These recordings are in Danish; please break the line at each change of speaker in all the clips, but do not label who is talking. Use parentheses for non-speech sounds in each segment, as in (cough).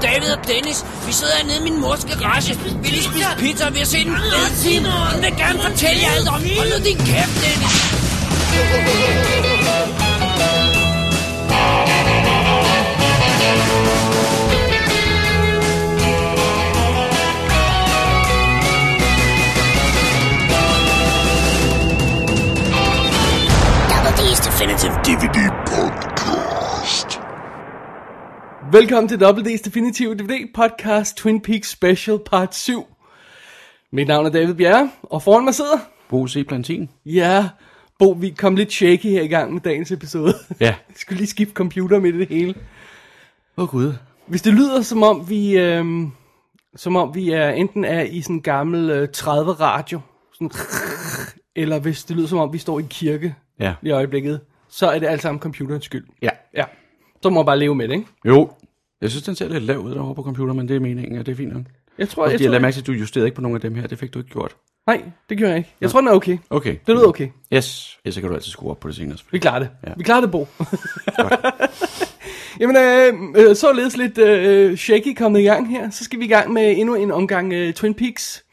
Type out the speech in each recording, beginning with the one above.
Dennis. Vi sidder hernede i min mors garage. Vi lige spise pizza, og vi har set en fed film. Hun vil gerne fortælle jer alt om. Hold nu din kæft, Dennis.
Double D's Definitive DVD Podcast.
Velkommen til WD's Definitive DVD Podcast Twin Peaks Special Part 7. Mit navn er David Bjerre, og foran mig sidder...
Bo C. Plantin.
Ja, Bo, vi kom lidt shaky her i gang med dagens episode. (laughs)
Ja.
Jeg skulle lige skifte computer midt i det hele.
Åh oh, gud.
Hvis det lyder som om vi... Øhm, som om vi er enten er i sådan en gammel øh, 30 radio, sådan, (laughs) eller hvis det lyder som om vi står i en kirke
Ja.
i øjeblikket, så er det alt sammen computerens skyld.
Ja.
Ja, så må man bare leve med det, ikke?
Jo. Jeg synes, den ser lidt lav ud derovre på computer, men det er meningen, og det er fint nok.
Jeg tror,
Og
jeg
fordi jeg
tror,
lader mærke til, at du justerede ikke på nogen af dem her. Det fik du ikke gjort.
nej, det gør jeg ikke. Jeg tror, den er okay.
Okay.
Det lyder okay.
Yes. Ja, så kan du altid skrue op på det senere.
Vi
selvfølgelig.
klarer det. Ja.
Ja.
Vi klarer det, Bo. (laughs) Jamen, øh, øh, således lidt øh, shaky kommet i gang her. Så skal vi i gang med endnu en omgang øh, Twin Peaks.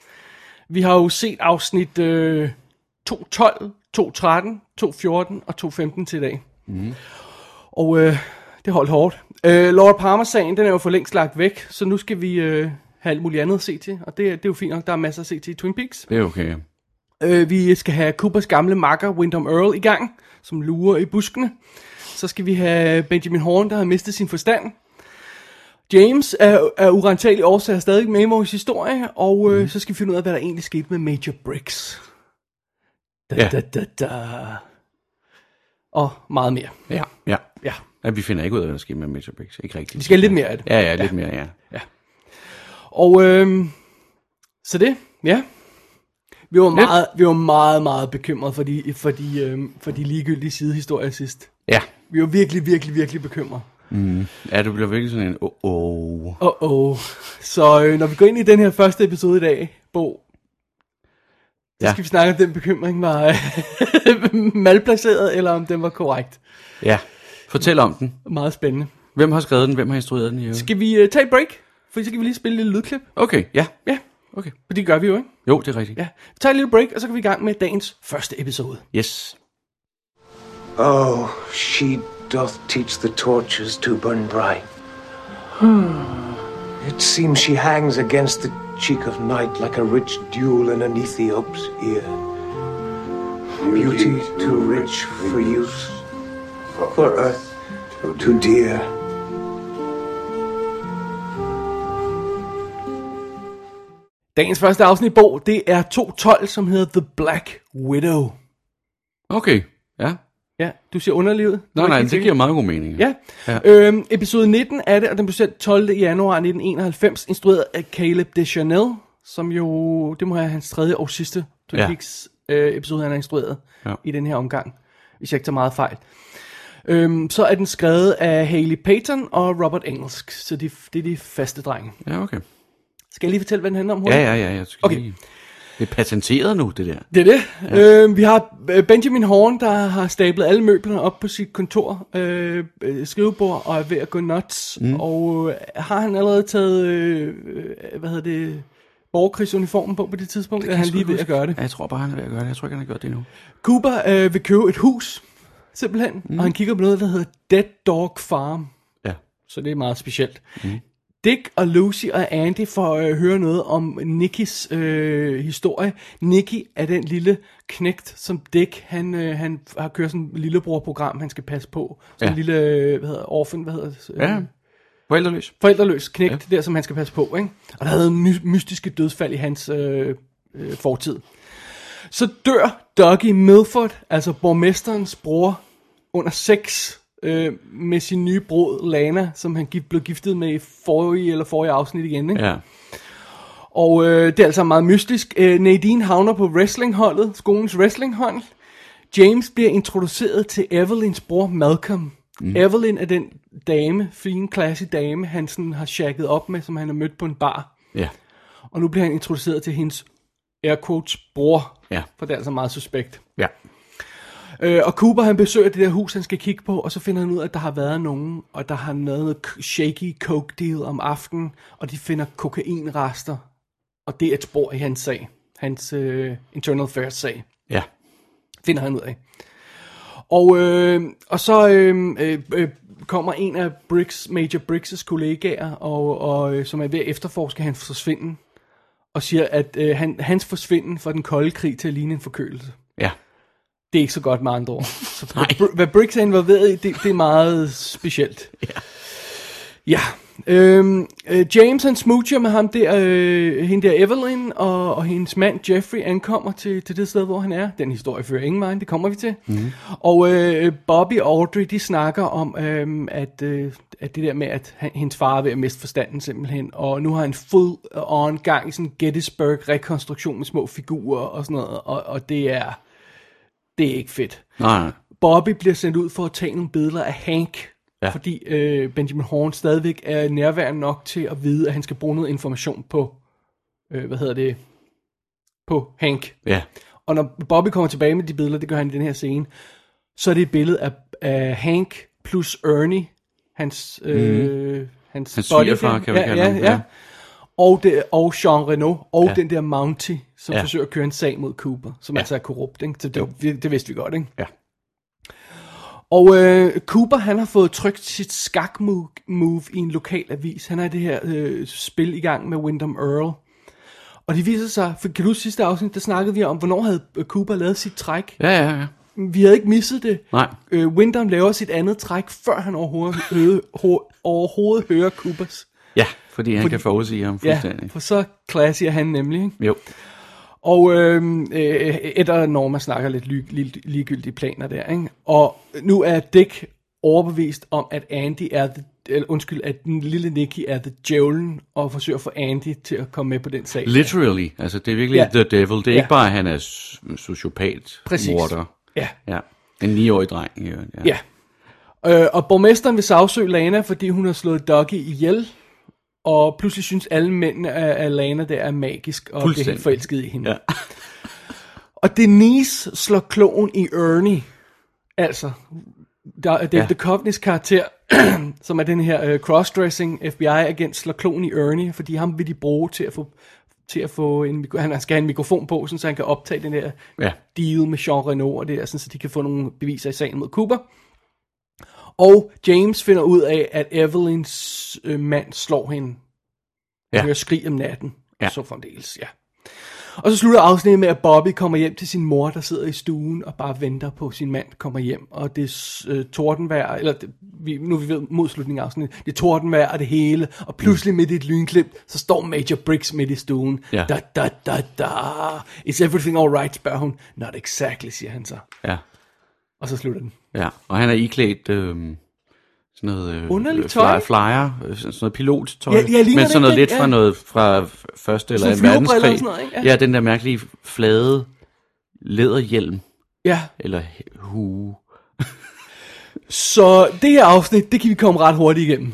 Vi har jo set afsnit øh, 2.12, 2.13, 2.14 og 2.15 til i dag. Mm. Og øh, det holdt hårdt. Øh, Laura Palmer-sagen, den er jo for længst lagt væk, så nu skal vi øh, have alt muligt andet at se til. Og det, det er jo fint nok, der er masser at se til i Twin Peaks.
Det er okay. ja.
Øh, vi skal have Coopers gamle makker, Wyndham Earl, i gang, som lurer i buskene. Så skal vi have Benjamin Horn, der har mistet sin forstand. James er, er urentagelig årsager stadig med i vores historie, og
Mm.
øh, så skal vi finde ud af, hvad der egentlig skete med Major Briggs. Da,
Ja.
da, da, da. Og meget mere.
Ja. Ja.
Ja.
ja. vi finder ikke ud af, hvad der sker med Major Briggs. Ikke rigtigt.
Vi skal have lidt mere af det.
Ja, ja, lidt mere, ja.
Og øh, så det, ja. Vi var meget, vi var meget, meget bekymrede for de, for de, øh, for de ligegyldige sidehistorier sidst.
Ja.
Vi var virkelig, virkelig, virkelig bekymrede.
Ja, du bliver virkelig sådan en... Åh, oh, oh.
Åh, oh, oh. Så øh, når vi går ind i den her første episode i dag, Bo, så ja.
Ja.
skal vi snakke om, den bekymring var øh, (laughs) malplaceret, eller om den var korrekt.
Ja. Fortæl om den.
Meget spændende.
Hvem har skrevet den? Hvem har instrueret den? i øvrigt?
Skal vi øh, tage et break? For så kan vi lige spille et lille lydklip.
Okay, ja.
Ja,
Okay.
for det gør vi jo, ikke?
Jo, det er rigtigt.
Ja. Vi tager et lille break, og så kan vi i gang med dagens første episode.
Yes.
Oh, she doth teach the torches to burn bright. Hmm. It seems she hangs against the cheek of night like a rich jewel in an Ethiop's ear. Beauty too rich for use, for earth too dear.
Dagens første afsnit, Bo, det er 2.12, som hedder The Black Widow.
Okay, ja.
Ja, du siger underlivet. Du
Nej,
er
nej,
ikke
det
sikker.
giver meget god mening.
Ja. ja.
Ja.
Øhm, episode 19 af det, og den blev sendt 12. januar 1991, instrueret af Caleb Deschanel, som jo, det må være hans tredje og sidste Twin
Ja.
Peaks øh, episode, han har instrueret ja.
Ja.
i den her omgang, hvis jeg ikke tager meget fejl. Øhm, så er den skrevet af Haley Payton og Robert Engelsk, så det, det er de faste drenge.
Ja, okay.
Skal jeg lige fortælle, hvad den handler om?
Ja,
hurtigt?
ja, ja. Jeg skal
Okay.
lige... Det er patenteret nu, det der.
Det er det. Ja. Øh, vi har øh, Benjamin Horn, der har stablet alle møblerne op på sit kontor, øh, øh, skrivebord, og er ved at gå nuts. Mm. Og øh, har han allerede taget, øh, øh, hvad hedder det, borgerkrigsuniformen på på det tidspunkt? Det er han lige ved at gøre det.
Ja, jeg tror bare, han er ved at gøre det. Jeg tror ikke, han har gjort det endnu.
Cooper øh, vil købe et hus, simpelthen, mm. og han kigger på noget, der hedder Dead Dog Farm.
Ja.
Så det er meget specielt. Mm. Dick og Lucy og Andy får øh, høre noget om Nickys øh, historie. Nicky er den lille knægt, som Dick, han, øh, han har kørt sådan et lillebror-program, han skal passe på. Så ja.
Ja.
en lille, øh, hvad hedder orphan, hvad hedder det? Øh,
Ja. Forældreløs.
Forældreløs knægt, ja. der som han skal passe på, ikke? Og der havde my- mystiske dødsfald i hans øh, øh, fortid. Så dør Dougie Milford, altså borgmesterens bror, under sex øh, med sin nye brud Lana, som han gif- blev giftet med i forrige eller forrige afsnit igen. Ikke? Ja.
Ja.
Og øh, det er altså meget mystisk. Øh, Nadine havner på wrestlingholdet, skolens wrestlinghold. James bliver introduceret til Evelyns bror Malcolm. Mm. Evelyn er den dame, fin, classy dame, han sådan har shacket op med, som han har mødt på en bar.
Ja.
Og nu bliver han introduceret til hendes air quotes bror,
Ja.
for det er altså meget suspekt.
Ja.
Øh, og Cooper han besøger det der hus, han skal kigge på, og så finder han ud af, at der har været nogen, og der har været noget k- shaky coke deal om aftenen, og de finder kokainrester, og det er et spor i hans sag, hans øh, internal affairs sag
Ja.
finder han ud af. Og, øh, og så øh, øh, øh, kommer en af Briggs, Major Briggs' kollegaer, og, og, øh, som er ved at efterforske hans forsvinden, og siger, at øh, han, hans forsvinden fra den kolde krig til at ligne en forkølelse.
Ja.
Det er ikke så godt med andre ord. Så hvad, Br- hvad Briggs er involveret i, det, det er meget specielt. Ja. Ja. Øhm, øh, James han smoocher med ham der, øh, hende der Evelyn, og, og hendes mand Jeffrey ankommer til, til det sted, hvor han er. Den historie fører ingen vejen, det kommer vi til. Mm. Og øh, Bobby og Audrey, de snakker om, øh, at, øh, at det der med, at han, hendes far er ved at miste forstanden simpelthen, og nu har han full-on gang i sådan Gettysburg-rekonstruktion med små figurer og sådan noget, og, og det er det er ikke fedt.
Nej, nej.
Bobby bliver sendt ud for at tage nogle billeder af Hank, ja.
Ja.
fordi øh, Benjamin Horn stadigvæk er nærværende nok til at vide, at han skal bruge noget information på, øh, hvad hedder det, på Hank.
Ja.
Og når Bobby kommer tilbage med de billeder, det gør han i den her scene, så er det et billede af, af Hank plus Ernie, hans, øh, hans,
Mhm. Hans
buddy
svigerfar,
der.
kan vi
ja,
kalde
ja,
ham,
ja.
ja.
Og, det, og Jean Reno, og ja.
Ja.
den der Mountie, som ja.
Ja.
forsøger at køre en sag mod Cooper, som ja. altså er korrupt, ikke? Så det, det, det vidste vi godt, ikke?
Ja.
Og øh, Cooper, han har fået trykt sit skakmove move i en lokal avis. Han har det her øh, spil i gang med Wyndham Earl. Og det viser sig, for kan du huske sidste afsnit, der snakkede vi om, hvornår havde øh, Cooper lavet sit træk.
Ja, ja, ja.
Vi havde ikke misset det.
Nej.
Øh, Wyndham laver sit andet træk, før han overhovedet, hø- ho- overhovedet hører Coopers.
Ja, fordi han fordi... kan forudsige ham
Ja,
fuldstændig.
for så classy er han nemlig. Ikke?
Jo.
Og øh, øh, Ed og Norma snakker lidt lig, lig, ligegyldige planer der, ikke? Og nu er Dick overbevist om, at Andy er the, eller undskyld, at den lille Nicky er the djævlen, og forsøger at få Andy til at komme med på den sag.
Literally. Altså, det er virkelig
Ja.
ja. the devil. Det
Ja.
er ja. ikke bare, at han er s- sociopat,
Præcis.
morder.
Ja,
Ja. En 9-årig dreng. i øvrigt, Ja.
ja. Øh, og borgmesteren vil sagsøge Lana, fordi hun har slået Dougie ihjel, og pludselig synes alle mændene af, af Lana der er magisk, og bliver helt
Fuldstændig.
forelsket i hende.
Ja.
Og Denise slår kloen i Ernie. Altså, der, David ja.
Ja.
Duchovny's karakter, (clears throat) som er den her øh, crossdressing FBI-agent, slår kloen i Ernie, fordi ham vil de bruge til at få, til at få en, mikro- han skal have en mikrofon på, sådan, så han kan optage den der
Ja.
deal med Jean Reno og det der, sådan, så de kan få nogle beviser i sagen mod Cooper. Og James finder ud af, at Evelyns øh, mand slår hende. Ja.
Ja.
Hører skrig om natten. Ja.
Ja.
Så fremdeles, ja. Og så slutter afsnittet med, at Bobby kommer hjem til sin mor, der sidder i stuen og bare venter på, at sin mand kommer hjem. Og det er s- øh, tordenvejr, eller det, vi, nu er vi ved mod slutningen af afsnittet, det er tordenvejr og det hele. Og pludselig midt i et lynklip, så står Major Briggs midt i stuen.
Mm. Ja.
Da, da, da, da. Is everything alright, spørger hun. Not exactly, siger han så.
Ja.
Og så slutter den.
Ja, og han er iklædt øh, sådan noget øh,
Underligt
øh,
tøj.
flyer, flyer øh, sådan noget pilottøj,
Ja, ja, ligner det
men sådan noget
ikke
lidt
det?
fra
Ja.
noget fra f- første eller
Sådan
anden
flyverbriller og
verdenskrig.
sådan noget, ikke? Ja.
ja. ja, den der mærkelige flade læderhjelm
Ja,
eller he- hue.
så det her afsnit, det kan vi komme ret hurtigt igennem.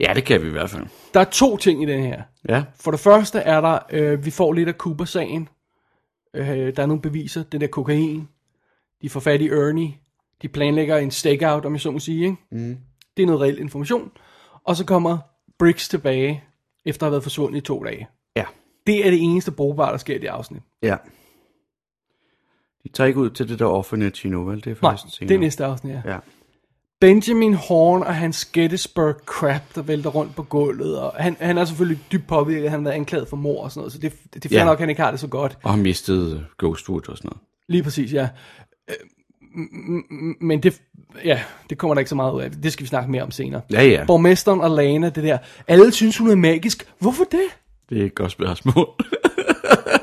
Ja, det kan vi i hvert fald.
Der er to ting i den her.
Ja,
For det første er der, øh, vi får lidt af Cooper-sagen. Øh, der er nogle beviser, den der kokain. De får fat i Ernie. De planlægger en stakeout, om jeg så må sige. Ikke? Mm. Det er noget reelt information. Og så kommer Briggs tilbage, efter at have været forsvundet i to dage.
ja,
Det er det eneste brugbare, der sker i det afsnit.
ja. De tager ikke ud til det der orphanage endnu, vel? Det er
Nej,
først senere.
det er næste afsnit, ja.
Ja.
Benjamin Horn og hans Gettysburg crap, der vælter rundt på gulvet. Og han, han er selvfølgelig dybt påvirket, han har været anklaget for mor og sådan noget, så det, det er fair
Ja.
nok, at han ikke har det så godt.
Og har mistet øh, Ghostwood og sådan noget.
Lige præcis, ja. Øh, m- m- Men det, ja, det kommer der ikke så meget ud af. Det skal vi snakke mere om senere.
Ja, ja.
Borgmesteren og Lana, det der. Alle synes, hun er magisk. Hvorfor det?
Det er et godt spørgsmål. (laughs)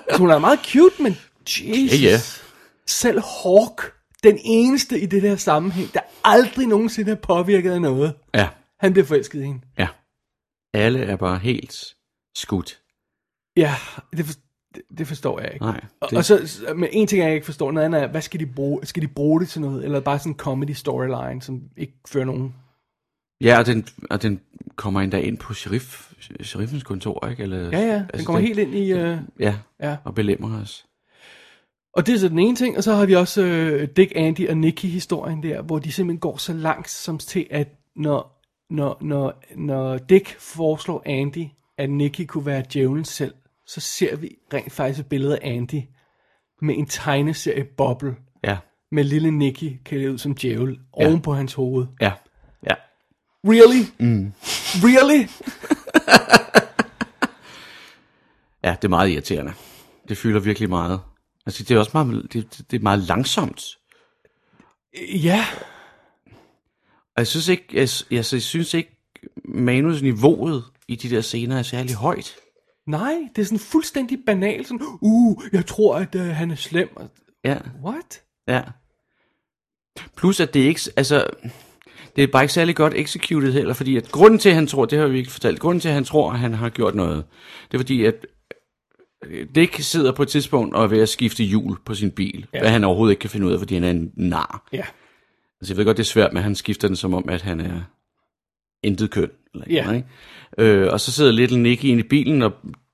Altså, hun er meget cute, men Jesus.
Ja, ja.
Selv Hawk, den eneste i det der sammenhæng, der aldrig nogensinde er påvirket af noget.
ja,
Han bliver forelsket i hende.
ja. Alle er bare helt skudt.
Ja, det, for, det, det forstår jeg ikke.
Nej,
Og,
det-
og så, så- men en ting, jeg ikke forstår, noget andet er, hvad skal de bruge? Skal de bruge det til noget? Eller bare sådan en comedy storyline, som ikke fører nogen?
Ja, og den, og den kommer endda ind på sheriff, sheriffens kontor, ikke? Eller,
Ja, ja, altså, den kommer helt ind i... Øh,
Ja,
ja.
og belemmer os.
Og det er så den ene ting, og så har vi også øh, Dick, Andy og Nicky historien der, hvor de simpelthen går så langt som til, at når, når, når, når Dick foreslår Andy, at Nicky kunne være djævlen selv, så ser vi rent faktisk et billede af Andy med en tegneserie boble
Ja,
med lille Nicky klædt ud som djævel ja.
Ja.
oven på hans hoved.
ja, ja.
Really? Mm. Really?
Ja, det er meget irriterende. Det fylder virkelig meget. Altså, det er også meget, det, det- det er meget langsomt.
Ja.
Og jeg synes ikke, jeg, jeg, jeg synes ikke manusniveauet i de der scener er særlig højt.
Nej, det er sådan fuldstændig banalt. Sådan, uh, jeg tror, at øh, han er slem. Og-
Ja,
What?
ja. Plus at det ikke, altså, det er bare ikke særlig godt executed heller, fordi at grunden til, at han tror, det har vi ikke fortalt, grunden til, at han tror, at han har gjort noget, det er fordi, at øh, Dick sidder på et tidspunkt og er ved at skifte hjul på sin bil, ja. hvad han overhovedet ikke kan finde ud af, fordi han er en nar.
Ja.
Altså, jeg ved godt, det er svært, men han skifter den som om, at han er intet køn. Eller
Ja.
yeah. ikke? Øh, og så sidder lidt Nicky inde i bilen og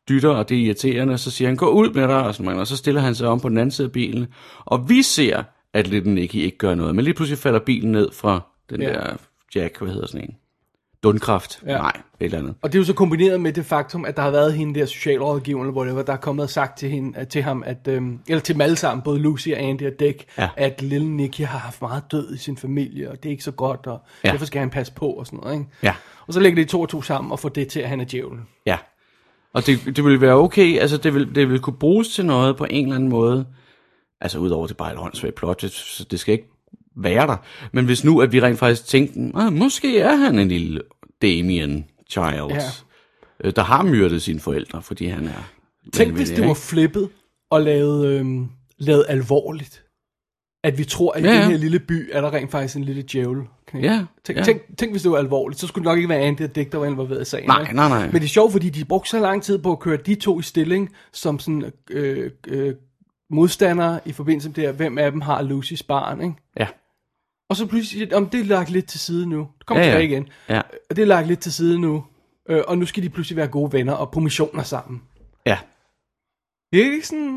dytter, og det er irriterende, og så siger han, gå ud med dig, og, sådan, noget, og så stiller han sig om på den anden side af bilen, og vi ser, at Little Nicky ikke gør noget, men lige pludselig falder bilen ned fra den
Ja.
yeah. der Jack, hvad hedder sådan en? Dundkraft?
Ja.
Yeah. Nej, et eller andet.
Og det er jo så kombineret med det faktum, at der har været hende der socialrådgiver, eller whatever, der er kommet og sagt til, hende, til ham, at, øhm, eller til dem alle sammen, både Lucy og Andy og Dick, ja.
Ja.
at lille Nicky har haft meget død i sin familie, og det er ikke så godt, og ja.
Ja.
derfor skal han passe på og sådan noget. Ikke?
Ja.
Og så lægger de to og to sammen og får det til, at han er djævlen.
Ja. Og det, det ville være okay, altså det ville, det ville kunne bruges til noget på en eller anden måde. Altså udover at det bare er et håndsvagt plot, det, så det skal ikke være der. Men hvis nu, at vi rent faktisk tænkte, ah, måske er han en lille Damien Childs, ja. der har myrdet sine forældre, fordi han er...
Tænk, hvis det
ikke?
var flippet og lavet, øhm, lavet alvorligt. At vi tror, at i
Ja,
den
ja.
her lille by er der rent faktisk en lille djævel. knægt.
Ja,
Tænk,
ja.
Tænk, tænk, hvis det var alvorligt, så skulle det nok ikke være Andy og Dick, der var involveret i sagen.
Nej,
ikke?
nej, nej.
Men det er sjovt, fordi de brugte så lang tid på at køre de to i stilling, som sådan øh, øh, modstandere i forbindelse med det her, hvem af dem har Lucys barn, ikke?
Ja.
Og så pludselig, om det er lagt lidt til side nu. Det kommer
Ja,
ja,
ja.
tilbage igen.
Ja.
Og det er lagt lidt til side nu. Øh, og nu skal de pludselig være gode venner og på missioner sammen.
ja.
Det er ikke sådan...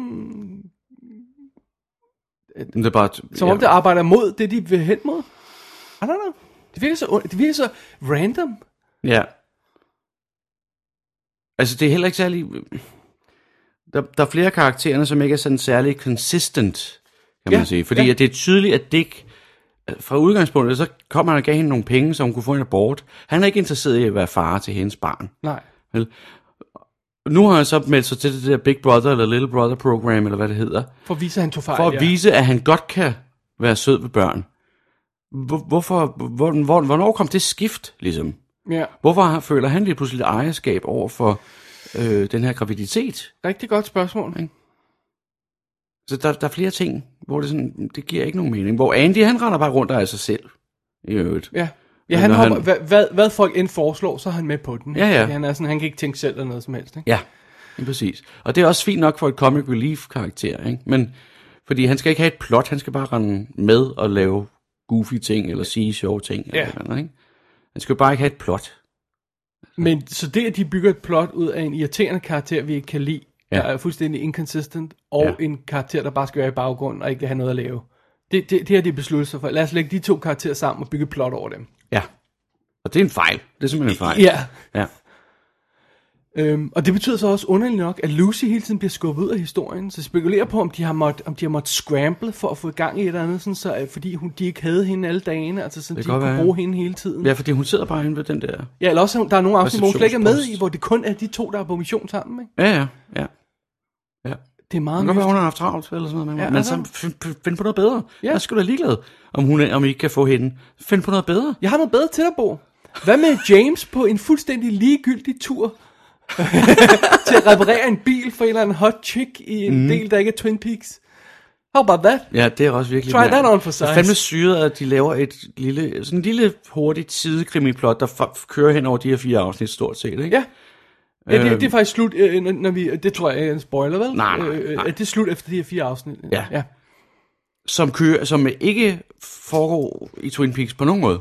Men Det er bare...
Som
ja.
om det arbejder mod det, de vil hen mod. I don't know. Det virker så, und- det virker så random.
Ja. Altså, det er heller ikke særlig... Der, der er flere af karaktererne, som ikke er sådan særlig consistent, kan man
Ja,
ja, sige. Fordi
ja.
ja. at det er tydeligt, at Dick øh, fra udgangspunktet, så kom han og gav hende nogle penge, så hun kunne få en abort. Han er ikke interesseret i at være far til hendes barn.
Nej.
Vel? Nu har han så meldt sig til det der Big Brother eller Little Brother program, eller hvad det hedder,
For at vise, at han tog fejl.
for at
ja.
vise, at han godt kan være sød ved børn. Hvor- Hvorfor, hvor, hvor, hvornår kom det skift, ligesom?
Ja,
Hvorfor har- føler han lige pludselig et ejerskab over for øh, den her graviditet?
rigtig godt spørgsmål.
Så der, der er flere ting, hvor det, sådan, det giver ikke nogen mening. Hvor Andy, han render bare rundt og er sig selv, i øvrigt.
Ja. Ja, han
Når
hopper,
han-
Hvad, hvad, hvad folk end foreslår, så er han med på den. ikke?
Ja, ja.
Fordi Han, er sådan, han kan ikke tænke selv eller noget som helst. Ikke?
Ja, lige præcis. Og det er også fint nok for et comic relief-karakter, ikke? Men, fordi han skal ikke have et plot, han skal bare rende med og lave goofy ting, eller sige sjove ting,
Ja.
eller noget, ikke? Han skal jo bare ikke have et plot.
Men så det, at de bygger et plot ud af en irriterende karakter, vi ikke kan lide, ja.
Ja.
der er fuldstændig inconsistent, og ja.
Ja.
en karakter, der bare skal være i baggrunden og ikke have noget at lave. Det, det, det har de besluttet sig for. Lad os lægge de to karakterer sammen og bygge et plot over dem.
Ja. Og det er en fejl. Det er simpelthen en fejl.
Ja.
ja.
Øhm, og det betyder så også underligt nok, at Lucy hele tiden bliver skubbet ud af historien, så jeg spekulerer på, om de har måttet, om de har måttet scramble for at få gang i et eller andet, sådan så, øh, fordi hun, de ikke havde hende alle dagene, altså sådan,
Det
de
kan
kunne
godt være, ja.
bruge hende hele tiden.
Ja, fordi hun sidder bare inde ved den der...
Ja, eller også, der er nogle afsnit, hvor hun slet ikke er med i,
Receptionspost.
hvor det kun er de to, der er på mission sammen. Ikke?
Ja, ja, ja. Ja.
Det er meget
Det kan godt være,
mystisk.
hun har haft travlt eller sådan noget.
Ja,
Ja, men
altså.
så find, find- find på noget bedre.
Ja.
Ja. Jeg er sgu da ligeglad, om, hun, er- om I ikke kan få hende. Find på noget bedre.
Jeg har noget bedre til dig, Bo. Hvad med James på en fuldstændig ligegyldig tur (laughs) til at reparere en bil for en eller anden hot chick i
Mhm.
en mm. del, der ikke er Twin Peaks? How about that?
Ja, det er også virkelig...
Try that on for
Det
size.
er fandme syret, at de laver et lille, sådan en lille hurtigt sidekrimiplot, der f- kører hen over de her fire afsnit stort set, ikke?
Ja. Ja, det, det er faktisk slut, øh, når, når vi, det tror jeg er en spoiler, vel?
Øhm. Nej, nej,
Øh,
nej.
at det er slut efter de her fire afsnit.
Ja.
ja.
Som, kører, som ikke foregår i Twin Peaks på nogen måde.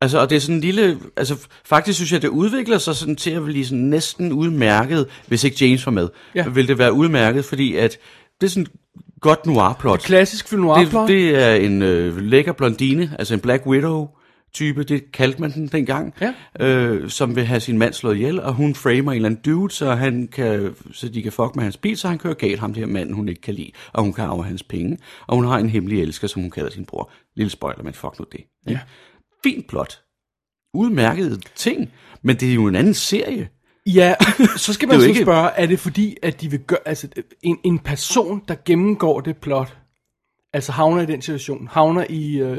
Altså, og det er sådan en lille... Altså, faktisk synes jeg, det udvikler sig sådan til at blive sådan næsten udmærket, hvis ikke James var med.
Ja.
Ja. Vil det være udmærket, fordi at det er sådan godt noir-plot.
Klassisk film noir
Det, det er en øh, lækker blondine, altså en Black Widow-type, det kaldte man den dengang,
Ja.
øh, som vil have sin mand slået ihjel, og hun framer en eller anden dude, så, han kan, så de kan fuck med hans bil, så han kører galt ham, det her mand, hun ikke kan lide, og hun kan arve hans penge, og hun har en hemmelig elsker, som hun kalder sin bror. Lille spoiler, men fuck nu det. Ja. Fint plot. Udmærkede ting, men det er jo en anden serie.
Ja,
(laughs)
så skal man
Det er
så ikke...
jo ikke-
spørge, er det fordi, at de vil gøre, altså en, en person, der gennemgår det plot, altså havner i den situation, havner i uh,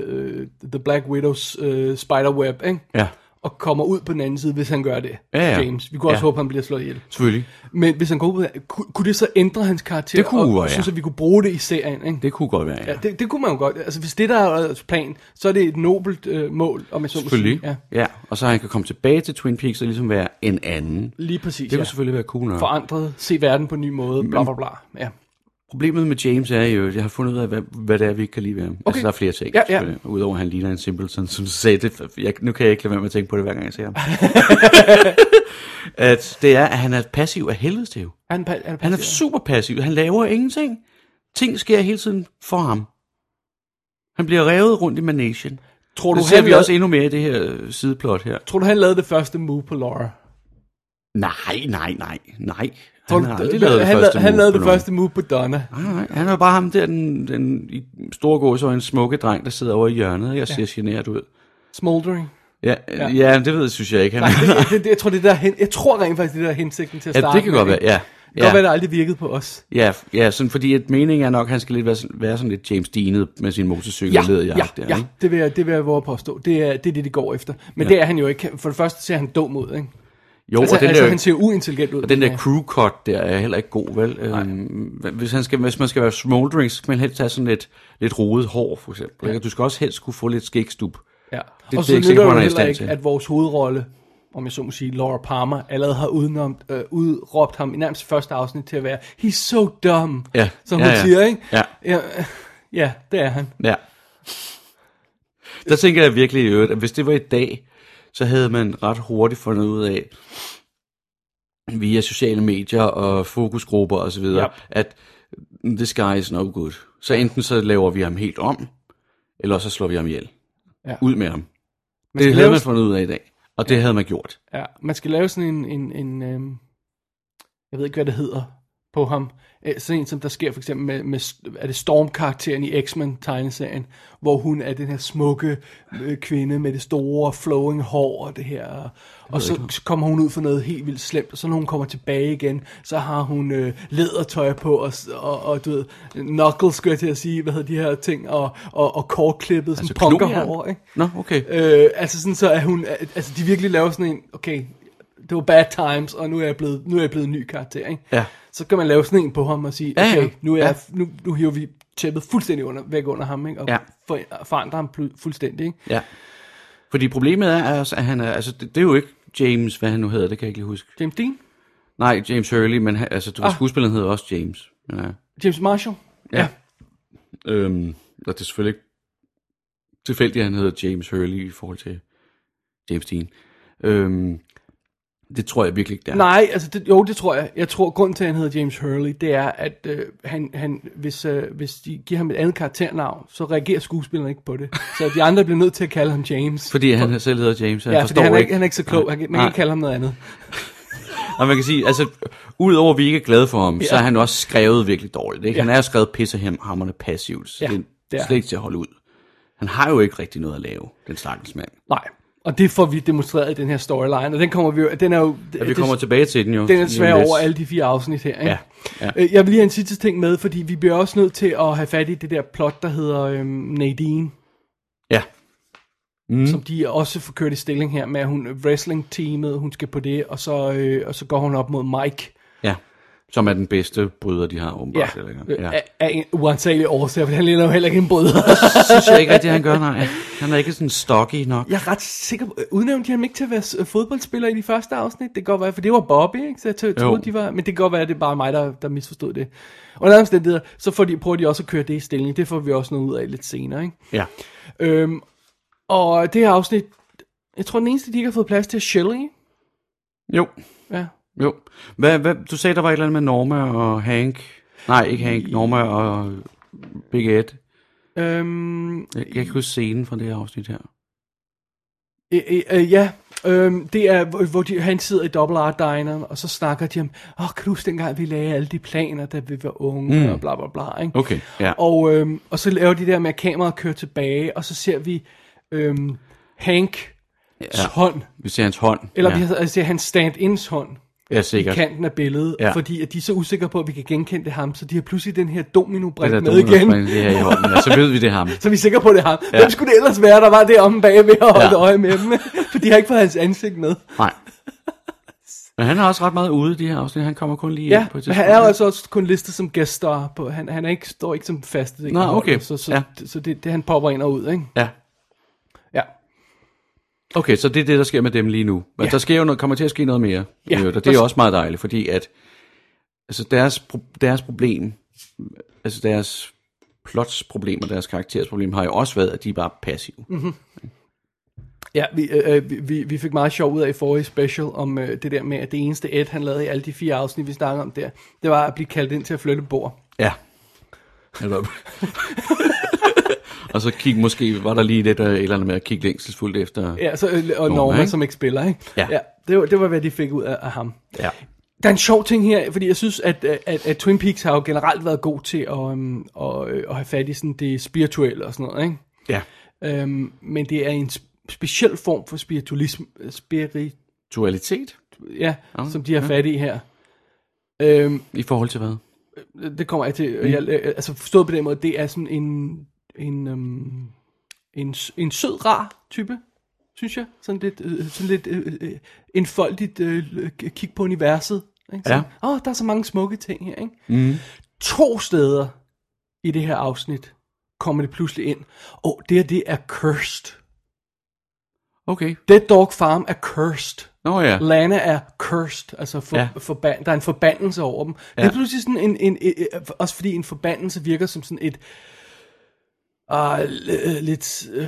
The Black Widows uh, spiderweb, ikke?
Ja.
og kommer ud på den anden side, hvis han gør det,
Ja, ja.
James. Vi kunne også
Ja.
håbe, han bliver slået ihjel.
Selvfølgelig.
Men hvis han går ud, på den- kunne, kunne det så ændre hans karakter,
Det kunne,
og
ja.
synes, at vi kunne bruge det i serien, ikke?
Det kunne godt være, ja.
Ja, det, det kunne man jo godt. Altså, hvis det der er deres plan, så er det et nobelt øh, mål, om jeg så må
Selvfølgelig.
sige. Ja,
ja. Og så han kan komme tilbage til Twin Peaks og ligesom være en anden.
lige præcis,
Det vil
ja.
selvfølgelig være cool nok.
Forandret, se verden på en ny måde, bla bla bla. Ja.
Problemet med James er jo, at jeg har fundet ud af, hvad, hvad det er, vi ikke kan lide ved ham. Okay. Altså, der er flere ting,
Ja, ja.
selvfølgelig. Udover at han ligner en simpleton, som sagde det. Jeg, nu kan jeg ikke lade være med at tænke på det, hver gang jeg ser ham.
(laughs)
at det er, at han er passiv af helvede til.
Han, er, han,
Han er super passiv. Han laver ingenting. Ting sker hele tiden for ham. Han bliver revet rundt i managen.
tror, du,
Det ser
han
vi
lavede,
også endnu mere i det her øh, sideplot her.
tror du, han lavede det første move på Laura?
Nej, nej, nej, nej.
Tror
Han
du,
har
det-
aldrig lavet det
han,
første
lavede- han
move
lavede
på
det
nogen.
første move på Donna.
Nej, nej, han er jo bare ham der, den, den i store gås og en smukke dreng, der sidder over i hjørnet ikke, og ser generet ud. (laughs)
Smoldering.
Ja, ja. ja, det ved jeg, synes jeg ikke. Han,
Det, det, det, jeg, tror, det der, hen- jeg tror rent faktisk, det der er hensigten til at
ja,
starte
det kan godt være, ja.
Det kan godt være,
Ja,
det aldrig virkede på os.
ja, ja sådan, fordi et meningen er nok, at han skal lidt være, sådan- være sådan lidt James Dean'et med sin motorcykel og
ja,
lederjagt der,
ja.
ikke?
Det, vil jeg, det vil jeg våge at påstå. Det er, det er det, de går efter. Men ja. det er han jo ikke. For det første ser han dum ud, ikke?
Jo,
Altså,
og den
altså
der,
han ser uintelligent ud.
og den der
Ja.
crew cut der er heller ikke god, vel? Øhm, hvis, han skal, hvis man skal være smoldering, så skal man helst have sådan lidt, lidt rodet hår, for eksempel. Ja. Du skal også helst kunne få lidt skægstub.
Ja. og
det er
så
jeg ikke sikker
nytter
på,
det jo
han er i
heller
stand
ikke,
til.
at vores hovedrolle, om jeg så må sige, Laura Palmer, allerede har udenom, øh, udråbt ham i nærmest første afsnit til at være, he's so dumb,
Ja.
som
Ja,
hun
ja.
siger, ikke?
Ja.
ja. øh, Ja, det er han.
Ja. Der tænker jeg virkelig i øvrigt, at hvis det var i dag, så havde man ret hurtigt fundet ud af, via sociale medier og fokusgrupper osv.,
Ja.
yep. at the sky is no good. Så enten så laver vi ham helt om, eller så slår vi ham ihjel.
Ja.
Ud med ham.
Man
Det
skal,
havde
lave,
man fundet ud af i dag, og det havde man gjort.
ja, man skal lave sådan en, en, en øhm, jeg ved ikke, hvad det hedder, på ham. Øh, Sådan en, som der sker for eksempel med, med er det Storm-karakteren i X-Men-tegneserien, hvor hun er den her smukke øh, kvinde med det store flowing hår og det her. Og så, så kommer hun ud for noget helt vildt slemt, og så når hun kommer tilbage igen, så har hun øh, lædertøj på, og, s- og, og du ved, knuckles, skulle jeg til at sige, hvad hedder de her ting, og, og, og kortklippet, sådan altså, punkerhår, ikke?
Nå, okay.
Øh, altså sådan så, at hun, at- altså de virkelig laver sådan en, okay, det var bad times, og nu er jeg blevet, nu er jeg blevet en ny karakter, ikke?
Ja.
Så kan man lave sådan en på ham og sige,
Ja, ja.
okay, nu, er
Ja.
jeg, nu, nu hiver vi tæppet fuldstændig under, væk under ham, ikke? Og
Ja.
for, forandrer ham plu- fuldstændig, ikke?
Ja. Fordi problemet er, altså, at han er, altså, det, det er jo ikke James, hvad han nu hedder, det kan jeg ikke lige huske.
James Dean?
Nej, James Hurley, men han- altså, du ah. skuespilleren hedder også James. Ja.
James Marshall?
Ja. Øhm, og det er selvfølgelig ikke tilfældigt, at han hedder James Hurley i forhold til James Dean. Øhm, det tror jeg virkelig ikke, det er.
Nej, altså det, jo, det tror jeg. Jeg tror, grund til, at han hedder James Hurley, det er, at øh, han, han, hvis, øh, hvis de giver ham et andet karakternavn, så reagerer skuespilleren ikke
(laughs)
på det. Så de andre bliver nødt til at kalde ham James.
Fordi han selv hedder James, han
ja, fordi
forstår
han er,
ikke.
ikke, han er ikke så klog. Han, kan- man kan
Nej.
ikke kalde ham noget andet.
Og man kan sige, altså, udover at vi ikke er glade for ham, ja. så
Ja.
er han også skrevet virkelig dårligt. Ikke?
Ja.
Han er jo skrevet pissehammerne passivt, så
Ja,
ja. det
det
er
er.
slet ikke til at holde ud. Han har jo ikke rigtig noget at lave, den stakkels mand.
Nej, og det får vi demonstreret i den her storyline, og den kommer vi jo, den er jo,
Ja, vi kommer tilbage til den jo.
den er
lige om
desværre
lidt.
over alle de fire afsnit her, ikke?
Ja, ja.
Øh, Jeg vil lige have en sidste ting med, fordi vi bliver også nødt til at have fat i det der plot, der hedder øhm, Nadine,
Ja, Mhm.
mm. som de også får kørt i stilling her med, at hun wrestling-teamet, hun skal på det, og så, øh, og så går hun op mod Mike,
ja. Som er den bedste bryder, de har
ja,
åbenbart. Eller,
øh, af, af en uansagelig årsag, for han ligner jo heller ikke en bryder.
synes jeg ikke rigtigt, han gør, nej. Han er ikke sådan stocky nok.
Jeg er ret sikker på, øh, udnævnte de ham ikke til at være s- øh, fodboldspiller i de første afsnit? Det kan godt være, for det var Bobby, ikke? Så jeg tø- troede, de var... Men det kan godt være, at det er bare mig, der, der misforstod det. Under alle omstændigheder, så får de, prøver de også at køre det i stilling. Det får vi også noget ud af lidt senere, ikke?
Ja.
Øhm, og det her afsnit... Jeg tror, den eneste, de ikke har fået plads til, er Shelley.
Jo,
Ja.
jo. Hvad, hvad, du sagde, der var et eller andet med Norma og Hank. Nej, ikke Hank. Norma og Big Ed.
Øhm,
Jeg, jeg kan huske scenen fra det her afsnit her.
Øh, øh, øh, ja, øhm, det er, hvor, hvor de, han sidder i Double R Diner, og så snakker de om, åh, kan du huske dengang, vi lagde alle de planer, da vi var unge, mm. og bla bla bla, ikke?
Okay, ja.
Og, øhm, og så laver de der med, at kameraet kører tilbage, og så ser vi øhm, Hanks ja. hånd,
Vi ser hans hånd.
eller
ja.
ja. vi altså, ser hans stand-ins hånd
ja,
i
sikkert.
kanten af billedet,
Ja.
ja. fordi at de er så usikre på, at vi kan genkende det ham, så de har pludselig den her dominobrik
der
med igen.
dominosbrænd, Det her i hånden. Ja, så ved vi det er ham.
(laughs) Så vi er sikre på, at det er ham.
Ja.
Ja. Hvem skulle det ellers være, der var det om bag ved at holde
Ja.
ja. øje med
(laughs)
dem? For de har ikke fået hans ansigt med.
Nej. Men han er også ret meget ude i de her afsnit. Han kommer kun lige
Ja,
ind på et
men
tidspunkt.
han er jo altså også kun listet som guest star. På, han, han er ikke, står ikke som fast. Det
Nå, okay.
Så, så,
Ja.
ja. så det, det, han popper ind og ud, ikke?
Ja.
Ja.
Okay, så det er det, der sker med dem lige nu. Men ja.
Ja.
der sker jo noget, kommer til at ske noget mere.
Ja,
Ja, og det
der
er
sk-
også meget dejligt, fordi at altså deres, pro- deres problem, altså deres plotsproblem og deres karaktersproblem har jo også været, at de er bare passive. Mm.
Ja, vi, øh, vi- vi, vi fik meget sjov ud af i forrige special om øh, det der med, at det eneste Ed, han lavede i alle de fire afsnit, vi snakkede om der, det var at blive kaldt ind til at flytte bord.
Ja. Eller, (laughs) og så kig, måske var der lige lidt øh, et eller andet med at kigge længselsfuldt efter.
Ja, så, øh, og
Norma,
Norma, Norma
ikke?
som ikke spiller, ikke?
Ja.
ja det, var, det var, hvad de fik ud af, af ham.
Ja.
Der er en sjov ting her, fordi jeg synes, at, øh, at, at Twin Peaks har jo generelt været god til at, øhm, at, øh, at have fat i sådan det spirituelle og sådan noget, ikke?
ja.
Øhm, men det er en sp- speciel form for spiritualisme, øh, spirit,
Dualitet
ja, som de har fat i her. Øhm,
i forhold til hvad?
det kommer jeg til. Mm. Jeg, øh, altså forstået på den måde, det er sådan en en øhm, en, s- en sød rar type, synes jeg. Sådan lidt øh, sådan lidt øh, øh, enfoldigt øh, k- kig på universet. Ikke? Sådan, Åh, oh, der er så mange smukke ting her. Ikke? Mm. To steder i det her afsnit kommer det pludselig ind. Og oh, det her, det er cursed.
Okay.
Dead Dog Farm er cursed.
Nå ja.
Lana er cursed, altså for,
Ja.
ja. forban- der er en forbandelse over dem. Ja. Det
Ja.
er pludselig sådan en, en, en, en, også fordi en forbandelse virker som sådan et, uh, lidt, øh,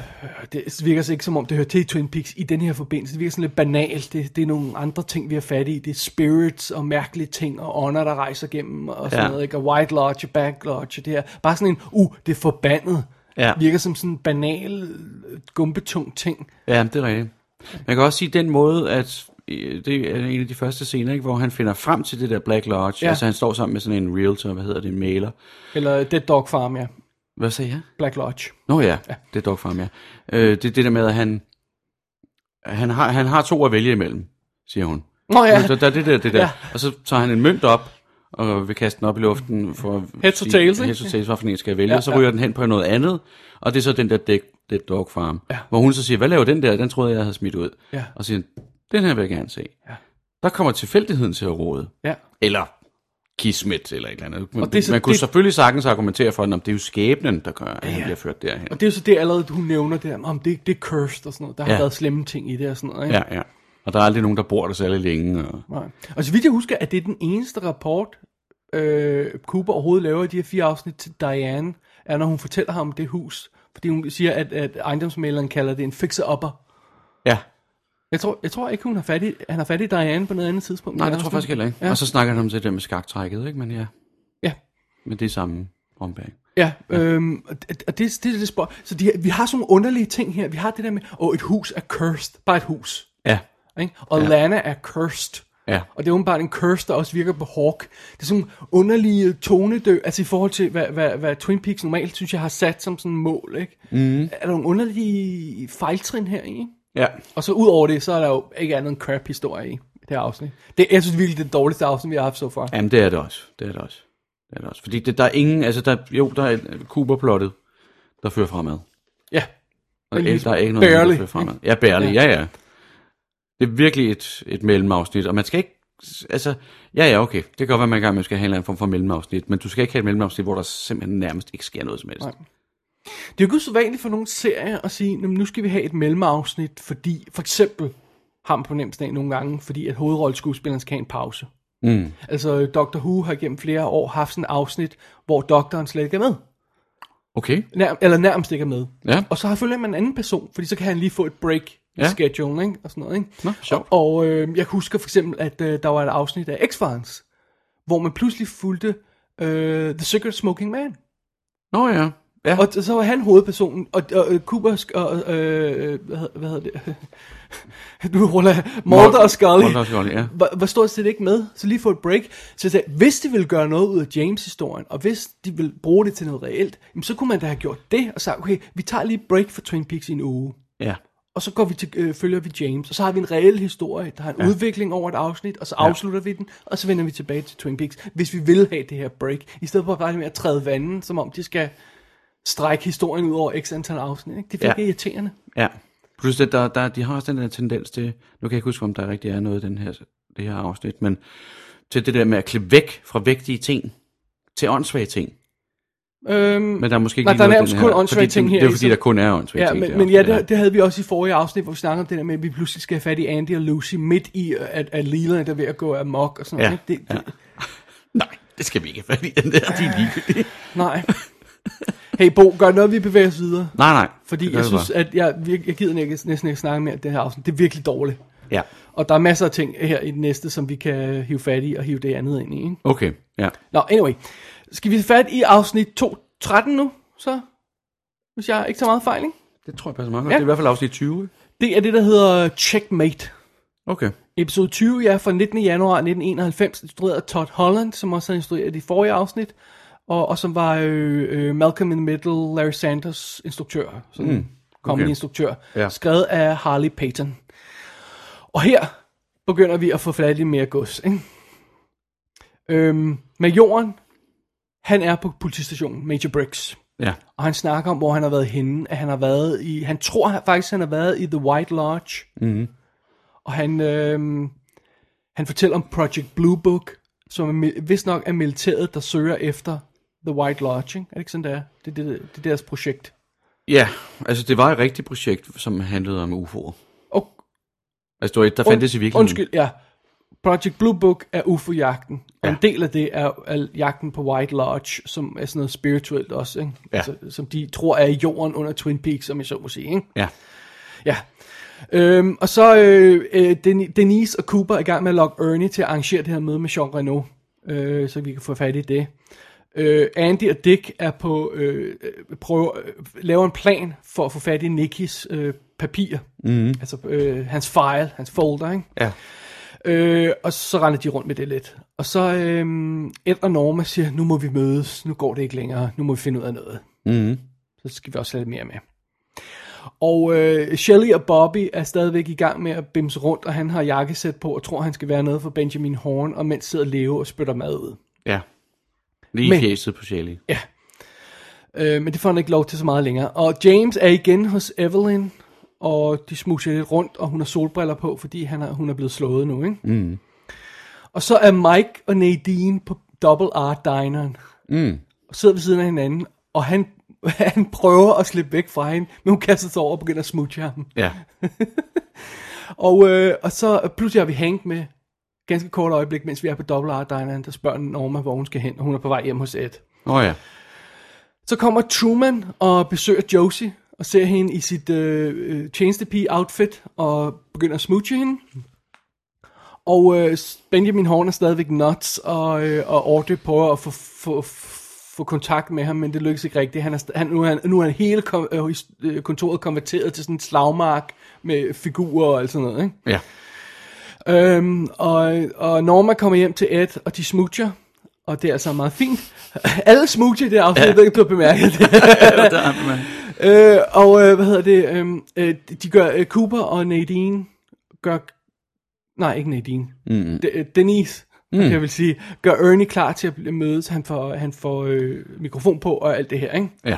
det virker så ikke som om det hører til i Twin Peaks i den her forbindelse. Det virker sådan lidt banalt, det, det er nogle andre ting, vi har fat i. Det er spirits og mærkelige ting og ånder, der rejser gennem og sådan
Ja.
ja. noget, ikke? og White Lodge og Back Lodge og det her. Bare sådan en, uh, det er forbandet.
Ja.
Virker som sådan en banal, øh, gumbetung ting.
Ja, det er rigtigt. Man kan også sige den måde, at øh, det er en af de første scener, ikke, hvor han finder frem til det der Black Lodge. Ja.
Ja.
Altså han står sammen med sådan en realtor, hvad hedder det, en maler.
Eller Dead Dog Farm, ja.
Hvad sagde jeg?
Black Lodge.
Nå ja, ja. det er Dog Farm, ja. Øh, det er det der med, at han, han, har, han har to at vælge imellem, siger hun.
Nå ja.
Der, der er det der, det der. Ja.
Ja.
Og så tager han en mønt op, og vil kaste den op i luften for at
Heads or
sige,
tails, ikke?
Heads or tails, hvad for en skal jeg vælge, ja,
Ja,
og så
ja.
ryger den hen på noget andet, og det er så den der dæk, Dead Dog Farm, ja. hvor hun så siger, hvad laver den der? Den troede jeg, jeg havde smidt ud.
Ja.
Og siger, den her vil jeg gerne se. Ja. Der kommer tilfældigheden til at råde.
Ja.
Eller kismet, eller et eller andet. Man,
Og det er
det,
så-
man kunne det...
det-
selvfølgelig sagtens argumentere for, at "Nå, men det er jo skæbnen, der gør, at han bliver ført derhen.
Og det er jo så det allerede, hun nævner der, om det, det er cursed og sådan noget. Der har
Ja.
været slemme ting i det og sådan noget. Ikke?
Ja, ja. Og der er aldrig nogen, der bor der særlig længe. Og...
Nej. Og så vidt jeg husker, at det er den eneste rapport, øh, Cooper overhovedet laver i de her fire afsnit til Diane, er når hun fortæller ham om det hus. Fordi hun siger, at, at ejendomsmæleren kalder det en fixer-upper.
Ja,
Jeg tror, jeg tror ikke, hun har fat i, han har fat i Diane på noget andet tidspunkt.
nej,
i
det tror jeg
afsnit.
faktisk heller ikke. Ja.
Ja.
Og så snakker han om det der med skaktrækket, ikke? Men ja,
Ja,
men det er samme ombæring.
Ja, øhm, og det, og det, det er lidt spøjt. Så de her, vi har sådan nogle underlige ting her. Vi har det der med, åh, et hus er cursed. Bare et hus.
Ja,
Ikke? Og ja. Lana er cursed.
Ja.
Og det er åbenbart en curse, der også virker på Hawk. Det er sådan nogle underlige tonedø, altså i forhold til, hvad, hvad, hvad Twin Peaks normalt, synes jeg, har sat som sådan mål. Ikke? Mm. Er der nogle underlige fejltrin her, ikke?
ja.
Og så ud over det, så er der jo ikke andet end crap-historie i det her afsnit. Det, jeg synes virkelig, det er det dårligste afsnit, vi har haft så far.
Jamen, det er det også. Det er det også. Det er det også. Fordi det, der er ingen, altså der, jo, der er Cooper-plottet, der fører fremad.
Ja. Men
Og el,
ligesom
der er ikke noget, andet, der
barely,
fører fremad. Ja, bærlig, ja. ja, ja. Det er virkelig et, et mellemafsnit, og man skal ikke, altså, ja, ja, okay, det kan godt være, man engang man skal have en eller anden form for mellemafsnit, men du skal ikke have et mellemafsnit, hvor der simpelthen nærmest ikke sker noget som helst.
Nej. Det er jo ikke usædvanligt for nogle serier at sige, "Nå, men nu skal vi have et mellemafsnit, fordi for eksempel ham på nemt dag nogle gange, fordi at hovedrolleskuespilleren skal have en pause.
Mm.
Altså, Doctor Who har gennem flere år haft sådan et afsnit, hvor doktoren slet ikke er med.
Okay,
Nær, eller nærmest ikke er med.
ja,
Og så har følger man en anden person, fordi så kan han lige få et break ja.
Ja.
i schedule, ikke? Og sådan noget, ikke?
Nå, sjovt.
Og, og øh, jeg husker for eksempel, at øh, der var et afsnit af X-Files, hvor man pludselig fulgte øh, The Secret Smoking Man.
Nå ja. ja.
Og t- så var han hovedpersonen, og, og, og Cooper, sk- og, øh, hvad, hed- hvad hedder (laughs) det? nu ruller jeg. Mulder og Scully.
Mulder og Scully, ja.
Var, var stort set ikke med, så lige få et break. Så jeg sagde, hvis de ville gøre noget ud af James-historien, og hvis de ville bruge det til noget reelt, jamen, så kunne man da have gjort det, og sagt, okay, vi tager lige et break for Twin Peaks i en uge.
ja.
Og så går vi til, øh, følger vi James, og så har vi en reel historie, der har en ja. udvikling over et afsnit, og så afslutter ja. vi den, og så vender vi tilbage til Twin Peaks, hvis vi vil have det her break, i stedet for bare med at træde vandet, som om de skal strække historien ud over x antal afsnit. Ikke? Det virker
Ja.
ja. irriterende.
Ja. Plus at der, der, de har også den der tendens til, nu kan jeg ikke huske, om der rigtig er noget i den her, det her afsnit, men til det der med at klippe væk fra vigtige ting til åndssvage ting.
Øhm,
Men der er måske ikke
Nej,
lige
der er
noget i
nærmest
den
kun
her,
åndssvage
fordi det-
ting her
Det er
i,
fordi,
så-
der kun er åndssvage
ja,
ting.
men,
det
men ja,
afsnit,
det, det havde vi også i forrige afsnit, hvor vi snakkede om det der med, at vi pludselig skal have fat i Andy og Lucy midt i, øh, at, at Leland der er ved at gå amok og sådan
Ja,
noget. ikke? Det, det, ja.
Nej, det skal vi ikke, fordi den der, de er
(laughs)
ligegyldige.
Nej. Hey Bo, gør noget, vi bevæger os videre.
Nej, nej. det
Fordi
gør
jeg
vi
synes,
bare.
at jeg, vir- jeg gider ikke, næsten ikke snakke mere om det her afsnit. Det er virkelig dårligt.
Ja,
Og der er masser af ting her i den næste, som vi kan hive fat i og hive det andet ind i. Ikke?
okay, ja.
Nå, anyway. Skal vi have fat i afsnit 2, 13 nu, så? Hvis jeg ikke tager meget fejl, ikke?
Det tror jeg passer meget godt.
Ja.
Det er i hvert fald afsnit 20.
Det er det, der hedder Checkmate.
Okay.
Episode 20 ja, fra 19. januar 1991, instrueret af Todd Holland, som også har instrueret de forrige afsnit, og, og som var øh, øh, Malcolm in the Middle, Larry Sanders instruktør, sådan mm, comedy-instruktør,
Ja.
skrevet af Harley Payton. Og her begynder vi at få fat i mere gods. Ikke? Øhm, majoren, han er på politistationen, Major Briggs.
Ja,
Og han snakker om, hvor han har været henne. At han har været i... Han tror han- faktisk, han har været i The White Lodge. Mm-hmm. Og han, øh, han fortæller om Project Blue Book, som er, mil- vist nok er militæret, der søger efter The White Lodge. Ikke? Er det ikke sådan, det er? Det, er det, det er deres projekt.
ja altså det var et rigtigt projekt, som handlede om UFO'er.
Og,
Altså, det var et, der fandtes i virkeligheden.
undskyld, ja. Project Blue Book er UFO-jagten. Og
Ja.
en del af det er, er jagten på White Lodge, som er sådan noget spirituelt også. Ikke?
Ja.
Altså, som de tror er i jorden under Twin Peaks, som jeg så må sige. Ikke?
Ja,
Ja. Øhm, og så øh, øh, Den- Denise og Cooper er i gang med at lokke Ernie til at arrangere det her møde med Jean Reno, øh, så vi kan få fat i det. Øh, Andy og Dick er på øh, øh, prøver, øh, laver en plan for at få fat i Nickys øh, papir, mm. altså øh, hans file, hans folder, ikke?
ja.
Øh, og så render de rundt med det lidt. Og så øh, Ed og Norma siger, nu må vi mødes, nu går det ikke længere, nu må vi finde ud af noget. Mm. Så skal vi også have lidt mere med. Og øh, Shelly og Bobby er stadigvæk i gang med at bimse rundt, og han har jakkesæt på og tror, han skal være noget for Benjamin Horn, og mens sidder Leo og spytter mad ud.
ja.
Men-
Lige men... fjeset på Shelly.
Ja. Øh, men det får han ikke lov til så meget længere. Og James er igen hos Evelyn, og de smuser lidt rundt, og hun har solbriller på, fordi han er, hun er blevet slået nu, ikke? Mm. Og så er Mike og Nadine på Double R Dineren. Mm. Og sidder ved siden af hinanden, og han, (laughs) han prøver at slippe væk fra hende, men hun kaster sig over og begynder at smooche ham.
Ja,
Og, øh, og så pludselig har vi Hank med ganske kort øjeblik, mens vi er på Double R Dineren, der spørger Norma, hvor hun skal hen, og hun er på vej hjem hos Ed.
åh oh, ja.
Så kommer Truman og besøger Josie og ser hende i sit øh, øh, tjenestepige-outfit og begynder at smooche hende. Og øh, Benjamin Horn er stadigvæk nuts, og, øh, og Audrey prøver at få, få, få kontakt med ham, men det lykkes ikke rigtigt. Han er, st- han, nu, er han, nu er han hele kom, øh, his- øh, kontoret konverteret til sådan en slagmark med figurer og alt sådan noget. Ikke?
Ja,
Øhm, og, og Norma kommer hjem til Ed, og de smoocher, og det er altså meget fint. (laughs) Alle smoocher i det afsnit, ja. jeg ved ikke, om du har bemærket det. øh, og øh, hvad hedder det, øhm, øh, de gør, øh, Cooper og Nadine gør, nej ikke Nadine, mm. de, øh, Denise, mm. jeg vil sige, gør Ernie klar til at blive- mødes, han får, han får øh, mikrofon på og alt det her, ikke?
ja.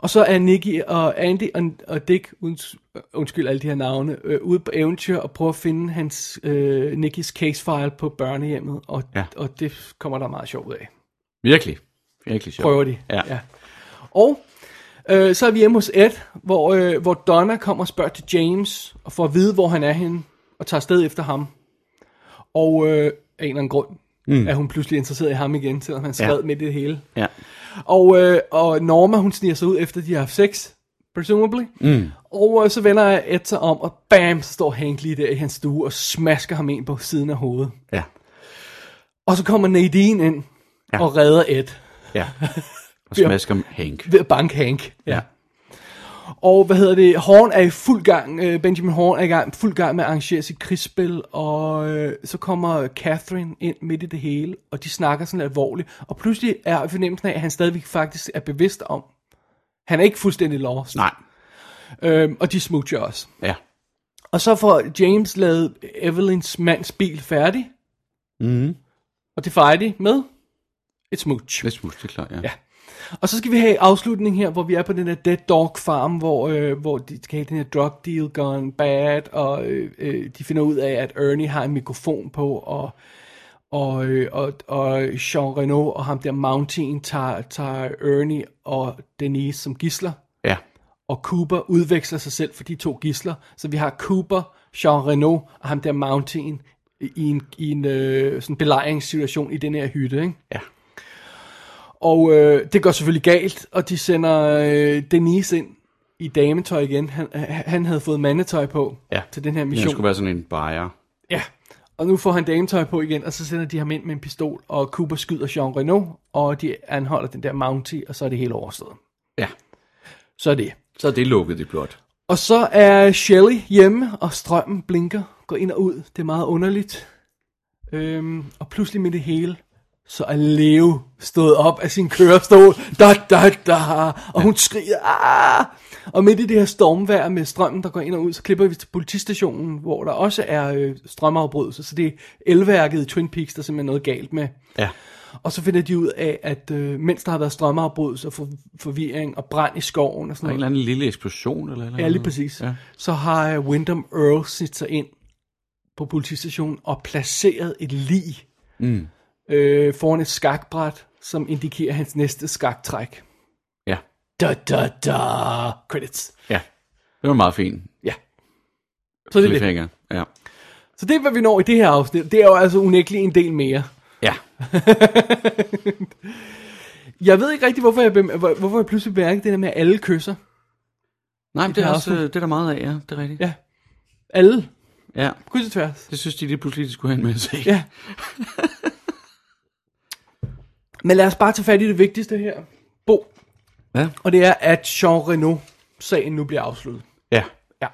Og så er Nicky og Andy og, og Dick, unds, øh, undskyld alle de her navne, øh, ude på eventyr og prøver at finde hans, øh, Nickys casefile på børnehjemmet, og,
Ja.
ja. og det kommer der meget sjovt ud af.
Virkelig. Virkelig sjovt.
Prøver de.
Ja. ja.
ja. Og øh, så er vi hjemme hos Ed, hvor, øh, hvor Donna kommer og spørger til James, og får at vide, hvor han er henne, og tager sted efter ham. Og øh, af en eller anden grund mm. er hun pludselig interesseret i ham igen, selvom han skred midt i det hele.
ja.
Og, øh, og Norma, hun sniger sig ud efter, de har haft sex, presumably. Mm. Og øh, så vender Ed sig om, og bam, så står Hank lige der i hans stue og smasker ham ind på siden af hovedet.
Ja.
Og så kommer Nadine ind ja. og redder Ed.
Ja. Og smasker Hank.
Ved at banke Hank. Ja. Og hvad hedder det? Horn er i fuld gang. øh, Benjamin Horn er i gang, fuld gang med at arrangere sit krigsspil. Og øh, så kommer Catherine ind midt i det hele. Og de snakker sådan alvorligt. Og pludselig er fornemmelsen af, at han stadigvæk faktisk er bevidst om. Han er ikke fuldstændig lost.
Nej,
Øhm, og de smutcher også.
ja.
Og så får James lavet Evelyns mands bil færdig. Mm. Og det fejrer de med et smooch.
Lidt smut, det er klart, ja.
Ja. Og så skal vi have afslutning her, hvor vi er på den der Dead Dog Farm, hvor, øh, hvor de skal have den her drug deal gone bad, og øh, øh, de finder ud af, at Ernie har en mikrofon på, og, og, øh, og, og Jean Reno og ham der Mountain tager, tager Ernie og Denise som gisler,
ja.
og Cooper udveksler sig selv for de to gisler, så vi har Cooper, Jean Reno og ham der Mountain i en, i en øh, sådan belejringssituation i den her hytte, ikke?
ja.
Og øh, det går selvfølgelig galt, og de sender øh, Denise ind i dametøj igen. Han, han- han havde fået mandetøj på
Ja.
til den her
Han
mission.
skulle være sådan en buyer.
Ja, og nu får han dametøj på igen, og så sender de ham ind med en pistol, og Cooper skyder Jean Reno, og de anholder den der Mountie, og så er det hele overstået.
Ja.
Så er det.
Så er det lukket, det blot.
Og så er Shelley hjemme, og strømmen blinker, går ind og ud. Det er meget underligt. Øhm, og pludselig med det hele, så er Leo stået op af sin kørestol, da, da, da, og hun skriger, Aah! og midt i det her stormvejr med strømmen, der går ind og ud, så klipper vi til politistationen, hvor der også er øh, strømafbrydelse, så det er elværket i Twin Peaks, der simpelthen er noget galt med.
Ja.
Og så finder de ud af, at øh, mens der har været strømafbrydelse og for, forvirring og brand i skoven og sådan
Der er en
noget,
eller anden lille eksplosion, eller eller
Ja, lige
andet.
præcis. Ja.
Ja.
Så har øh, Wyndham Earl sat sig ind på politistationen og placeret et lig mm. øh, foran et skakbræt, som indikerer hans næste skaktræk.
Ja.
Da, da, da. Credits.
Ja. Det var meget fint.
Ja. Så det er det.
Cliffhanger. Ja.
Så det er, hvad vi når i det her afsnit. Det er jo altså unægteligt en del mere.
Ja.
Jeg ved ikke rigtig, hvorfor jeg, bem- hvor- hvorfor jeg pludselig bemærkede det der med, at alle kysser.
Nej, men det er
kan
også,
også-
øh, det er der meget af, ja. Det er rigtigt.
Ja. Alle.
ja.
Kryds og tværs.
Det synes de lige pludselig, de skulle have en
(laughs)
masse.
Ja. Men lad os bare tage fat i det vigtigste her. Bo.
Ja.
Og det er, at Jean Reno sagen nu bliver afsluttet.
ja.
Ja.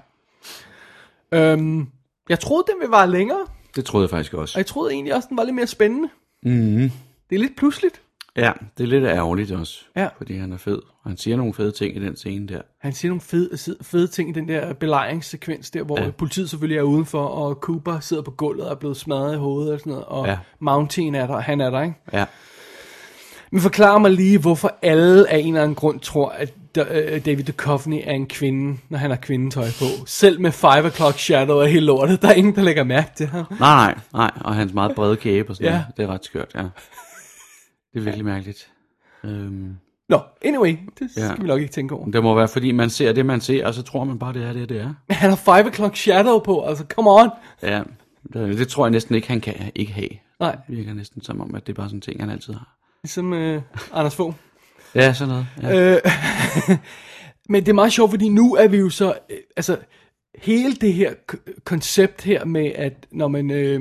Øhm, jeg troede, den ville vare længere,
Det troede jeg faktisk
og
også.
jeg troede egentlig også, den var lidt mere spændende. Mm. Det er lidt pludseligt.
Ja, det er lidt ærgerligt også.
Ja.
Fordi han er fed. Og han siger nogle fede ting i den scene der.
Han siger nogle fede, si- fede ting i den der belejringssekvens der, hvor ja. politiet selvfølgelig er udenfor, og Cooper sidder på gulvet og er blevet smadret i hovedet og sådan noget, og ja.
Ja.
Mountain er der, og han er der, ikke?
Ja.
Men forklar mig lige, hvorfor alle af en eller anden grund tror, at D- øh, David Duchovny er en kvinde, når han har kvindetøj på. Selv med 5 o'clock shadow og hele lortet, der er ingen, der lægger mærke til ham.
Nej, nej, nej. Og hans meget brede kæbe og sådan
Ja.
ja. noget. Det er ret skørt, ja. Det er virkelig mærkeligt. Øhm,
Nå, anyway, det skal
Ja.
vi nok ikke tænke over.
det må være, fordi man ser det, man ser, og så tror man bare, det er det, det er.
Han har 5 o'clock shadow på, altså come on.
Ja, det, det tror jeg næsten ikke, han kan ikke have.
Nej,
Det virker næsten som om, at det er bare sådan en ting, han altid har.
ligesom øh, Anders Fogh.
Ja, sådan noget. Ja.
Øh, (laughs) men det er meget sjovt, fordi nu er vi jo så, øh, altså hele det her k- koncept her med, at når man øh,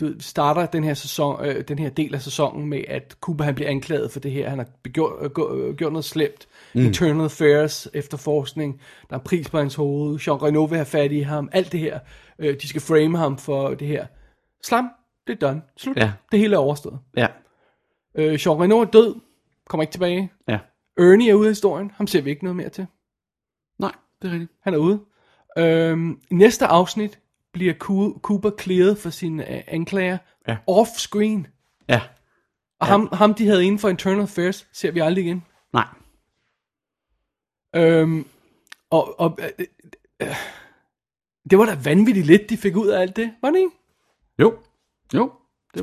du ved, starter den her, sæson, øh, den her del af sæsonen med, at Cooper han bliver anklaget for det her, han har begjort, øh, gå- øh, gjort noget slemt, mm. internal affairs, efterforskning, der er en pris på hans hoved, Jean Reno vil have fat i ham, alt det her, øh, de skal frame ham for det her. Slam, det er done, slut,
Ja.
det hele er overstået.
Ja,
Øh, Jean Reno er død, kommer ikke tilbage,
ja.
Ernie er ude af historien. Ham ser vi ikke noget mere til.
Nej, det er rigtigt.
Han er ude. Øhm, i næste afsnit bliver Coo- Cooper clearet for sine øh, anklager.
Ja.
Off-screen.
Ja,
Og ja. ham, ham, de havde inden for Internal Affairs, ser vi aldrig igen.
nej.
Øhm, og, og øh, øh, øh, det var da vanvittigt lidt, de fik ud af alt det. Var det ikke?
Jo, jo. Det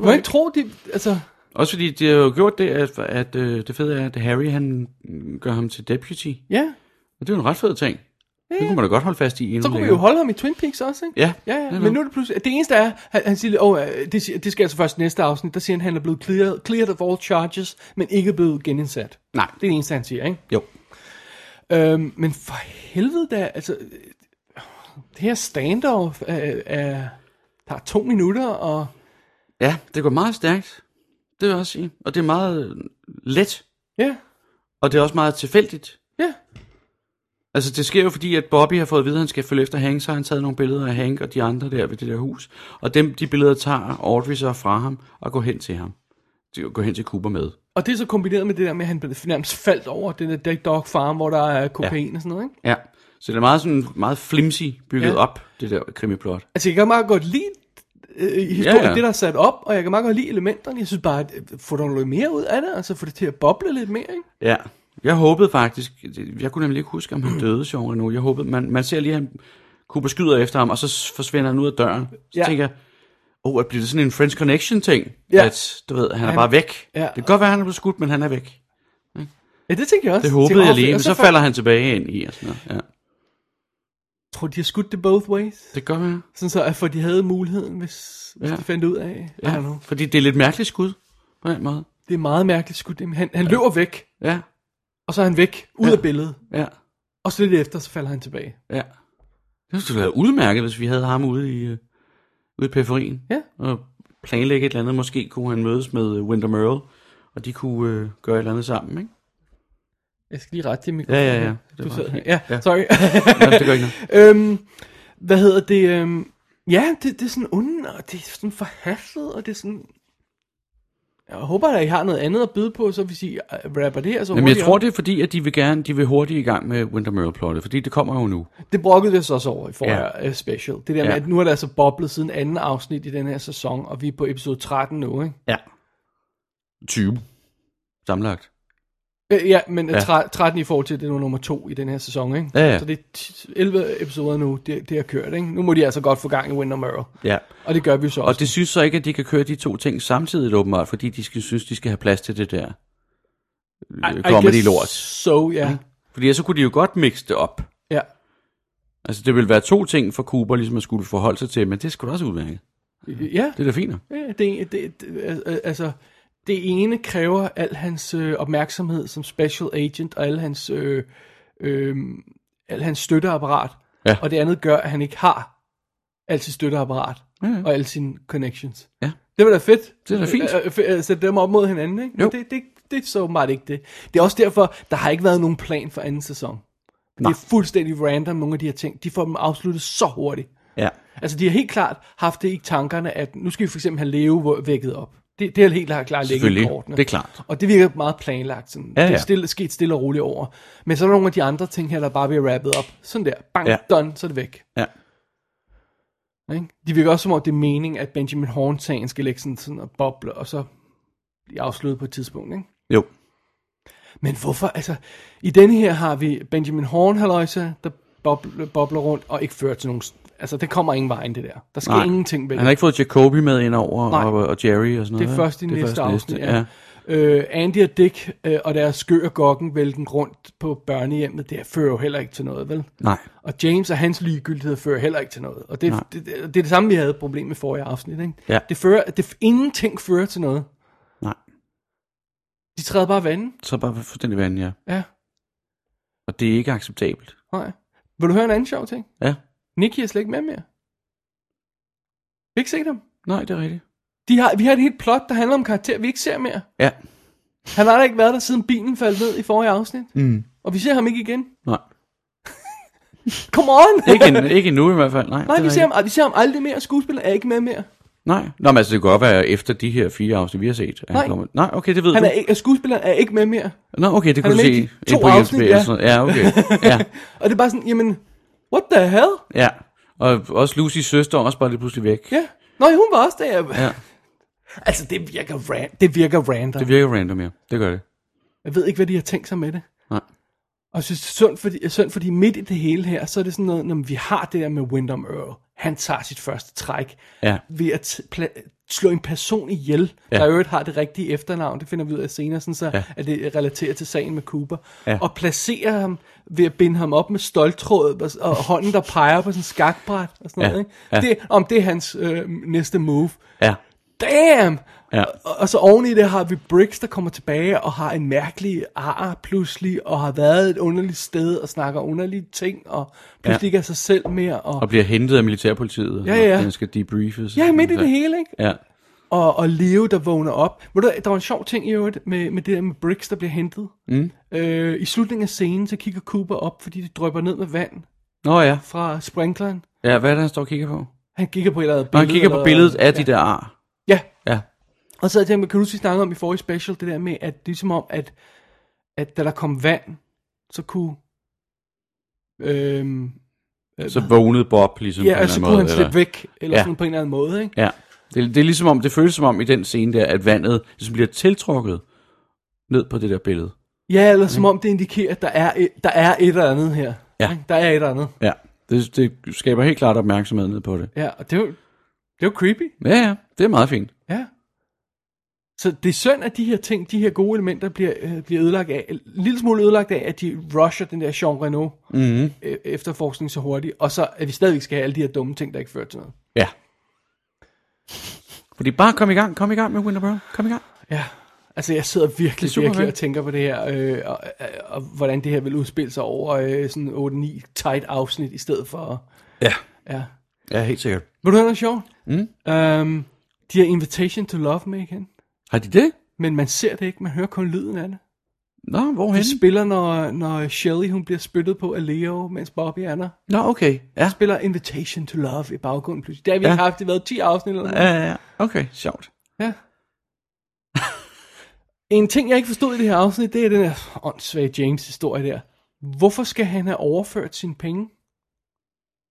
Må jeg
var
ikke tro, de... Altså,
Også fordi de har jo gjort det, at, at øh, det fede er, at Harry han mm, gør ham til deputy.
ja.
Og det er jo en ret fed ting. Det kunne man da godt holde fast i. endnu
Så kunne vi jo
længere.
holde ham i Twin Peaks også, ikke?
Ja.
Ja, ja,
Netop.
men nu er det pludselig... Det eneste er, han, han siger, oh, det, siger- det skal altså først næste afsnit, der siger han, at han er blevet cleared, cleared of all charges, men ikke blevet genindsat.
Nej,
Det er det eneste, han siger, ikke?
jo.
Øhm, men for helvede da, altså... øh, Det her standoff er, er, tager to minutter, og...
Ja, det går meget stærkt. Det vil jeg også sige. Og det er meget øh, let.
Ja,
Og det er også meget tilfældigt.
Ja.
Altså, det sker jo fordi, at Bobby har fået at vide, at han skal følge efter Hank, så har han taget nogle billeder af Hank og de andre der ved det der hus. Og dem, de billeder tager Audrey så fra ham og går hen til ham. De går hen til Cooper med.
Og det er så kombineret med det der med, at han blev nærmest faldt over den der Dead Dog Farm, hvor der er kokain ja. og sådan noget, ikke?
Ja. Så det er meget, sådan, meget flimsy bygget
Ja.
ja. op, det der krimiplot.
Altså, jeg kan meget godt lide øh, historien, ja,
Ja,
ja.
ja.
det der er sat op, og jeg kan meget godt lide elementerne. Jeg synes bare, at øh, få der noget mere ud af det, altså få det til at boble lidt mere, ikke?
Ja. Jeg håbede faktisk, jeg kunne nemlig ikke huske, om (clears throat) han døde sjovt nu. Jeg håbede, man, man ser lige, at han Cooper skyder efter ham, og så s- forsvinder han ud af døren. Så
Ja.
ja. tænker jeg, åh, oh, bliver det sådan en French Connection-ting?
Ja.
Ja. At, du ved, han er
Han-
bare væk.
Ja.
Ja. Det kan godt være, han er blevet skudt, men han er væk.
Ja, det tænker jeg også. altså,
Det
tænker,
håbede
"Åh,
jeg
fedt."
lige,
Og
men så
fald-
falder han tilbage ind i og sådan noget. Ja.
Jeg tror, de har skudt det both ways.
Det gør man.
Sådan så, at for de havde muligheden, hvis, hvis ja.
Ja.
de fandt ud af. Ja.
Ja,
Know.
fordi det er lidt mærkeligt skud, på den måde.
Det er meget mærkeligt skudt. Jamen, Han, han ja. løber væk,
Ja,
og så er han væk, ud ja.
Ja.
af billedet.
ja,
Og så lidt efter, så falder han tilbage.
ja. Det ville være udmærket, hvis vi havde ham ude i, øh, ude i periferien.
Ja.
Og planlægge et eller andet. Måske kunne han mødes med øh, Winter Merle, og de kunne øh, gøre et eller andet sammen, ikke?
Jeg skal lige rette til
Ja,
mikrofonen.
ja, ja. Det
Du
var
sad her.
fint. (laughs)
Ja, ja,
Ja.
sorry.
Nå, det gør ikke noget.
øhm, hvad hedder det? Øhm, ja, det, det er sådan ond, og det er sådan forhaslet, og det er sådan... Jeg håber da, I har noget andet at byde på, så hvis I øh, rapper det her så
Jamen, jeg
hurtigt
tror,
op.
det er fordi, at de vil gerne, de vil hurtigt i gang med Winter Merle-plottet, fordi det kommer jo nu.
Det brokkede vi os også over i forrige
Ja.
ja. special. Det der med,
Ja.
at nu er der altså boblet siden anden afsnit i den her sæson, og vi er på episode 13 nu, ikke?
Ja. 20. Sammenlagt.
Øh, ja, men ja.
Ja.
13 i forhold til, det er nu nummer to i den her sæson, ikke?
Ja, ja.
Så det er ti- 11 episoder nu, det, det har kørt, ikke? Nu må de altså godt få gang i Winter Mirror.
Ja.
Og det gør vi så også.
Og det synes så ikke, at de kan køre de to ting samtidig åbenbart, fordi de skal, synes, de skal have plads til det der øh,
I guess
comedy-lort.
So, ja.
Fordi ellers så kunne de jo godt mixe det op.
ja.
Altså, det ville være to ting for Cooper, ligesom at skulle forholde sig til, men det skulle også udmærke.
Ja,
Det er da fint. nok.
ja det, det, det, altså, det ene kræver al hans øh, opmærksomhed som special agent, og al hans, øh, øh, al hans støtteapparat,
Ja.
og det andet gør, at han ikke har alt sit støtteapparat,
Ja, ja.
og alle sine connections.
Ja.
Det var da fedt.
Det er da fint.
Øh, øh, f- øh, Sætte dem op mod hinanden, ikke? Men
Jo.
Det, det, det er så meget ikke det. Det er også derfor, der har ikke været nogen plan for anden sæson. Nej.
Nej.
Det er fuldstændig random, nogle af de her ting. De får dem afsluttet så hurtigt.
Ja.
Altså, de har helt klart haft det i tankerne, at nu skal vi for eksempel have Leo hvor- vækket op. Det, det har helt klart ligget i
Selvfølgelig.
kortene.
Det er klart.
Og det virker meget planlagt. Sådan.
Ja,
Det er
ja.
stille, sket stille og roligt over. Men så er der nogle af de andre ting her, der bare bliver rappet op. Sådan der. Bang, ja.
Ja.
done, så er det væk.
Ja.
Ikke? De virker også som om, det er meningen, at Benjamin Horn-sagen skal lægge sådan, sådan og boble, og så blive afsluttet på et tidspunkt. Ikke?
Jo.
Men hvorfor? Altså, i denne her har vi Benjamin Horn, halløjsa, der bobler, bobler rundt og ikke fører til nogen... Altså, der kommer ingen vej ind, det der. Der sker
Nej.
ingenting ved
Han har ikke fået Jacoby med ind over,
Nej.
og, og, Jerry og sådan noget.
Det er
vel?
først i
Det er
næste
først
afsnit, ja. Øh, Andy og Dick øh, og deres skør og gokken vælten rundt på børnehjemmet, det fører jo heller ikke til noget, vel?
Nej.
Og James og hans ligegyldighed fører heller ikke til noget. Og det,
Nej.
det, det, det er det samme, vi havde et problem med forrige afsnit, ikke?
Ja.
Det fører, det, ingenting fører til noget.
Nej.
De træder bare vandet.
Så bare fuldstændig vand, ja.
Ja,
Og det er ikke acceptabelt.
nej. Vil du høre en anden sjov ting?
Ja.
Nicky er slet ikke med mere. Vi har ikke set ham.
Nej, det er rigtigt.
De har, vi har et helt plot, der handler om karakter, vi ikke ser mere.
Ja.
Han har da ikke været der, siden bilen faldt ned i forrige afsnit.
Mm.
Og vi ser ham ikke igen.
Nej.
Come on!
Ikke, en, ikke endnu i hvert fald, nej.
Nej,
det er
vi ser,
rigtigt.
ham, ah, vi ser ham aldrig mere. Skuespiller er ikke med mere.
Nej. Nå, men altså, det kan godt være efter de her fire afsnit, vi har set. at han
Nej.
kommer- nej, okay, det ved
Han
du.
er ikke, skuespilleren er ikke med mere.
Nå, okay, det
Han
kunne
er
du
med
se.
i de
ind
to
på IMDb
afsnit,
og
ja.
sådan noget. Ja,
(laughs)
okay. Ja,
Og det er bare sådan, jamen, what the hell?
ja. Og også Lucys søster er også bare lidt pludselig væk.
Ja. Nå, ja, hun var også der.
Ja.
Altså, det virker, ran- det virker random.
Det
Det vir-
virker random, ja. Det gør det.
jeg ved ikke, hvad de har tænkt sig med det.
Nej.
Og jeg synes, det er synd fordi, synd, fordi midt i det hele her, så er det sådan noget, når vi har det der med Wyndham Earl. Han tager sit første træk
Ja.
ved at t- pla- slå en person ihjel, ja.
Ja.
der i øvrigt har det rigtige efternavn. Det finder vi ud af senere, sådan så, ja.
Ja.
at det relaterer til sagen med Cooper. Ja.
Ja.
Og placerer ham ved at binde ham op med stoltråd og, og hånden, der peger på sådan en skakbræt og sådan
Ja.
noget. Ikke?
Ja.
Det, om det er hans øh, næste move.
Ja.
Damn!
Ja.
Og, og så oven i det har vi Briggs, der kommer tilbage og har en mærkelig ar pludselig, og har været et underligt sted og snakker underlige ting, og pludselig
Ja.
ikke er sig selv mere. Og,
Og bliver hentet af militærpolitiet.
Ja, ja.
Han skal debriefes.
ja, midt i det hele, ikke?
Ja.
og, og Leo, der vågner op. Ved du, hvad, der var en sjov ting i øvrigt med, med det der med Briggs, der bliver hentet. Mm. Øh, I slutningen af scenen, så kigger Cooper op, fordi det drøber ned med vand
Nå ja.
fra sprinkleren.
Ja, hvad er det, han står og kigger på?
Han kigger på et eller andet
Når
billede.
han kigger på
eller-
billedet af de der ar.
Ja,
Ja.
og så tænkte jeg, kan du sige snakke om i forrige special, det der med, at det er som om, at, at da der kom vand, så kunne... Øhm,
Så vågnede Bob ligesom
ja,
på en
altså
eller
kunne han
anden måde.
slippe
Eller?
væk, eller
Ja.
sådan på en eller anden måde, ikke?
Ja. Det, det, er ligesom om, det føles som om i den scene der, at vandet ligesom bliver tiltrukket ned på det der billede.
Ja, eller som om det indikerer, at der er et, der er et eller andet her.
Mm. Ja.
ikke? Der er et eller andet.
Ja. Det, det skaber helt klart opmærksomhed ned på det.
Ja, og det er jo, det er jo creepy.
Ja, ja. Det er meget fint.
Ja. Så det er synd, at de her ting, de her gode elementer, bliver, øh, bliver ødelagt af, en lille smule ødelagt af, at de rusher den der Jean Reno mm-hmm. øh, efterforskning så hurtigt, og så at vi stadigvæk skal have alle de her dumme ting, der ikke fører til noget.
Ja. Fordi bare kom i gang, kom i gang med Winterborough. Kom i gang.
Ja. Altså, jeg sidder virkelig,
super
virkelig
fedt.
og tænker på det her, øh, og, og, og hvordan det her vil udspille sig over øh, sådan 8-9 tight afsnit, i stedet for...
Ja.
Ja.
Ja, helt sikkert.
Vil du høre noget sjovt? Mm. Øhm, de har Invitation to Love med igen,
Har de det?
men man ser det ikke, man hører kun lyden af det.
Nå, hvorhen?
Det spiller, når, når Shelley hun bliver spyttet på af Leo, mens Bobby er der.
Nå, okay. Ja.
Spiller Invitation to Love i baggrunden pludselig. Det har vi
Ja.
ja. haft, det har været 10 afsnit eller noget.
Ja, ja, ja. Okay, sjovt.
Ja. (laughs) en ting, jeg ikke forstod i det her afsnit, det er den her åndssvage James-historie der. Hvorfor skal han have overført sine penge?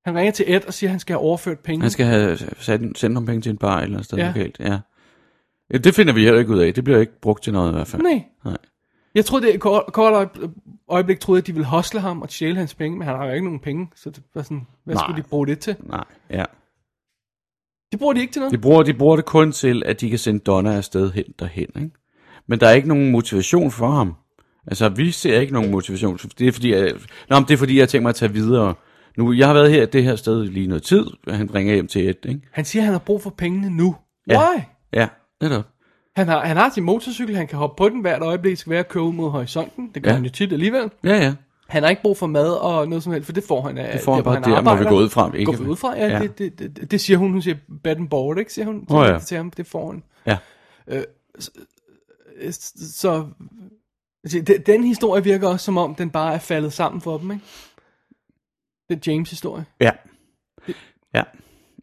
Han ringer til Ed og siger, at han skal have overført penge.
Han skal have sat, sendt nogle penge til en bar eller andet sted ja.
Ja.
lokalt. Ja. ja. Det finder vi heller ikke ud af. Det bliver ikke brugt til noget i hvert fald.
Nej.
Nej.
Jeg troede, det et kort, kort øjeb- øjeblik troede, at de ville hosle ham og stjæle hans penge, men han har jo ikke nogen penge, så det var sådan, hvad
Nej.
Nej. skulle de bruge det til?
Nej, ja.
Det bruger de ikke til noget.
De bruger, de bruger det kun til, at de kan sende Donna afsted hen derhen. Ikke? Men der er ikke nogen motivation for ham. Altså, vi ser ikke nogen motivation. Det er fordi, jeg, Nå, men det er fordi, jeg har tænkt mig at tage videre. Nu, jeg har været her det her sted lige noget tid. Han ringer hjem til et, ikke?
Han siger, at han har brug for pengene nu. Ja. Why?
Ja, netop.
Han har, han har sin motorcykel, han kan hoppe på den hvert øjeblik, skal være at køre ud mod horisonten. Det gør
Ja.
ja. han jo tit alligevel.
Ja, ja.
Han har ikke brug for mad og noget som helst, for det får han af
Det får han
hvor
bare der, må vi
arbejder.
gå ud fra. Ikke?
Går vi ud fra? Ja,
Ja.
ja. Det, det, det, det, siger hun. Hun siger bad and board, ikke? Siger hun
Åh, ja.
til ham. Det får han.
Ja.
Øh, Så altså, de- den historie virker også som om, den bare er faldet sammen for dem, ikke? Den James-historie.
Ja. Ja.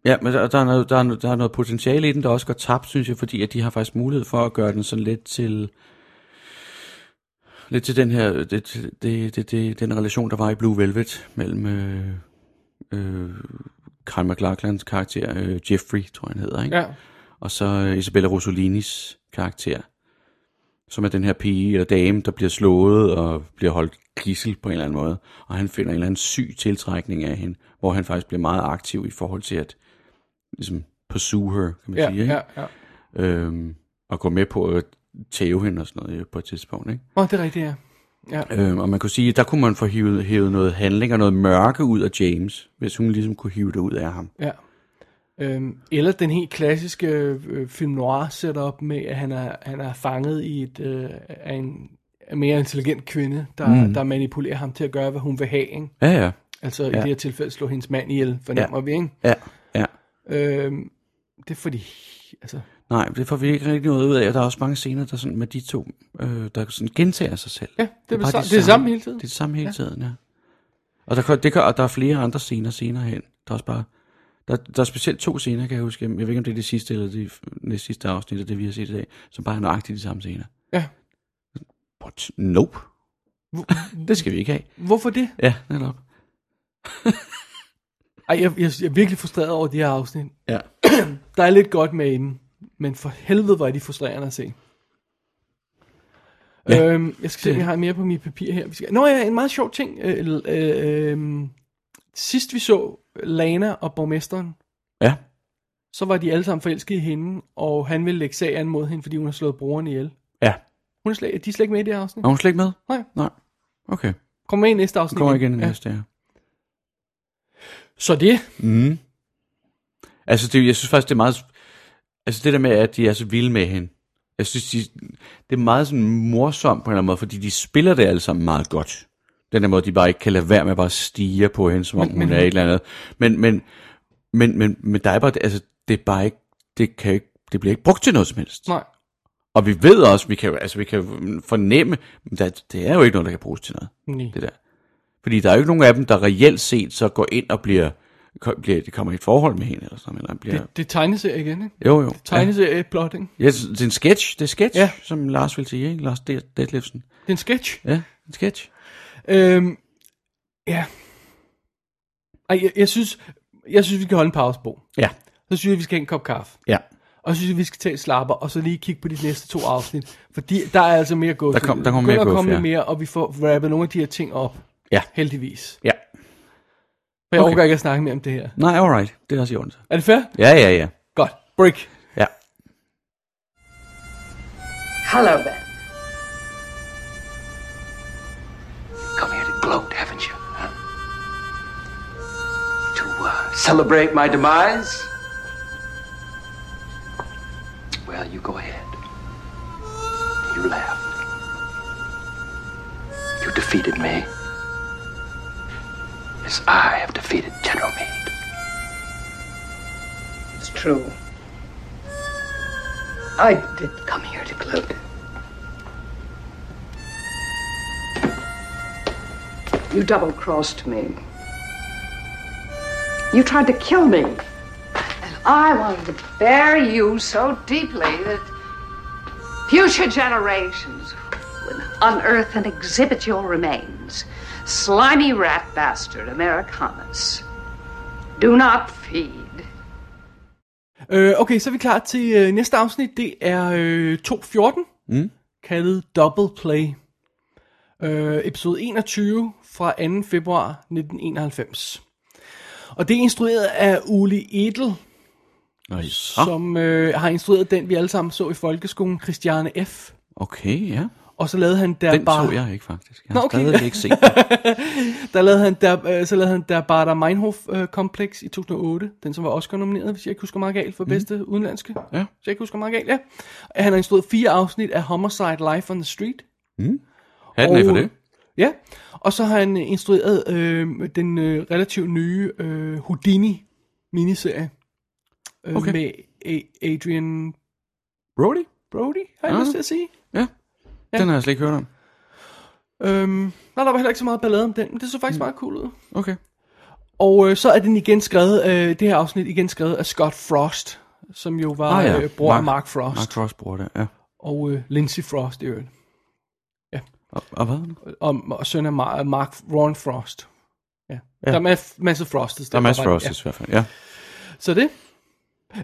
Ja, men der, der, er noget, der, er noget, der er noget potentiale i den, der også går tabt, synes jeg, fordi at de har faktisk mulighed for at gøre den sådan lidt til lidt til den her det, det, det, det, den relation, der var i Blue Velvet mellem øh, øh, Kyle MacLachlans karakter, øh, Jeffrey, tror jeg han hedder, ikke?
Ja.
og så øh, Isabella Rossolinis karakter, som er den her pige eller dame, der bliver slået og bliver holdt gissel på en eller anden måde, og han finder en eller anden syg tiltrækning af hende, hvor han faktisk bliver meget aktiv i forhold til at ligesom pursue her, kan man
Ja,
sige, ikke?
ja, ja.
Øhm, og gå med på at tæve hende og sådan noget øh, på et tidspunkt. Ikke?
Åh, det er rigtigt, ja. Ja.
Øhm, og man kunne sige, at der kunne man få hævet, hævet noget handling og noget mørke ud af James, hvis hun ligesom kunne hive det ud af ham.
Ja. Øhm, eller den helt klassiske øh, film noir setup med, at han er, han er fanget i et, øh, af en af mere intelligent kvinde, der, mm. der manipulerer ham til at gøre, hvad hun vil have. Ikke?
Ja, ja.
Altså ja. i det her tilfælde slå hendes mand ihjel, fornemmer
Ja.
ja. vi. Ikke?
Ja, ja.
Øhm, det er fordi... Altså,
Nej, det får vi ikke rigtig noget ud af, og der er også mange scener, der sådan med de to, øh, der sådan gentager sig selv.
Ja, det er vel
bare
sa- det er det samme hele tiden.
Det er det samme hele ja. tiden, ja. Og der, kan- det kan, og der er flere andre scener senere hen. Der er også bare, der, der er specielt to scener, kan jeg huske. Jeg ved ikke, om det er det sidste eller det næste sidste afsnit af det, vi har set i dag, som bare er nøjagtigt de samme scener.
ja.
But nope. (laughs) det skal vi ikke have.
Hvorfor det?
Ja, netop.
Ej, jeg, jeg, jeg er virkelig frustreret over de her afsnit.
Ja.
Der er lidt godt med i dem, men for helvede var de frustrerende at se.
Ja.
Ja. Øhm, jeg skal se, om jeg har mere på mine papirer her. Vi skal... Nå ja, en meget sjov ting. Øh, øh, øh, sidst vi så Lana og borgmesteren,
Ja,
så var de alle sammen forelskede i hende, og han ville lægge sag an mod hende, fordi hun har slået broren ihjel.
ja.
Hun er slet, de er slet ikke med i det her afsnit.
Er hun slet ikke med?
Nej.
Nej. Okay.
Kom med i næste afsnit.
Kommer igen i
Ja.
næste, ja.
Så det,
Mm. Altså, det, jeg synes faktisk, det er meget... Altså, det der med, at de er så vilde med hende. Jeg synes, de, det er meget sådan morsomt på en eller anden måde, fordi de spiller det alle sammen meget godt. Den der måde, de bare ikke kan lade være med at bare stige på hende, som om men, hun er et eller andet. Men, men, men, men, men der er bare... Altså, det er bare ikke... Det kan jo ikke det bliver ikke brugt til noget som helst.
Nej.
Og vi ved også, vi kan, jo- altså, vi kan jo fornemme, men der, det er jo ikke noget, der kan bruges til noget,
Nej.
det der. Fordi der er jo ikke nogen af dem, der reelt set så går ind og bliver, ko- bliver de kommer i et forhold med hende eller sådan noget. Eller bliver,
Det, det er tegneserie igen, ikke?
jo, jo.
Tegneserie-plotting.
Ja. Ja, det er en sketch, det er sketch,
Ja.
ja. som Lars vil sige, ikke? Lars Det- Detlefsen.
Det er en sketch.
Ja, en sketch.
Øhm, ja. Ej, jeg, jeg, synes, jeg synes, vi kan holde en pause på.
Ja,
Så synes jeg, vi skal have en kop kaffe.
ja.
Og så synes jeg, vi skal tage et slapper, og så lige kigge på de næste to afsnit. Fordi der er altså mere gås.
Der kom- der kommer mere
at
gås,
komme
ja.
lidt mere, og vi får rappet nogle af de her ting op,
Ja,
heldigvis.
ja.
For jeg
Okay.
overgår ikke at snakke mere om det her.
Nej, alright. Det er også i orden. så.
Er det fair?
Ja, ja, ja.
Godt. Break.
Ja.
Hello there.
Come here to gloat, haven't you? Huh? To uh, celebrate my demise? Well, you go ahead. You laughed. You defeated me. As I have defeated General Meade.
It's true. I did come here to gloat. You double crossed me. You tried to kill me. And I wanted to bury you so deeply that future generations would unearth and exhibit your remains. Slimy rat bastard Americanus. Do not feed.
Øh, okay, så er vi klar til øh, næste afsnit. Det er øh, 2.14, mm. kaldet Double Play. Øh, episode 21 fra 2. februar 1991. Og det er instrueret af Uli Edel,
Nå, ja.
som øh, har instrueret den, vi alle sammen så i folkeskolen, Christiane F.
Okay, ja.
Og så lavede han der
Den
bare,
så jeg ikke faktisk. Jeg har
Nå, okay.
stadig ikke set den.
der lavede han der, øh, så lavede han der Bader Meinhof øh, Complex i 2008, den som var Oscar nomineret, hvis jeg ikke husker meget galt, for bedste udenlandske. Ja. Hvis jeg ikke husker meget galt, ja. Han har instrueret fire afsnit af Homicide Life on the Street.
Hatten af for
Og-
det.
Ja, og så har han øh, instrueret øh, den øh, relativt nye øh, Houdini miniserie øh,
Okay.
med A- Adrian
Brody?
Brody, har jeg
Ah.
lyst til at sige.
Ja. Den har jeg slet ikke hørt om.
Øhm, nej, der var heller ikke så meget ballade om den, men det så faktisk mm. meget cool ud.
Okay.
Og øh, så er den igen skrevet, øh, det her afsnit igen skrevet af Scott Frost, som jo var ah, ja. øh, bror af Mark Frost
Mark
Mark.
Frost bror, der. Ja.
og øh, Lindsay Frost i øvrigt,
Og, og hvad?
og, og søn af Mar- Mark Ron Frost. Ja. ja. Der er mas- masser af Frostes.
Der er masser af
bare-
Frost i hvert fald. Ja.
Ja. Så det.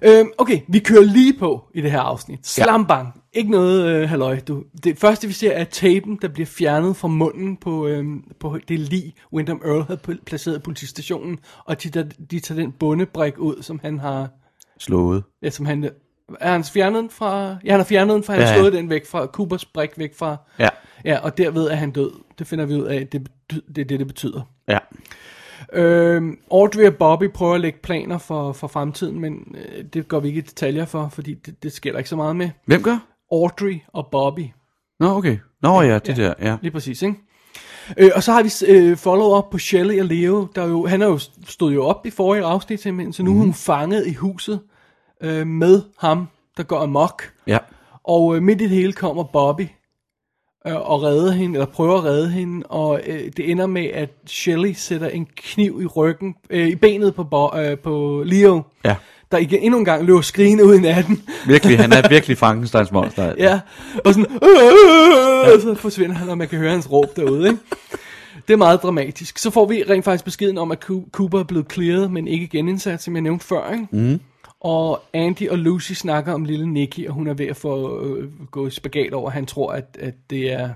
Øhm, okay, vi kører lige på i det her afsnit. Slam bang. Ikke noget øh, halløj. Du. Det første vi ser er tapen, der bliver fjernet fra munden på, øhm, på det lig, Wyndham Earl havde pl- placeret i politistationen, og de, der, de tager den bundebrik ud, som han har
Slået.
Ja, som han... Er han fjernet den fra... Ja, han har fjernet den fra... Han har
Ja,
ja,
ja.
slået den væk fra... Coopers brik væk fra...
Ja.
Ja, og derved er han død. Det finder vi ud af. Det, bety- det er det, det betyder.
Ja.
Øhm, Audrey og Bobby prøver at lægge planer for, for fremtiden, men øh, det går vi ikke i detaljer for, fordi det, det sker der ikke så meget med.
Hvem gør?
Audrey og Bobby.
Nå, okay. Nå ja, det der. Ja.
Lige præcis, ikke? Øh, og så har vi øh, follow-up på Shelley og Leo. Der er jo, han er jo stod jo op i forrige afsnit simpelthen, så nu er hun fanget i huset øh, med ham, der går amok.
Ja.
Og øh, midt i det hele kommer Bobby øh, og redder hende, eller prøver at redde hende, og øh, det ender med, at Shelley sætter en kniv i ryggen, øh, i benet på, Bo, øh, på Leo,
Ja.
der igen, endnu en gang løber skrigende ud i natten.
Virkelig, han er virkelig Frankensteins monster. altså.
(laughs) ja, og sådan, øh, øh, øh, og så forsvinder han, og man kan høre hans råb derude, ikke? Det er meget dramatisk. Så får vi rent faktisk beskeden om, at Coo- Cooper er blevet clearet, men ikke genindsat, som jeg nævnte før, ikke? Mm. Og Andy og Lucy snakker om lille Nicky, og hun er ved at få øh, gå i spagat over, at han tror, at, at det er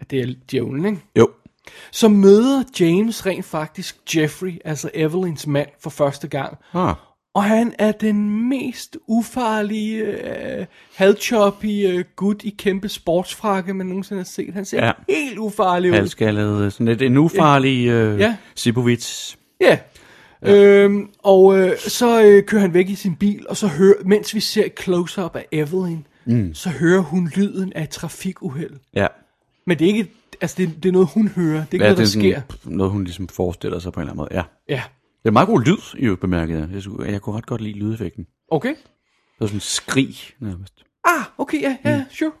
at det er djævlen, ikke?
Jo.
Så møder James rent faktisk Jeffrey, altså Evelyns mand, for første gang.
Ah.
Og han er den mest ufarlige, øh, halvchoppy øh, gut i kæmpe sportsfrakke, man nogensinde har set. Han ser ja.
Ja.
helt ufarlig ud.
Halskaldet. øh, Sådan lidt en ufarlig øh,
Ja.
ja. Sibovits.
Ja. Øhm, og øh, så øh, kører han væk i sin bil, og så hører, mens vi ser et close-up af Evelyn, mm. så hører hun lyden af et trafikuheld.
Ja.
Men det er ikke, altså det, det er noget, hun hører. Det er ikke ja, noget,
det
der
er
sker.
sådan, noget, hun ligesom forestiller sig på en eller anden måde. Ja.
Ja.
Det er meget god lyd, i øvrigt bemærket. Jeg, synes- jeg kunne ret godt lide lydeffekten.
Okay.
Det var sådan en skrig, nærmest.
Ah, okay, ja, ja, sure.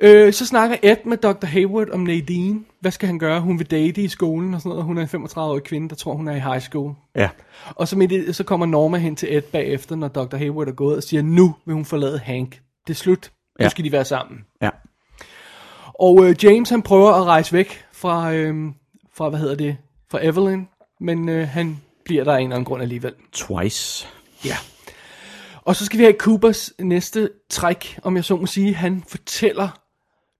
Øh, så snakker Ed med Dr. Hayward om Nadine. Hvad skal han gøre? Hun vil date i skolen og sådan noget. Hun er en 35-årig kvinde, der tror, hun er i high school.
Ja.
Og så, midt i, det, så kommer Norma hen til Ed bagefter, når Dr. Hayward er gået, og siger, nu vil hun forlade Hank. Det er slut. Nu
Ja.
skal de være sammen.
Ja.
Og øh, James, han prøver at rejse væk fra, øh, fra hvad hedder det, fra Evelyn, men øh, han bliver der af en eller anden grund alligevel.
Twice.
Ja. Og så skal vi have Coopers næste træk, om jeg så må sige. Han fortæller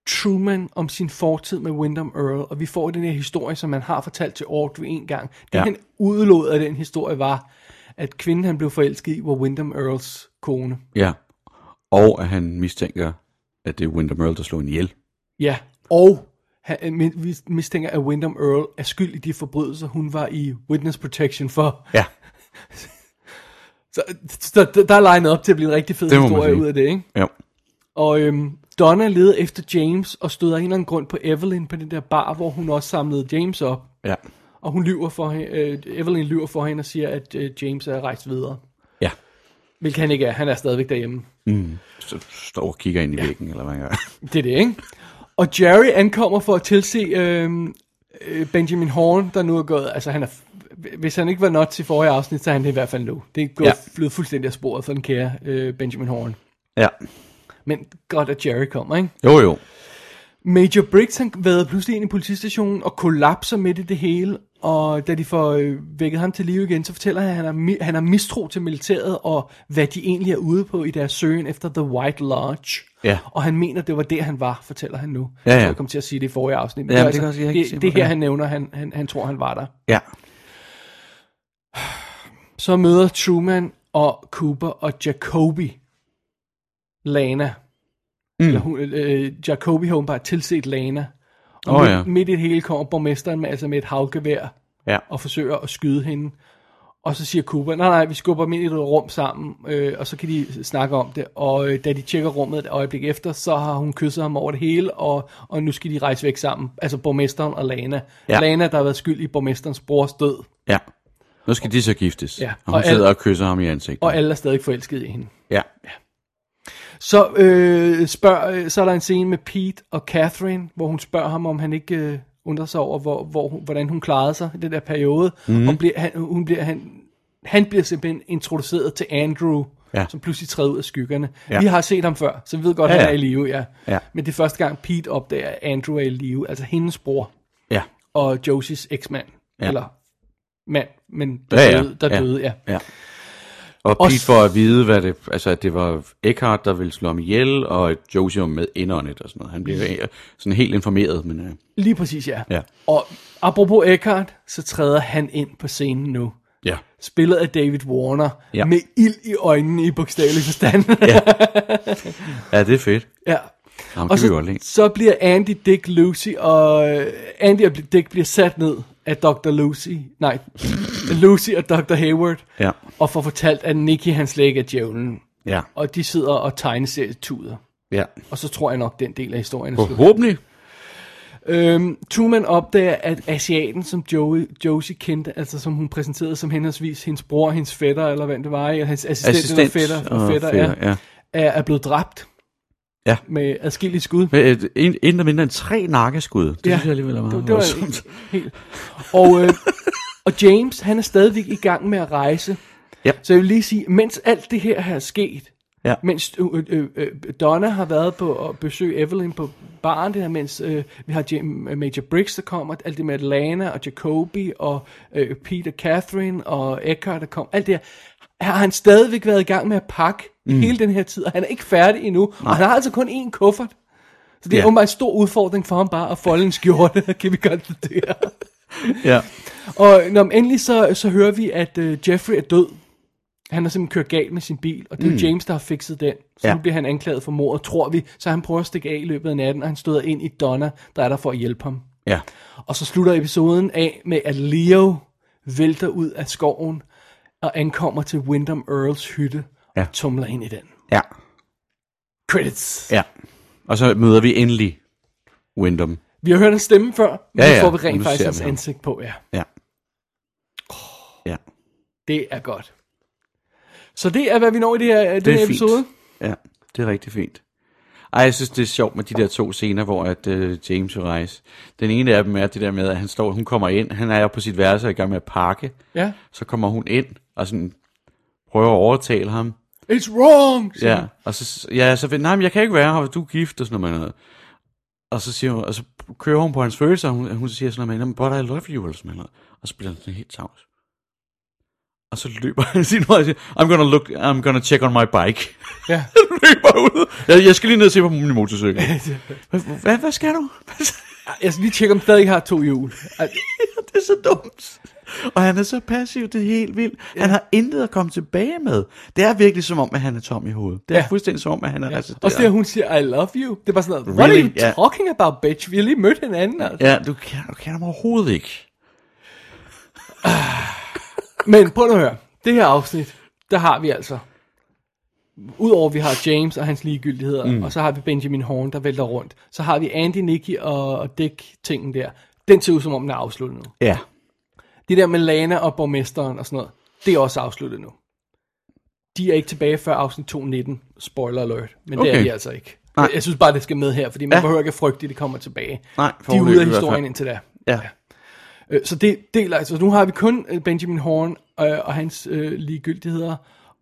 Truman om sin fortid med Wyndham Earl, og vi får den her historie, som man har fortalt til Audrey en gang. Det ja.
Ja.
han udelod af den historie var, at kvinden han blev forelsket i, var Wyndham Earls kone.
Ja. Og at han mistænker, at det er Windham Earl, der slog hende ihjel.
Ja, og han, men vi mistænker, at Wyndham Earl er skyld i de forbrydelser, hun var i witness protection for.
Ja.
Så, så der- der er legnet op til at blive en rigtig fed
Det må man
historie
sige.
ud af det, ikke?
Ja.
Og øhm, Donna leder efter James og støder af en eller anden grund på Evelyn på den der bar, hvor hun også samlede James op.
Ja.
Og hun lyver for hende, øh, Evelyn lyver for hende og siger, at øh, James er rejst videre.
Ja.
Hvilket han ikke er. Han er stadigvæk derhjemme.
Så står og kigger ind i væggen, eller hvad han gør.
Det er det, ikke? Og Jerry ankommer for at tilse øhm, øh, Benjamin Horn, der nu er gået... Altså, han er, f- hvis han ikke var not til forrige afsnit, så er han det i hvert fald nu. Det er gået ja.
Ja.
flyvet fuldstændig af sporet for den kære øh, Benjamin Horn.
Ja.
Men godt, at Jerry kommer, ikke?
Jo, jo.
Major Briggs, han vader pludselig ind i politistationen og kollapser midt i det hele, og da de får øh, vækket ham til live igen, så fortæller han, at han har, mi- han har mistro til militæret og hvad de egentlig er ude på i deres søgen efter The White Lodge.
Ja.
Og han mener, det var der, han var, fortæller han nu.
Ja, ja.
Jeg tror, jeg kom til at sige det i forrige afsnit. men
Ja, men
er altså
det kan også- jeg kan ikke se,
det, det
hvor-
her,
ja.
han nævner, han, han, han tror, han var der.
Ja.
Så møder Truman og Cooper og Jacoby Lana. Mm. Eller hun, øh, Jacoby har åbenbart tilset Lana. Og
Åh,
midt,
ja.
midt i det hele kommer borgmesteren med, altså med et havgevær
Ja.
og forsøger at skyde hende. Og så siger Cooper, nej nej, vi skubber dem ind i et rum sammen, øh, og så kan de snakke om det. Og øh, da de tjekker rummet et øjeblik efter, så har hun kysset ham over det hele, og, og nu skal de rejse væk sammen. Altså borgmesteren og Lana. Ja.
Ja.
Lana, der har været skyld i borgmesterens brors død,
Ja. Nu skal de så giftes.
Ja.
Og
Og
hun sidder
al-
og kysser ham i ansigtet.
og alle er stadig forelskede i hende.
Ja.
Så øh, spørg, øh, så er der en scene med Pete og Catherine, hvor hun spørger ham, om han ikke øh, undrer sig over, hvor, hvor, hun- hvordan hun klarede sig i den der periode. Mm.
Mhm.
Og bliver, han, hun bliver, han, han bliver simpelthen introduceret til Andrew,
Ja.
som pludselig træder ud af skyggerne. Ja.
Ja.
Vi har set ham før, så vi ved godt, at
Ja,
han
ja.
er i live. Ja.
Ja.
Men det er første gang, Pete opdager, at Andrew er i live, altså hendes bror
Ja.
og Josies eksmand. Ja.
Ja.
Eller mand, men der
Ja, ja.
døde, der
Ja.
døde ja.
Ja. Og
Og
Pete
s-
får at vide, hvad det, altså, at det var Eckhart, der ville slå ham ihjel, og at Josie var med indåndet og sådan noget. Han
Mm.
blev øh, sådan helt informeret, men øh,
Lige præcis, ja.
Ja.
Og apropos Eckhart, så træder han ind på scenen nu.
ja.
Spillet af David Warner, ja.
Ja.
med ild i øjnene i bogstavelig
(laughs)
forstand.
Ja, det er fedt.
ja.
Ham kan
Og
vi godt
så,
lide.
så bliver Andy, Dick, Lucy og... øh, Andy og Dick bliver sat ned af Dr. Lucy. Nej,
(laughs)
Lucy og Dr. Hayward.
Ja.
Og får fortalt, at Nicky han slet ikke er djævlen.
Ja.
Og de sidder og tegneserietuder.
Ja.
Og så tror jeg nok, den del af historien er slut.
Forhåbentlig.
Øhm, Truman opdager, at asiaten, som Joey, Josie kendte, altså som hun præsenterede som henholdsvis hendes bror, hendes fætter, eller hvad det var, eller hans assistent,
Assistent
eller fætter,
og
fætter,
fætter,
ja,
ja.
Er, er blevet dræbt
Ja.
med adskillige skud.
Med et, en, intet mindre end tre nakkeskud. Det
Ja.
ja. synes jeg alligevel er meget
Det, det var
voldsomt.
helt. Og, øh, og James, han er stadigvæk i gang med at rejse.
Ja.
Så jeg vil lige sige, mens alt det her er sket,
Ja.
mens øh, øh, øh, Donna har været på at besøge Evelyn på baren, det her, mens øh, vi har Jim, øh, Major Briggs, der kommer, alt det med Atlanta og Jacoby og øh, Peter Catherine og Eckhart, der kommer, alt det her, har han stadigvæk været i gang med at pakke mm. hele den her tid, og han er ikke færdig endnu, Nej. og han har altså kun én kuffert. Så det er
Ja.
yeah. en stor udfordring for ham bare at folde en skjorte, (laughs) kan vi konstatere.
Ja.
Og når men endelig så, så hører vi, at øh, Jeffrey er død. Han har simpelthen kørt galt med sin bil, og det er mm. James, der har fikset den. Så ja.
Ja.
nu bliver han anklaget for mord, tror vi. Så han prøver at stikke af i løbet af natten, og han støder ind i Donna, der er der for at hjælpe ham.
Ja.
Og så slutter episoden af med, at Leo vælter ud af skoven og ankommer til Wyndham Earls hytte ja.
Ja.
og tumler ind i den.
Ja.
Credits.
Ja. Og så møder vi endelig Wyndham.
Vi har hørt hans stemme før, men ja,
Ja,
ja.
ja.
nu får vi rent
Nu
faktisk
ser
hans
vi ham.
ansigt på, ja.
Ja. Ja.
Det er godt. Så det er, hvad vi når i det her, det den her episode.
Ja, det er rigtig fint. Ej, jeg synes, det er sjovt med de der to scener, hvor at, øh, James og Rice... Den ene af dem er det der med, at han står, hun kommer ind, han er på sit værelse og er i gang med at pakke.
Ja.
Så kommer hun ind og sådan prøver at overtale ham.
It's wrong! siger
Ja,
han.
og så, ja, så nej, men jeg kan ikke være her, du er gift og sådan noget. noget. Og så, siger hun, og så kører hun på hans følelser, og hun, hun siger sådan noget, med, but I love you, eller sådan noget. Og så bliver han sådan helt tavs. Og så løber han sin vej og siger, I'm gonna, look, I'm gonna check on my bike. (laughs)
Ja.
løber ud. Jeg, jeg skal lige ned og se på min (laughs) motorcykel. Hvad, hvad, hvad skal du? (laughs)
Jeg skal lige tjekke, om den stadig har to hjul. Ej,
det er så dumt. Og han er så passiv, det er helt vildt. Han har intet at komme tilbage med. Det er virkelig som om, at han er tom i hovedet. Det er
Ja.
ja. fuldstændig som om, at han er ja. altså,
Også det, at hun siger, I love you. Det er bare sådan noget, what
Really?
are you
Ja.
talking about, bitch? Vi har lige mødt hinanden, altså.
Ja, du kan, du kan ham overhovedet ikke.
Men prøv nu at høre. Det her afsnit, der har vi altså... Udover at vi har James og hans ligegyldigheder, mm. og så har vi Benjamin Horn, der vælter rundt. Så har vi Andy, Nicky og, og Dick tingen der. Den ser ud som om, den er afsluttet nu.
Ja.
Det der med Lana og borgmesteren og sådan noget, det er også afsluttet nu. De er ikke tilbage før afsnit 219. Spoiler alert. Men okay. det er
Okay.
de altså ikke.
Nej.
Jeg synes bare, det skal med her, fordi man ja.
Ja.
behøver ikke at frygte, at det kommer tilbage.
Nej,
de er ude
foreløbig i
af
hvert
historien
fald.
indtil da.
Ja.
Øh, Så det deler altså. Nu har vi kun øh, Benjamin Horn øh, og hans øh, ligegyldigheder,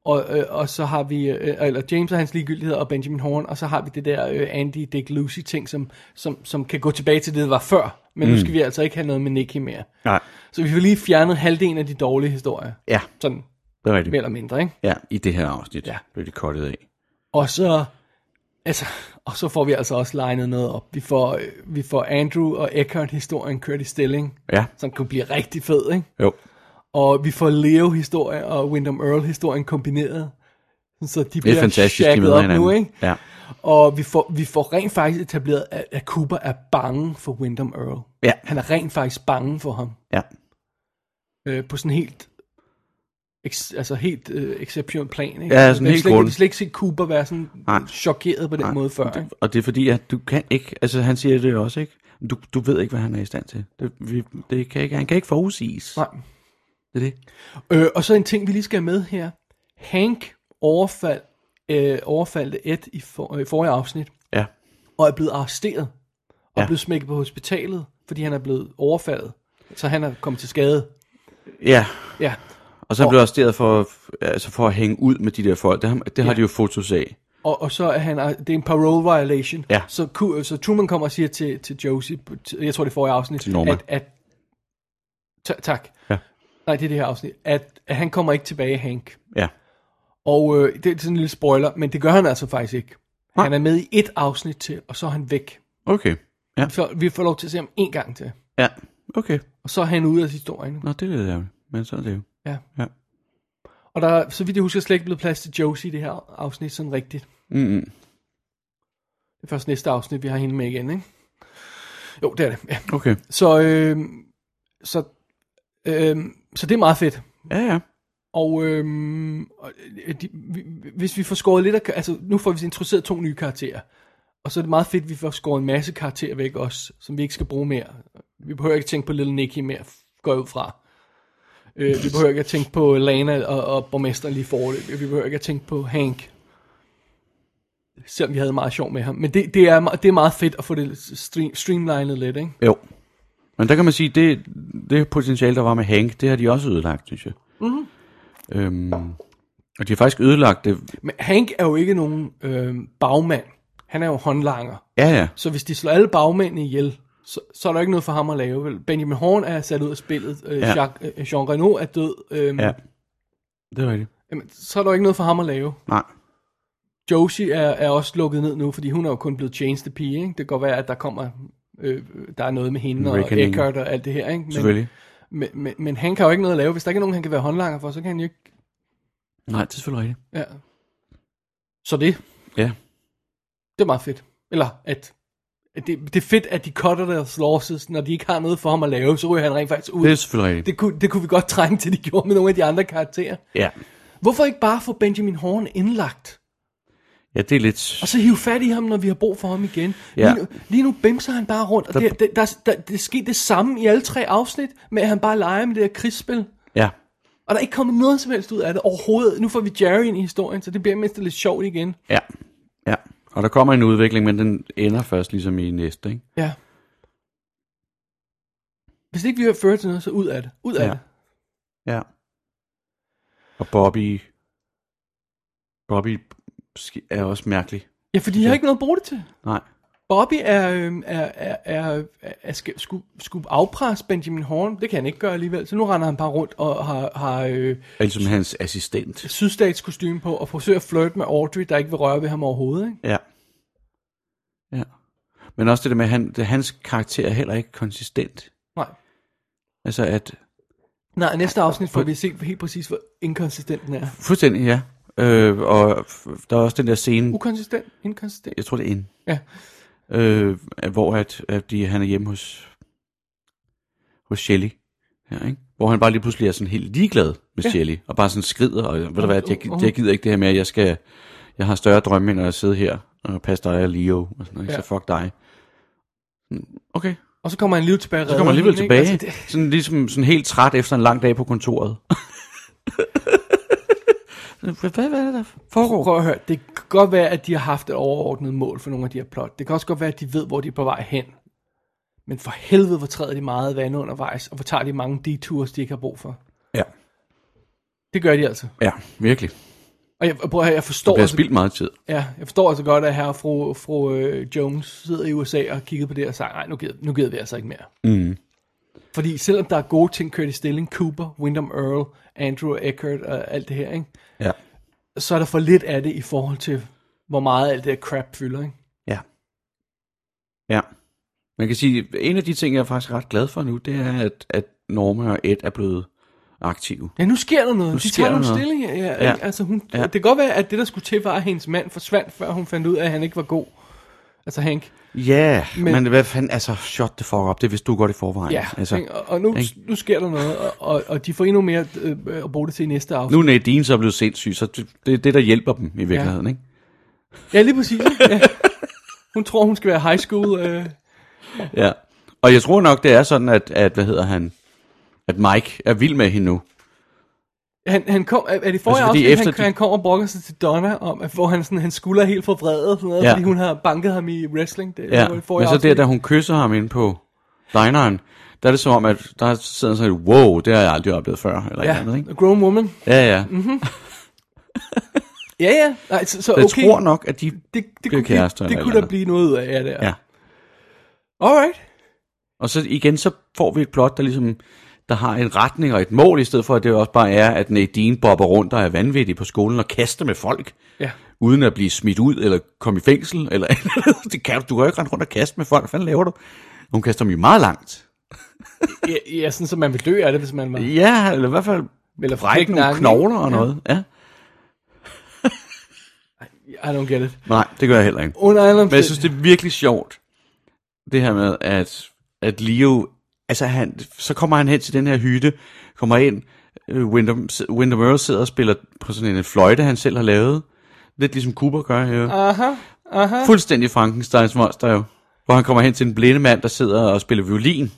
og, øh, og så har vi, øh, eller James og hans ligegyldigheder og Benjamin Horn, og så har vi det der øh, Andy, Dick, Lucy ting, som, som, som kan gå tilbage til det, der var før. Men mm. nu skal vi altså ikke have noget med Nicky mere.
Nej.
Så vi har lige fjernet halvdelen af de dårlige historier.
Ja,
Sådan
det er
mere
rigtigt.
eller mindre, ikke?
Ja, i det her afsnit ja. blev det kottet af.
Og så, altså, og så får vi altså også legnet noget op. Vi får, øh, vi får Andrew og Eckhart-historien kørt i stilling,
Ja,
som kunne blive rigtig fed, ikke?
jo.
Og vi får Leo-historie og Wyndham Earl-historien kombineret. Så de
Det er
bliver
fantastisk, de
shacket
møder
op nu,
hinanden.
ikke?
Ja.
Og vi får, vi får rent faktisk etableret, at, at Cooper er bange for Wyndham Earl.
Ja.
Han er rent faktisk bange for ham.
ja,
Øh, på sådan helt ex, altså helt øh, exceptionel plan. Ikke?
Ja, sådan
Altså, vi har
helt
slet, ikke- vi har
grund.
slet ikke set Cooper være sådan
Nej.
chokeret på den
Nej,
måde før. Ikke?
Og det er fordi, at du kan ikke, altså han siger det også, ikke? Du, du ved ikke, hvad han er i stand til. Det, vi, det kan ikke, han kan ikke forudsiges.
Nej.
Det er det.
Øh, og så en ting, vi lige skal have med her. Hank overfald, øh, overfaldte Ed i, for, øh, i forrige afsnit.
Ja,
og er blevet arresteret og ja.
Ja.
blevet smækket på hospitalet, fordi han er blevet overfaldet. Så han er kommet til skade.
ja.
Ja,
Og så er han blev arresteret for, altså for at hænge ud med de der folk. Det, har- det har
Ja.
de jo fotos af.
og, og så er han ah, det er en parole violation.
Ja.
Så, Ku- så Truman kommer og siger til, til Josie, på- til- jeg tror det er forrige afsnit,
Til Norma.
at, at ta- tak.
Ja.
Nej, det er det her afsnit, at, at han kommer ikke tilbage, Hank.
Ja,
Og øh, det er sådan en lille spoiler, men det gør han altså faktisk ikke.
Nej.
Han er med i et afsnit til, og så er han væk.
okay. Ja,
Så vi får lov til at se ham en gang til.
ja. okay.
Og så er han ude af historien.
Nå, det er lidt ærgerligt. Men sådan er det jo.
Ja.
Ja.
Og der er, så vidt jeg husker, slet ikke blevet plads til Josie i det her afsnit sådan rigtigt.
Mm-mm.
Det er først næste afsnit, vi har hende med igen, ikke? Jo, det er det. Ja.
Okay.
Så, øh, så, øh, så det er meget fedt.
Ja, ja.
Og, øh, og øh, de, vi, hvis vi får skåret lidt af... ka- Altså, nu får vi introduceret to nye karakterer. Og så er det meget fedt, at vi får skåret en masse karakterer væk også, som vi ikke skal bruge mere. Vi behøver ikke tænke på Little Nicky mere, f- går jeg ud fra. Øh, vi behøver ikke at tænke på Lana og, og borgmesteren lige forløb. Vi behøver ikke at tænke på Hank. Selvom vi havde meget sjov med ham. Men det, det, er, me- det er meget fedt at få det stream, streamlinet lidt, ikke?
Jo. Men der kan man sige, det, det potentiale, der var med Hank, det har de også ødelagt, synes jeg. Mm-hmm. Øhm, og de har faktisk ødelagt det.
Men Hank er jo ikke nogen øh, bagmand. Han er jo håndlanger.
Ja, ja.
Så hvis de slår alle bagmændene ihjel, så, så er der ikke noget for ham at lave. Vel? Benjamin Horn er sat ud af spillet. Øh,
Ja.
Jacques, øh, Jean Reno er død. Øhm,
ja. Det er rigtigt.
jamen, så er der jo ikke noget for ham at lave.
Nej.
Josie er, er også lukket ned nu, fordi hun er jo kun blevet changed pige. Ikke? Det kan godt være, at der kommer... Øh, der er noget med hende og
Reckoning.
Eckhart og alt det her. Ikke? Men,
Selvfølgelig.
men, men, men han kan jo ikke noget at lave. Hvis der ikke er nogen, han kan være håndlanger for, så kan han jo ikke...
Nej, det er selvfølgelig rigtigt.
Ja. Så det,
Ja.
det er meget fedt. Eller at... at Det, det er fedt, at de cutter deres losses, når de ikke har noget for ham at lave, så ryger han rent faktisk ud.
Det er selvfølgelig rigtigt.
Det kunne, det kunne vi godt trænge til, de gjorde med nogle af de andre karakterer.
Ja.
Hvorfor ikke bare få Benjamin Horn indlagt?
Ja, det er lidt...
Og så hive fat i ham, når vi har brug for ham igen.
Ja.
Lige, nu, lige nu bimser han bare rundt, og
Der-
det, det, der, der, det skete det samme i alle tre afsnit, med at han bare leger med det der krigsspil.
Ja.
Og der er ikke kommet noget som helst ud af det overhovedet. Nu får vi Jerry ind i historien, så det bliver mindst lidt sjovt igen.
Ja. ja. Og der kommer en udvikling, men den ender først ligesom i næste, ikke?
Ja. Hvis ikke vi har ført til noget, så ud af det. Ud af
Ja.
det.
Ja. Og Bobby... Bobby sk- er også mærkelig.
Ja, fordi jeg har ikke noget at bruge det til.
Nej.
Bobby er, øhm, er, er, er, er, er skal, skulle, skulle afpresse Benjamin Horn. Det kan han ikke gøre alligevel. Så nu render han bare rundt og har, har øh,
Er ligesom hans assistent.
sydstatskostyme på og forsøger at flirte med Audrey, der ikke vil røre ved ham overhovedet. Ikke?
Ja. Ja. Men også det der med, at han, det, hans karakter er heller ikke konsistent.
Nej.
Altså at...
Nej, næste afsnit får vi se helt præcis, hvor inkonsistent den er.
Fuldstændig, ja. Øh, og f- der er også den der scene,
Ukonsistent? Inkonsistent?
jeg tror det er en,
Ja.
øh, hvor at, at de, han er hjemme hos, hos Shelly. Ja, ikke? Hvor han bare lige pludselig er sådan helt ligeglad med ja. Shelly, og bare sådan skrider, og ved du hvad, jeg,
uh, uh.
jeg gider ikke det her med, at jeg skal, jeg har større drømme, end at sidde her og passe dig og Leo, og sådan noget, ja.
Ja.
så fuck dig. Mm, Okay,
Og så kommer han alligevel tilbage. og
så kommer han
redder
alligevel
hende, ikke?
tilbage,
Altså, det,
sådan ligesom sådan helt træt efter en lang dag på
(laughs)
kontoret. hvad, hvad er det, der foregår?
prøv at høre, det kan godt være, at de har haft et overordnet mål for nogle af de her plot. Det kan også godt være, at de ved, hvor de er på vej hen. Men for helvede, hvor træder de meget vand undervejs, og hvor tager de mange detours, de ikke har brug for.
Ja,
Det gør de altså.
ja, virkelig.
Og jeg, prøv at høre, jeg
Der
forstår,
bliver
altså,
spildt meget tid.
ja, jeg forstår altså godt, at herre og fru, fru øh, Jones sidder i USA og kigger på det og siger, nej, nu gider, nu gider vi altså ikke mere.
Mm.
Fordi selvom der er gode ting kørt i stilling, Cooper, Wyndham Earl, Andrew Eckert og alt det her, ikke?
Ja.
så er der for lidt af det i forhold til, hvor meget alt det her crap fylder. Ikke?
Ja. Ja. Man kan sige, at en af de ting, jeg er faktisk ret glad for nu, det er, at, at Norma og Ed er blevet aktive.
Ja, nu sker der noget.
Nu
Nu de
sker
tager
der
nogle
noget.
stillinger. Ja,
Ja.
ja. Altså, hun,
Ja.
ja. Det kan godt være, at det, der skulle til, var, at hendes mand forsvandt, før hun fandt ud af, at han ikke var god. Altså Hank.
Ja, yeah, men,
Men-
men hvad fanden, altså, shut the fuck up, det vidste du godt i forvejen.
Ja,
altså,
altså, og, og nu,
ikke?
nu sker der noget, og, og, og de får endnu mere øh, øh, at bruge det til i næste afsnit.
nu er Nadine så blevet sindssyg, så det det er det, der hjælper dem i virkeligheden, ja. ikke?
Ja, lige præcis. Ja. Hun tror, hun skal være high school. Øh.
Ja. Og jeg tror nok, det er sådan, at, at hvad hedder han, at Mike er vild med hende nu.
Han, han kom, er er det forrige
Altså,
altså,
fordi
afsnit,
efter
han,
de-
han kom og brokker sig til Donna, om, at, hvor han sådan, han skulder er helt forvredet, og sådan noget,
Ja.
ja. fordi hun har banket ham i wrestling. Det,
Ja,
det var i forrige
men så der,
afsnit.
da hun kysser ham inde på dineren, der er det som om, at der sidder sådan et, wow, det har jeg aldrig oplevet før, eller ja. andet,
Ja,
ikke?
a grown woman.
Ja, ja. Mm,
Ja, ja. Nej, så, så
okay. Jeg
okay.
tror nok, at de...
det, det,
bliver
kunne,
kærester
det,
eller
det
et
kunne
eller
der
andet.
blive noget ud af, ja, der.
Ja.
Alright.
Og så igen, så får vi et plot, der ligesom der har en retning og et mål, i stedet for, at det også bare er, at Nadine bobber rundt og er vanvittig på skolen og kaster med folk,
Ja.
uden at blive smidt ud eller komme i fængsel. Eller, (laughs) det kan du, du kan jo ikke rende rundt og kaste med folk. Hvad fanden laver du? Hun kaster dem jo meget langt.
ja. Ja, sådan så man vil dø af det, hvis man var...
Ja, eller i hvert fald
Eller
brække nogle
knække nakken.
knogler og noget. Ja.
I don't get it.
Nej, det gør jeg heller ikke.
Under alle
Men jeg
omstændigheder.
synes, det er virkelig sjovt, det her med, at, at Leo, altså han, så kommer han hen til den her hytte, kommer ind, øh, Windham, Windham Earl sidder og spiller på sådan en fløjte, han selv har lavet. Lidt ligesom Cooper gør her.
Aha.
Fuldstændig Frankensteins monster jo. Hvor han kommer hen til en blinde mand, der sidder og spiller violin.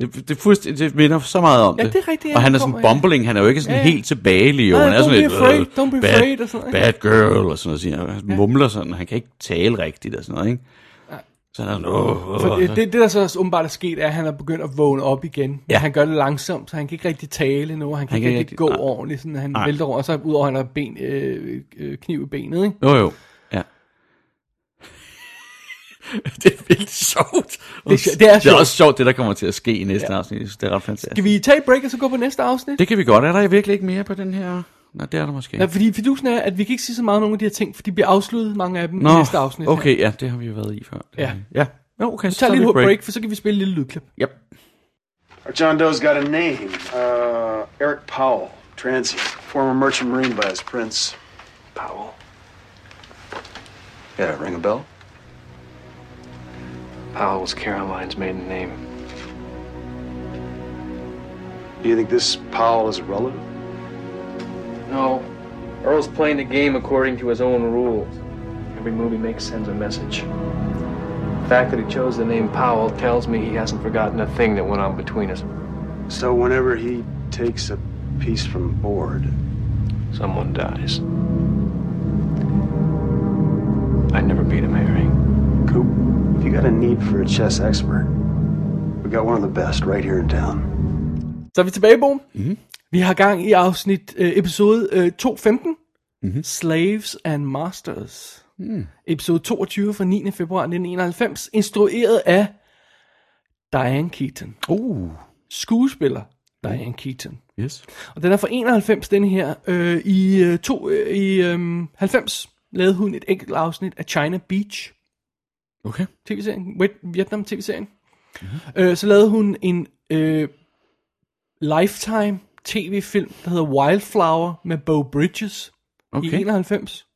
Det, det, fuldstændig, det minder så meget om
Ja,
det.
det er rigtigt, ja,
og han er
det
sådan
kommer, ja.
bumbling, han er jo ikke sådan
Ja, ja.
helt tilbage, Leo.
Nej,
han er
don't
sådan
be
lidt,
afraid,
"Øh,
don't be
bad,
afraid," og sådan noget,
Bad girl, og sådan noget. Siger. han. Han mumler sådan, han kan ikke tale rigtigt og sådan noget, ikke? Så han er sådan, åh, åh.
For det, det, det, der så også åbenbart er sket, er, at han er begyndt at vågne op igen. Men
Ja.
Han gør det langsomt, så han kan ikke rigtig tale nu, og han kan
Han
ikke
kan
rigtig
ikke
gå
rigtig- nej.
ordentligt, sådan, at han
Nej.
vælter rundt, og så udover, at han har ben, øh, øh, kniv i benet, ikke?
Jo, jo, ja. (laughs) det er vildt sjovt.
Det er sjo- det er
Det er
sjovt.
også sjovt, det der kommer til at ske i næste ja. afsnit. Jeg synes, Det er ret fantastisk.
Skal vi tage et break, og så gå på næste afsnit?
Det kan vi godt. Er der virkelig ikke mere på den her? Nej, det er der måske.
Ja, fordi fidusen er, at vi kan ikke sige så meget om nogle af de her ting, for de bliver afsluttet, mange af dem, i
Nå,
næste afsnit. her.
okay, ja, det har vi jo været i før.
Ja.
Ja, jo, okay,
Vi tager lige et break. break, for så kan vi spille et lille lydklip.
Yep.
John Doe's got a name. Uh, Eric Powell, transient, former merchant marine by his prince.
Powell. Yeah, ring a bell?
Powell was Caroline's maiden name. Do you think this Powell is a relative?
No. Earl's playing the game according to his own rules. Every move he makes sends a message. The fact that he chose the name Powell tells me he hasn't forgotten a thing that went on between us.
So whenever he takes a piece from board.
Someone dies. I never beat him, Harry.
Coop, if you got a need for a chess expert, we got one of the best right here in town.
Så er vi tilbage, Bo. Mm-hmm. Vi har gang i afsnit øh, episode øh, 215. Mm-hmm. Slaves and Masters. Mm. Episode 22 fra 9. februar 1991. Instrueret af Diane Keaton.
Uh,
Skuespiller Diane Keaton.
yes.
Og den er fra 91, den her. Øh, I, øh, to, øh, i øh, 90 lavede hun et enkelt afsnit af China Beach.
Okay.
tv-serien, Viet- Vietnam tv-serien. Mm-hmm. Øh, så lavede hun en øh, lifetime tv-film, der hedder Wildflower med Bo Bridges okay. i
Okay.
91.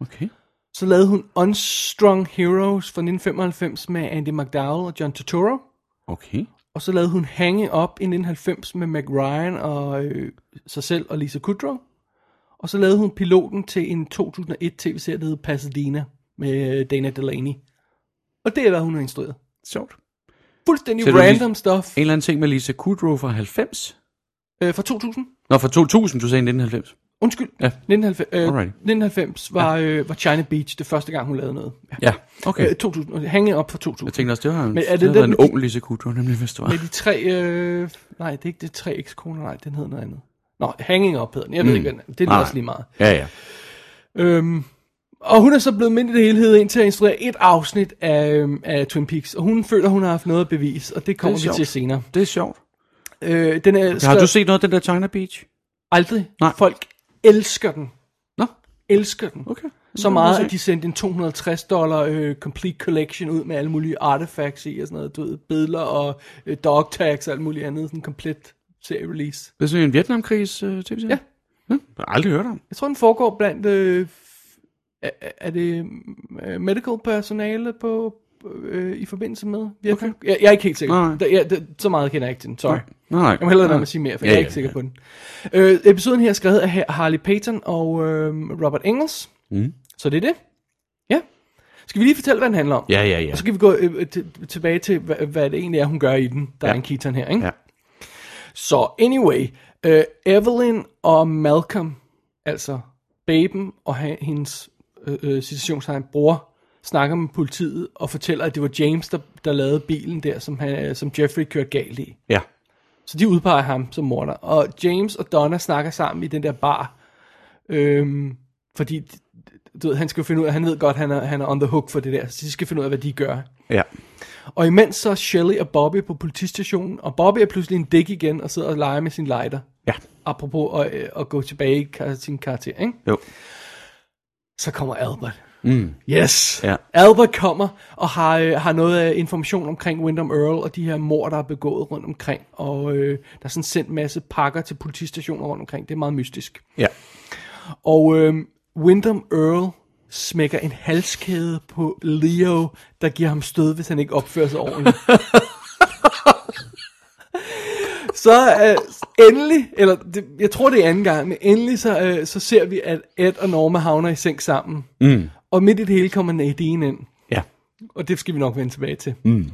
Okay.
Så lavede hun Unstrung Heroes fra 1995 med Andy McDowell og John Turturro.
Okay.
Og så lavede hun Hanging Up i 1990 med Meg Ryan og øh, sig selv og Lisa Kudrow. Og så lavede hun piloten til en 2001 tv-serie, der hedder Pasadena med øh, Dana Delaney. Og det er, hvad hun har instrueret.
Sjovt.
Fuldstændig
Så du
random stuff
En eller anden ting med Lisa Kudrow fra 90.
øh, fra 2000.
Nå, fra 2000, du sagde i 1990.
Undskyld.
Ja.
1990, øh,
Alrighty.
1990 var, øh, var China Beach det første gang, hun lavede noget. Ja.
Ja, okay.
Øh, 2000, og Hanging Up fra 2000.
Jeg tænkte også, det var en,
Men
Men
er det
det det
den-
en ung Lisa Kudrow, nemlig, hvis det var.
Med de tre... Øh, nej, det er ikke de tre ekskoner. Nej, den hedder noget andet. Nå, Hanging Up hedder den. Jeg ved mm. ikke, hvad den er. Det er
Nej.
også lige meget.
Ja, ja.
Øhm, og hun er så blevet mindre i det hele hed ind til at instruere et afsnit af, øhm, af Twin Peaks. Og hun føler, hun har haft noget at bevise, og det kommer det vi
sjovt.
til senere.
Det er sjovt.
Øh, den er
Har du set noget af den der China Beach?
aldrig.
Nej.
Folk elsker den.
Nå,
elsker den.
Okay.
Så
Det må jeg
meget,
se.
at de sendte en 250 dollar øh, complete collection ud med alle mulige artifacts i og sådan noget. Du ved, billeder og øh, dog tags og alt muligt andet. Sådan en komplet serie release.
det er sådan en Vietnamkrigs øh, tv-serie?
Ja.
Hm? Jeg har aldrig hørt om.
Jeg tror, den foregår blandt... Øh, er, er det øh, medical personale på øh, i forbindelse med Vietnam? Okay. Jeg, jeg er ikke helt sikker.
Nej.
Der, jeg, der, så meget kender jeg ikke til den. Sorry.
Nej. Nej.
Jeg må hellere lade være
Nej.
med at sige mere, for
Ja,
jeg er
ja,
ikke sikker
ja.
på den. Øh, episoden her er skrevet af Ha- Harley Payton og øh, Robert Engels.
Mm.
Så det er det. Ja. Skal vi lige fortælle, hvad den handler om?
Ja, ja, ja.
Og så kan vi gå øh, til- tilbage til, hvad, hvad det egentlig er, hun gør i den. Der ja. er
Ja.
en Keaton her, ikke?
Ja.
Så anyway, øh, Evelyn og Malcolm, altså baben og han, hendes øh, øh, situationstegn bror, snakker med politiet og fortæller, at det var James, der, der lavede bilen der, som, han, øh, som Jeffrey kørte galt i.
Ja.
Så de udpeger ham som morder. Og James og Donna snakker sammen i den der bar. Øhm, fordi du ved, han skal jo finde ud af, han ved godt, han er, han er on the hook for det der. Så de skal finde ud af, hvad de gør.
Ja.
Og imens så er Shelley og Bobby på politistationen. Og Bobby er pludselig en dæk igen og sidder og leger med sin lighter.
Ja.
Apropos at, øh, at gå tilbage i kar- sin karakter, ikke?
Jo.
Så kommer Albert. Mm. Yes.
Ja.
Albert kommer og har, øh, har noget af information omkring Wyndham Earl og de her mor, der er begået rundt omkring. Og øh, der er sådan sendt en masse pakker til politistationer rundt omkring. Det er meget mystisk.
Ja.
Og øh, Wyndham Earl smækker en halskæde på Leo, der giver ham stød, hvis han ikke opfører sig ordentligt. så øh, endelig, eller det, jeg tror det er anden gang, men endelig så, øh, så ser vi, at Ed og Norma havner i seng sammen. Mm. Og midt i det hele kommer Nadine ind.
Ja.
Og det skal vi nok vende tilbage til. Mm.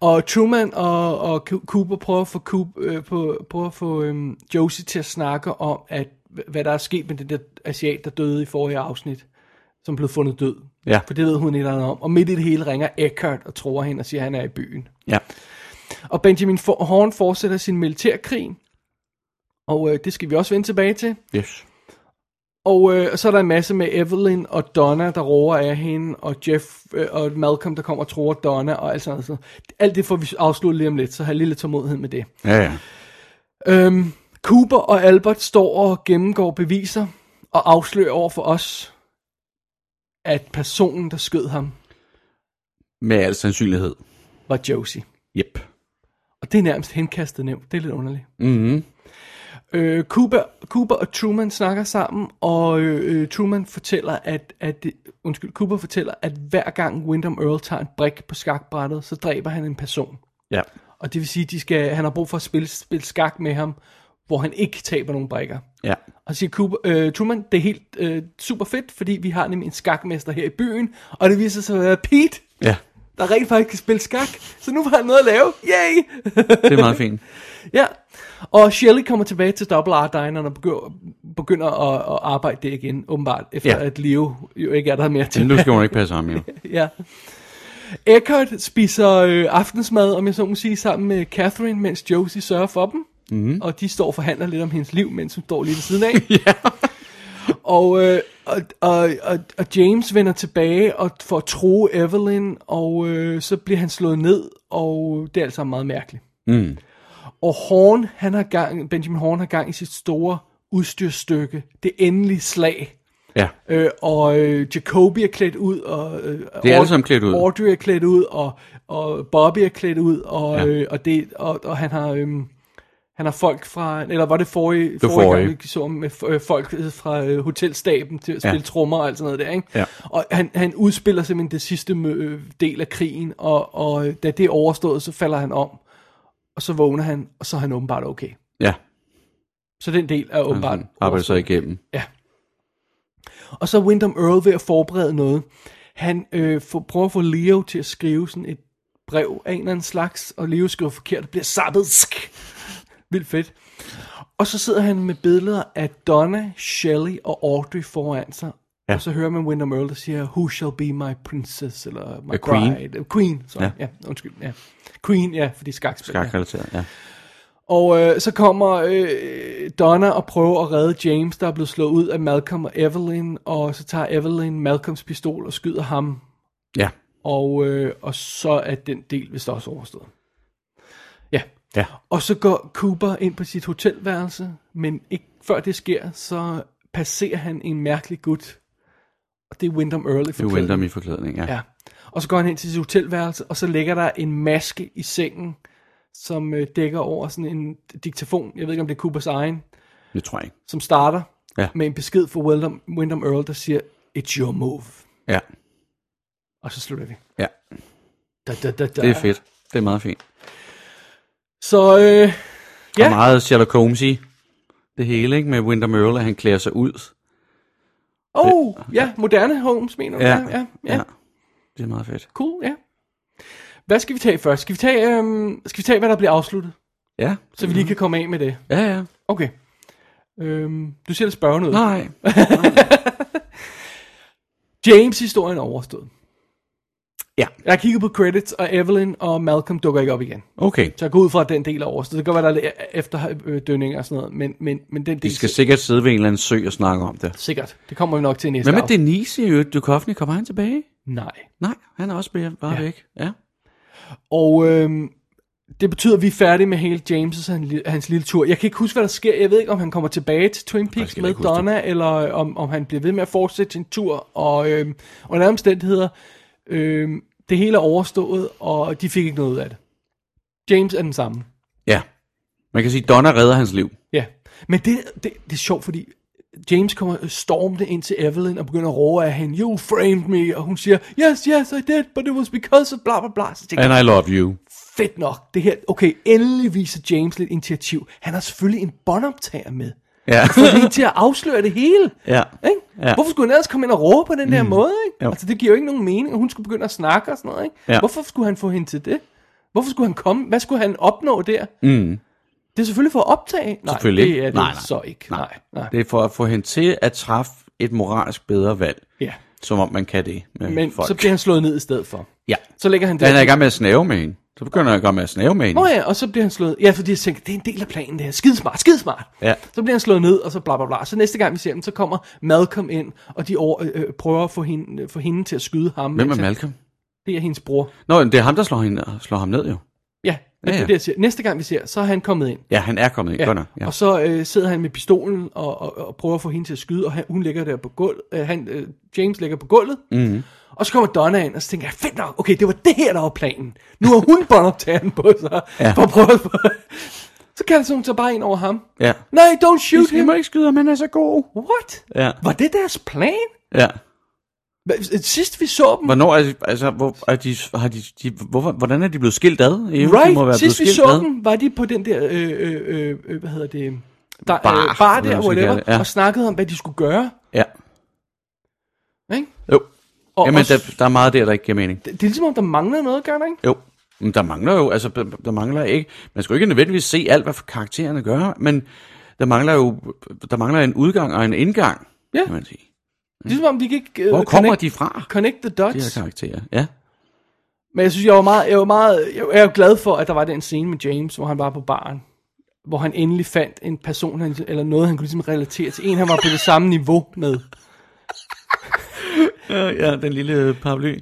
Og Truman og, og Cu- Cooper prøver at få, Coop, øh, på, prøver at få øhm, Josie til at snakke om, at, hva- hvad der er sket med den der asiat, der døde i forrige afsnit, som blev fundet død.
Ja.
For det ved hun et eller andet om. Og midt i det hele ringer Eckhart og tror hende og siger, at han er i byen.
Ja.
Og Benjamin For- Horn fortsætter sin militærkrig. Og øh, det skal vi også vende tilbage til.
Yes.
Og øh, så er der en masse med Evelyn og Donna, der råber af hende, og Jeff øh, og Malcolm, der kommer og tror Donna, og alt sådan noget. sådan noget. Alt det får vi afsluttet lige om lidt, så have lidt tålmodighed med det.
Ja, ja.
Øhm, Cooper og Albert står og gennemgår beviser, og afslører over for os, at personen, der skød ham,
Med al sandsynlighed.
var Josie.
Yep.
Og det er nærmest henkastet nævnt. Det er lidt underligt.
Mm-hmm.
Øh, Cooper, Cooper og Truman snakker sammen, og øh, øh, Truman fortæller, at, at det, undskyld, Cooper fortæller, at hver gang Wyndham Earl tager en brik på skakbrættet, så dræber han en person.
Ja.
Og det vil sige, at de skal, han har brug for at spille, spille skak med ham, hvor han ikke taber nogen brikker.
Ja.
Og siger Cooper, øh, Truman, det er helt øh, super fedt, fordi vi har nemlig en skakmester her i byen, og det viser sig at være Pete,
Ja.
der rent faktisk kan spille skak, så nu har han noget at lave. Yay!
Det er meget fint.
Ja, og Shelley kommer tilbage til Double R Dineren og begynder, begynder at, at arbejde det igen, åbenbart, efter
Ja.
at Leo jo ikke er der mere til.
Nu skal hun ikke passe ham, jo.
(laughs) Ja. Eckhart spiser øh, aftensmad, om jeg så må sige, sammen med Catherine, mens Josie sørger for dem. Mm-hmm. Og de står og forhandler lidt om hendes liv, mens hun står lige ved siden af. (laughs) ja. og, øh, og, og, og, og James vender tilbage og får at tro Evelyn, og øh, så bliver han slået ned, og det er altså meget mærkeligt. Mm. Og Horn, han har gang, Benjamin Horn har gang i sit store udstyrsstykke, det endelige slag.
Ja.
Øh, og øh, Jacoby er klædt ud, og øh,
alle
Aud-
sammen klædt ud.
Audrey er klædt ud, og, og Bobby er klædt ud, og,
Ja.
ja. øh, og, det, og, og han har... øhm, han har folk fra, eller var det forrige, det
forrige.
gang, vi så ham med f- øh, folk fra øh, hotelstaben til at
Ja.
spille trommer og alt sådan noget der, ikke?
Ja.
Og han, han udspiller simpelthen det sidste mø- øh, del af krigen, og, og øh, da det er overstået, så falder han om, og så vågner han, og så er han åbenbart okay.
Ja.
Så den del er åbenbart
Han arbejder så
overstået.
igennem.
Ja. Og så er Wyndham Earl ved at forberede noget. Han øh, for, prøver at få Leo til at skrive sådan et brev af en eller anden slags, og Leo skriver forkert og bliver sappet. Sk! Vildt fedt. Og så sidder han med billeder af Donna, Shelley og Audrey foran sig. Ja. Og så hører man Wyndham Earl, der siger, Who shall be my princess, eller my
A queen.
bride. Queen. Queen, sorry.
Ja.
Ja. ja, undskyld. Ja. Queen, ja, fordi skakspil. ja.
Skakrelateret, ja.
Og øh, så kommer øh, Donna og prøver at redde James, der er blevet slået ud af Malcolm og Evelyn, og så tager Evelyn Malcolms pistol og skyder ham,
Ja.
og, øh, og så er den del vist også overstået. Ja.
Ja.
Og så går Cooper ind på sit hotelværelse, men ikke før det sker, så passerer han en mærkelig gut, og det er Wyndham Earl i
Det er
forklædning.
Wyndham i forklædning, ja.
Ja. Og så går han hen til sit hotelværelse, og så ligger der en maske i sengen, som øh, dækker over sådan en diktafon, jeg ved ikke om det er Coopers egen,
Det tror jeg ikke.
som starter
Ja.
med en besked fra Wyndham, Wyndham Earl, der siger, it's your move.
Ja.
Og så slutter vi.
Ja.
Da, da, da, da.
Det er fedt. Det er meget fint.
Så øh,
Ja.
Ja.
Og meget Sherlock Holmes i det hele, ikke? Med Winter Earl, at han klæder sig ud.
Oh, ja, moderne Holmes, mener du? ja, ja, ja.
Det er meget fedt.
Cool, ja. Hvad skal vi tage først? Skal vi tage, øhm, skal vi tage hvad der bliver afsluttet?
Ja.
Så vi lige kan komme af med det.
Ja, ja.
Okay. Øhm, du ser lidt spørgende ud.
Nej.
James-historien er overstået.
Ja.
Jeg har kigget på credits, og Evelyn og Malcolm dukker ikke op igen.
Okay.
Så jeg går ud fra, at den del er overstået. Det kan godt være, der er lidt e- efterdønninger øh, og sådan noget, men, men, men den del...
De skal sikkert sidde ved en eller anden sø og snakke om det.
Sikkert. Det kommer vi nok til i næste
Hvad med
afsnit.
Denise i øvrigt? Duchovny, kommer han tilbage?
Nej.
Nej, han er også bare bare
Ja.
væk. Ja.
Og øhm, det betyder, at vi er færdige med hele James' han, hans lille tur. Jeg kan ikke huske, hvad der sker. Jeg ved ikke, om han kommer tilbage til Twin Peaks
heller
med
ikke huske
Donna, eller om, om han bliver ved med at fortsætte sin tur. Og øhm, under alle omstændigheder, øhm, det hele er overstået, og de fik ikke noget ud af det. James er den samme.
Ja. Man kan sige, Donna redder hans liv.
Ja, men det, det, det er sjovt, fordi James kommer stormende ind til Evelyn og begynder at råbe af hende, You framed me, og hun siger, Yes, yes, I did, but it was because of bla bla bla. Så tænker jeg,
And I love you.
fedt nok, det her, okay, endelig viser James lidt initiativ. Han har selvfølgelig en båndoptager med,
Ja.
for lige til at afsløre det hele.
ja.
Ikke?
Ja. Mm.
Hvorfor skulle han ellers komme ind og råbe på den der måde? Ikke?
Jo.
Altså, det giver jo ikke nogen mening, og hun skulle begynde at snakke og sådan noget. Ikke?
Ja.
Hvorfor skulle han få hende til det? Hvorfor skulle han komme? Hvad skulle han opnå der? Mm. Det er selvfølgelig for at optage. Nej,
Selvfølgelig
det
ikke.
er det
Nej, nej.
så ikke. Nej, nej.
Det er for at få hende til at træffe et moralsk bedre valg.
Ja.
Som om man kan det med
Men
folk.
så bliver han slået ned i stedet for.
Ja.
Så lægger han det.
Da han er i gang med at snæve med hende. Så begynder han i gang med at snæve med hende.
Nå ja, og så bliver han slået... Ja, fordi jeg tænker, det er en del af planen, det her. Skidesmart, skidesmart.
Ja.
Så bliver han slået ned, og så bla bla bla. Så næste gang vi ser dem, så kommer Malcolm ind, og de over, øh, øh, prøver at få hende, øh, få hende til at skyde ham.
Hvem
mens
er
han-
Malcolm?
Det er hendes bror.
Nå, men det er ham, der slår, hende, slår ham ned jo.
Ja, ja, ja.
Ja,
Det,
ja.
er det, jeg siger. Næste gang vi ser, så er han kommet ind.
Ja, han er kommet ind. Ja. Godt nok. Ja.
Og så øh, sidder han med pistolen og, og, og prøver at få hende til at skyde, og han, hun ligger der på gulvet. Øh, han, øh, James ligger på gulvet.
Mhm.
Mm-hmm. Og så kommer Donna ind, og så tænker jeg, fedt nok, okay, det var det her, der var planen. Nu har hun båndoptageren på sig.
Ja.
Ja. For at prøve at... Så kaster hun så bare ind over ham.
Ja.
Nej, don't shoot
I
him.
må ikke skyde ham, han er så god.
What?
Ja.
Var det deres plan?
Ja.
Hva- Sidst vi så dem,
Hvornår er de, altså, hvor, er de, har de, de hvorfor, hvordan er de blevet skilt ad? Jo, De
right?
må være
sidst vi
blevet
så
skilt ad.
dem, var de på den der, øh, øh, øh, hvad hedder det, der,
Bar,
øh, bar
eller hvad man
der,
skal
whatever,
kalde det, ja.
ja. og snakkede om, hvad de skulle gøre.
Ja.
Ikke?
Jo.
Og
Jamen,
også,
der, der er meget der, der ikke giver mening.
det, det er ligesom, om der mangler noget, gør der ikke?
Jo. Men der mangler jo, altså der- der mangler ikke, man skal jo ikke nødvendigvis se alt, hvad karaktererne gør, men der mangler jo, der mangler en udgang og en indgang,
Ja.
kan man sige.
Ligesom om de ikke... Øh,
Hvor kommer
connect,
de fra,
Connect the
de her
dots.
karakterer? Ja.
Men jeg synes, jeg var meget, jeg var meget, jeg er jo glad for, at der var den scene med James, hvor han var på baren, hvor han endelig fandt en person, han, eller noget, han kunne ligesom relatere til. En, han var på det samme niveau med.
Øh, Ja, den lille paraply.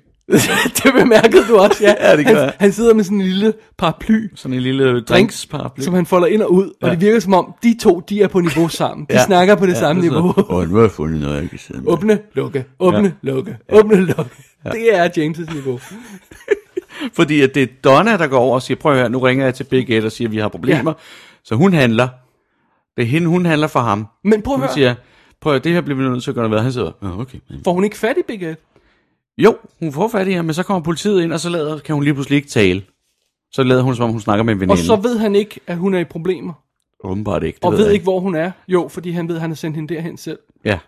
det bemærkede du også, ja.
Ja, det gør
han,
jeg.
han sidder med sådan en lille paraply,
Sådan en lille drinksparaply.
som han folder ind og ud, ja. og det virker som om, de to, de er på niveau sammen. De ja. snakker på det ja, samme niveau.
Og nu har jeg fundet noget, jeg kan sidde med.
Åbne, lukke, åbne, ja. lukke, åbne, lukke. Ja. Det er James' niveau.
Fordi at det er Donna, der går over og siger, prøv at høre, nu ringer jeg til Big Ed og siger, at vi har problemer. Ja. Så hun handler. Det er hende, hun handler for ham.
Men prøv at
Hun
høre,
siger, prøv at høre, det her bliver vi nødt til at gøre noget ved. Han sidder, ja, okay.
får hun ikke fat i Big Ed?
Jo, hun får fat i ham, men så kommer politiet ind, og så lader, kan hun lige pludselig ikke tale. Så lader hun, som om hun snakker med en veninde.
Og så ved han ikke, at hun er i problemer.
Åbenbart ikke. Det
Og
ved
ved
jeg
ikke, hvor hun er. Jo, fordi han ved, at han har sendt hende derhen selv.
Ja,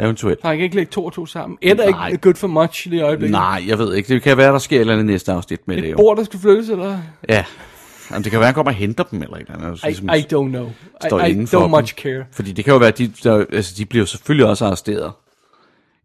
eventuelt.
Så han kan ikke lægge to og to sammen. Et er
Nej.
ikke good for much i det øjeblik.
Nej, jeg ved ikke. Det kan være, der sker et eller andet i næste afsnit med det.
Et
Jo.
bord, der skal flyttes, eller?
Ja. Jamen, det kan være, han kommer og henter dem eller et eller andet.
I,
Ligesom-
I don't know.
står
I, I
indenfor
don't
dem.
much care.
Fordi det kan jo være, at de, der, altså, de bliver jo selvfølgelig også arresteret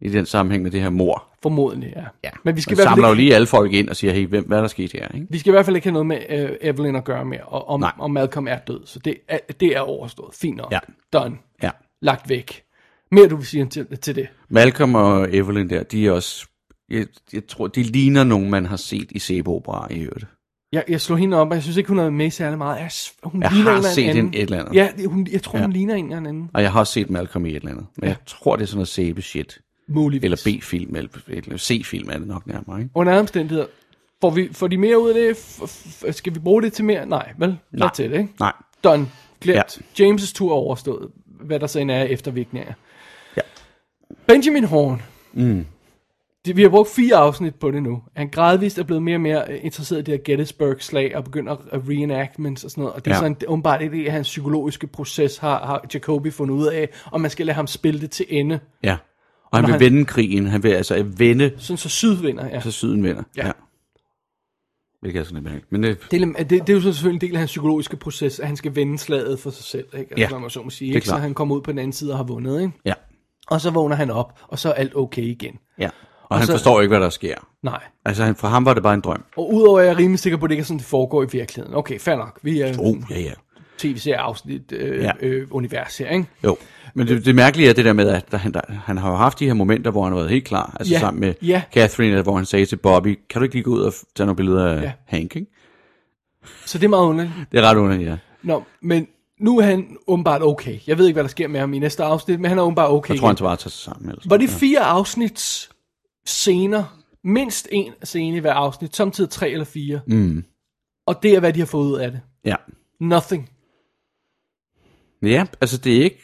i den sammenhæng med det her mor.
Formodentlig, ja. Men vi skal, i
Man
hvert
samler
fald
jo
ikke,
lige alle folk ind og siger, hey, hvem, hvad er der sket her? Ikke?
vi skal i hvert fald ikke have noget med uh, Evelyn at gøre mere. Og, om,
Nej.
om Malcolm er død. Så det er, det er overstået. Fint nok.
Ja.
Done.
Ja.
Lagt væk. Mere du vil sige til, til det.
Malcolm og Evelyn der, de er også, jeg, jeg tror, de ligner nogen, man har set i sæbeopera i øvrigt.
Jeg, jeg slog hende op, og jeg synes ikke, hun har været med særlig meget. Jeg, s- hun
Jeg
ligner en
har
eller
set
anden.
hende et eller andet.
Ja, det- hun, jeg tror,
Ja.
hun ligner en eller anden.
Og jeg har også set Malcolm i et eller andet. Men ja. jeg tror, det er sådan noget sæbe-shit.
Muligvis.
Eller B-film, eller et eller andet- C-film er det nok nærmere, ikke?
Under alle omstændigheder, får, vi, får de mere ud af det? F- f- skal vi bruge det til mere? Nej, vel? Nej. til det, ikke?
Nej.
Done. Glemt. Ja. James' tur er overstået. Hvad der så end er eftervirkninger.
Ja.
Benjamin Horn. Mm. Det, vi har brugt fire afsnit på det nu. Han gradvist er blevet mere og mere øh, interesseret i det her Gettysburg-slag, og begynder at reenactments og sådan noget. Og det er
Ja.
ja. sådan åbenbart det, at hans psykologiske proces har, har Jacobi fundet ud af, og man skal lade ham spille det til ende.
Ja. Og han
Når
vil
han-
vende krigen. Han vil altså vende,
Sådan så sydvinder, ja.
så syden vinder.
Ja.
Hvilket er sådan lidt mærkeligt. Men det,
Det, er- det, det er jo så selvfølgelig en del af hans psykologiske proces, at han skal vende slaget for sig selv, ikke? Altså,
Ja,
ja, man så må sige,
det er
ikke? Så
klart.
han kommer ud på den anden side og har vundet, ikke?
ja.
Og så vågner han op, og så er alt okay igen.
Ja. Og, og han
så-
forstår ikke, hvad der sker.
Nej.
Altså, han, for ham var det bare en drøm.
Og udover at jeg er rimelig sikker på, at det ikke er sådan, det foregår i virkeligheden. Okay, fair nok. Vi er
Oh, ja, ja.
tv-serie-afsnit øh,
Ja.
ja. øh, univers her, ikke?
Jo. Men det, det mærkelige er det der med, at der, han, der, han har jo haft de her momenter, hvor han har været helt klar. Altså
Ja,
sammen med
ja.
Catherine, hvor han sagde til Bobby, kan du ikke lige gå ud og f- tage nogle billeder af
Ja.
Hank, ikke?
Så det er meget underligt.
Det er ret underligt, ja.
Nå, men nu er han åbenbart okay. Jeg ved ikke, hvad der sker med ham i næste afsnit, men han er åbenbart okay.
Jeg tror,
igen.
han bare tager sig sammen. altså. Eller
Var
sådan.
det fire afsnits scener, mindst en scene i hver afsnit, samtidig tre eller fire. Mm. Og det er, hvad de har fået ud af det.
Ja.
Nothing.
Ja, altså det er ikke...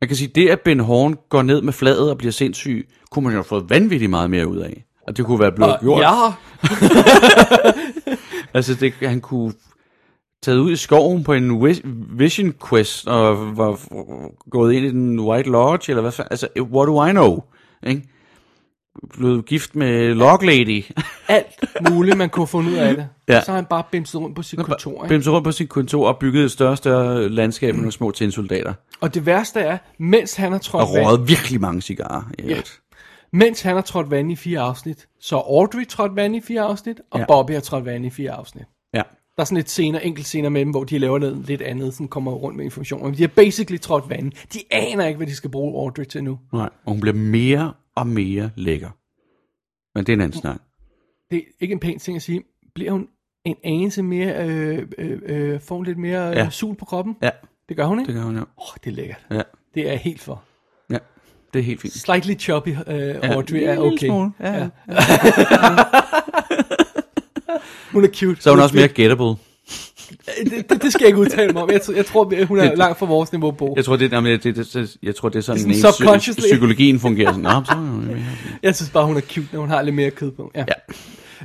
Man kan sige, det at Ben Horn går ned med fladet og bliver sindssyg, kunne man jo have fået vanvittigt meget mere ud af. Og det kunne være blevet gjort.
ja,
Altså, det, han kunne taget ud i skoven på en wi- vision quest og var f- gået ind i den White Lodge, eller hvad fanden, altså, what do I know? Ikke? Blevet gift med Log Lady.
alt muligt, man kunne have fundet ud af det.
Ja.
Så har han bare bimset rundt på sit kontor. Ikke?
Bimse rundt på sit kontor og bygget et større og større landskab med nogle små tinsoldater.
Og det værste er, mens han har trådt
Og
vand,
røget virkelig mange cigarer. i øvrigt.
mens han har trådt vand i fire afsnit, så er Audrey trådt vand i fire afsnit, og
Ja.
ja. Bobby har trådt vand i fire afsnit.
ja.
Der er sådan lidt scener, enkelt scener med dem, hvor de laver noget lidt andet, sådan kommer rundt med information. Men de har basically trådt vand. De aner ikke, hvad de skal bruge Audrey til nu.
Nej. Og hun bliver mere og mere lækker. Men det er en anden snak.
det er ikke en pæn ting at sige, bliver hun en anelse mere, øh, øh, øh, får hun lidt mere øh,
Ja.
ja. sul på kroppen?
Ja,
Det gør hun, ikke?
det gør hun jo.
Åh, oh, det er lækkert.
Ja.
Det er jeg helt for.
ja. Det er helt fint.
Slightly choppy øh, Audrey
en
er
lille
okay.
smule. Ja, ja.
Hun er cute.
Så er hun også mere gettable.
det, det, det skal jeg ikke udtale mig om. Jeg, tr- jeg tror,
(laughs)
hun er
Det-
langt fra vores niveau, Bo.
Jeg tror, det, jamen, det, det, det, jeg tror, det er sådan,
Det er
det
sådan
er sådan psy-
subconsciously.
psykologien fungerer. Sådan, Nå, så, er jeg-
(laughs) Jeg synes bare, hun er cute, når hun har lidt mere kød på. Ja.
Ja.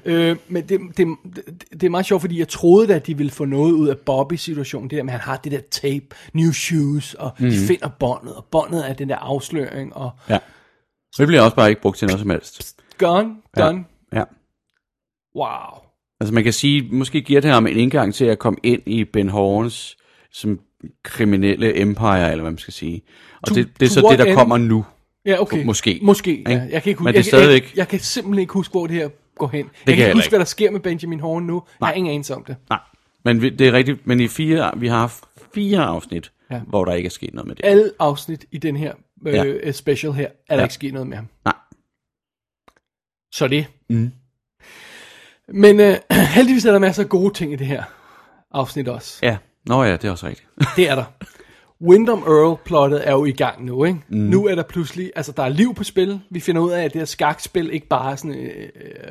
Øh, men det, det, det, det er meget sjovt, fordi jeg troede da, at de ville få noget ud af Bobby-situationen. Det der med, at han har det der tape, new shoes, og mm. de finder båndet, og båndet er den der afsløring, og
ja. Det bliver også bare ikke brugt til noget som helst.
gone, done.
Ja.
Wow.
Altså man kan sige, måske giver det ham en indgang til at komme ind i Ben Horns som kriminelle empire, eller hvad man skal sige. Og
To-
det, det er
to
så
what
det, der
end?
kommer nu.
Ja, okay.
Måske.
Måske, ja.
Ikke?
Jeg kan ikke huske.
Men det er
jeg, jeg,
stadigvæk-
jeg, jeg kan simpelthen ikke huske, hvor det her går hen. jeg
kan
kan
jeg
ikke
heller
huske,
ikke.
hvad der sker med Benjamin Horn nu. Jeg har ingen anelse om det.
Nej, men vi, det er rigtigt. Men i fire, vi har haft fire afsnit,
Ja.
ja. hvor der ikke er sket noget med det.
Alle afsnit i den her øh,
Ja.
special her, er der
Ja.
ikke sket noget med ham.
Nej.
Så det.
Mm.
Men øh, (clears throat) heldigvis er der masser af gode ting i det her afsnit også.
Ja, nå ja, det er også rigtigt.
Det er der. Wyndham Earl-plottet er jo i gang nu, ikke? Mm. Nu er der pludselig, altså der er liv på spil. Vi finder ud af, at det her skakspil ikke bare er sådan,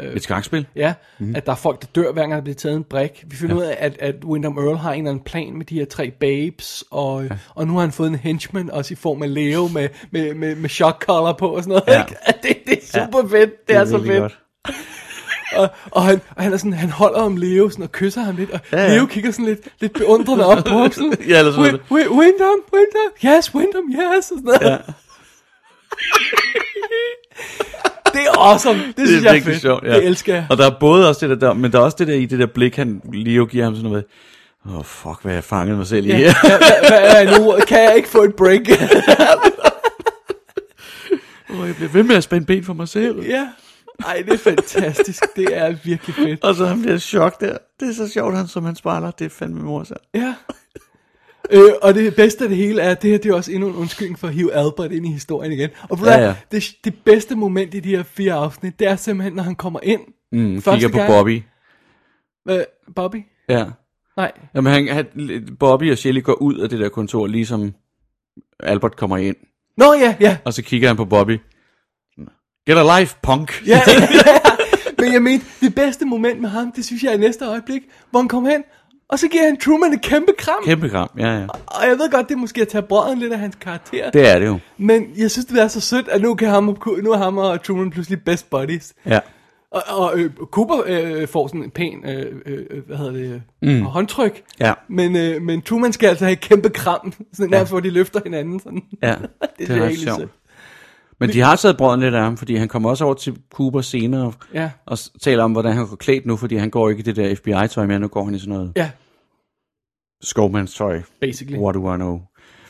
øh,
Et skakspil.
ja, mm. at der er folk, der dør, hver gang der bliver taget en brik. Vi finder ja. ud af, at, at Wyndham Earl har en eller anden plan med de her tre babes, og, ja. og nu har han fået en henchman, også i form af Leo med, med, med, med shock collar på og sådan noget,
Ja.
ikke? (laughs) At Det, det er super fedt, det, det er, så fedt. Og, og, han, og han, er sådan, han holder om Leo sådan, og kysser ham lidt, og ja, ja.
ja.
Leo kigger sådan lidt, lidt beundrende op på ham. (laughs) Sådan,
Ja, eller sådan
"Wi- wi- Wyndham, Wyndham, yes, Wyndham, yes, og sådan noget. Ja. (laughs) det er awesome, det, det synes jeg er fedt. Sjovt, ja. Det elsker jeg.
Og der er både også det der, men der er også det der i det der blik, han lige giver ham sådan noget. med, Åh, oh, fuck, hvad har jeg fanget mig selv i (laughs) her.
Hvad, hvad er jeg nu? Kan jeg ikke få et break?
Åh, jeg bliver ved med at spænde ben for mig selv.
ja. Ej, det er fantastisk. Det er virkelig fedt.
Og så ham der chok der. Det er så sjovt, han som han spejler. Det er fandme morsomt.
Ja. Øh, og det bedste af det hele er, at det her det er også endnu en undskyldning for at hive Albert ind i historien igen. Og ja,
Ja,
ja.
ja.
Det, det bedste moment i de her fire afsnit, det er simpelthen, når han kommer ind.
Mm,
Første
kigger på
gang-
Bobby.
Øh, Bobby?
Ja.
Nej.
Jamen, han, han, Bobby og Shelly går ud af det der kontor, ligesom Albert kommer ind.
Nå ja, ja.
Og så kigger han på Bobby. Get a life, punk. (laughs)
ja, Men jeg mente, det bedste moment med ham, det synes jeg er i næste øjeblik, hvor han kommer hen, og så giver han Truman et kæmpe kram.
Kæmpe gram, ja, ja.
Og jeg ved godt, det er måske at tage brøden lidt af hans karakter.
Det er det jo.
Men jeg synes, det er så sødt, at nu, kan ham, og- nu er ham og Truman pludselig best buddies.
Ja.
Og, og øh, Cooper øh, får sådan en pæn, øh, øh, hvad hedder det, øh, mm. håndtryk.
Ja.
Men, øh, men Truman skal altså have et kæmpe kram, (laughs) sådan nærmest, ja. hvor de løfter hinanden. Sådan.
Ja,
(laughs) det,
(laughs) det er
er
ret
helt
sjovt.
sødt.
Men de har taget brøden lidt af ham, fordi han kommer også over til Cooper senere
Ja.
og s- taler om, hvordan han går klædt nu, fordi han går ikke i det der FBI-tøj mere, nu går han i sådan noget
Ja,
skovmandstøj.
basically.
What do I know?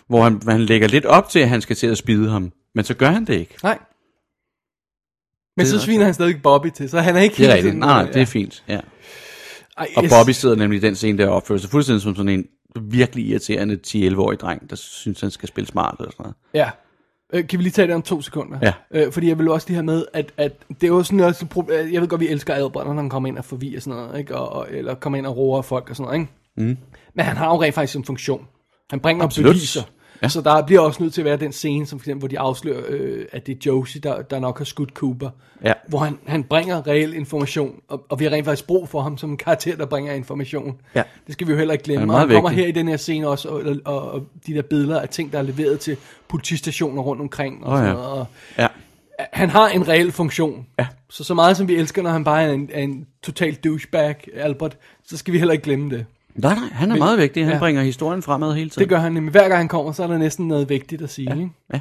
Hvor han, han lægger lidt op til, at han skal til at spide ham, men så gør han det ikke.
Nej. Men
Det
så
er
sviner han stadig Bobby til, så han er ikke
Det er
helt
rigtigt.
sådan,
Nej, nej,
øh,
det er fint. Ja.
Ej,
Og
jeg-
Bobby sidder nemlig i den scene der og opfører sig fuldstændig som sådan en virkelig irriterende 10-11-årig dreng, der synes, han skal spille smart eller sådan noget.
Ja. Øh, Kan vi lige tage det om to sekunder?
Ja.
Øh, fordi jeg vil også lige have med, at, at det er jo sådan også et problem. Jeg ved godt, vi elsker Albert, når han kommer ind og forvirrer sådan noget, ikke? Og, og, eller kommer ind og roer folk og sådan noget, ikke? Mm. Men han har jo rent faktisk en funktion. Han bringer Absolut.
Absolut.
beviser. Ja. Så der bliver også nødt til at være den scene, som for eksempel, hvor de afslører, øh, at det er Josie, der, der nok har skudt Cooper.
Ja.
Hvor han, han bringer reel information, og, og vi har rent faktisk brug for ham som en karakter, der bringer information.
Ja.
Det skal vi jo heller ikke glemme.
Han er
Og han
meget
kommer
vigtig.
her i den her scene også, og, og, og de der billeder af ting, der er leveret til politistationer rundt omkring. Og
Åh,
oh,
ja.
sådan noget. Og,
Ja.
han har en reel funktion. Ja. Så så meget som vi elsker, når han bare er en, er en total douchebag, Albert, så skal vi heller ikke glemme det.
Nej, nej, han er meget vigtig. Han
ja.
bringer historien fremad hele tiden.
Det gør han nemlig. Hver gang han kommer, så er der næsten noget vigtigt at sige. Ja. Ikke?
Ja.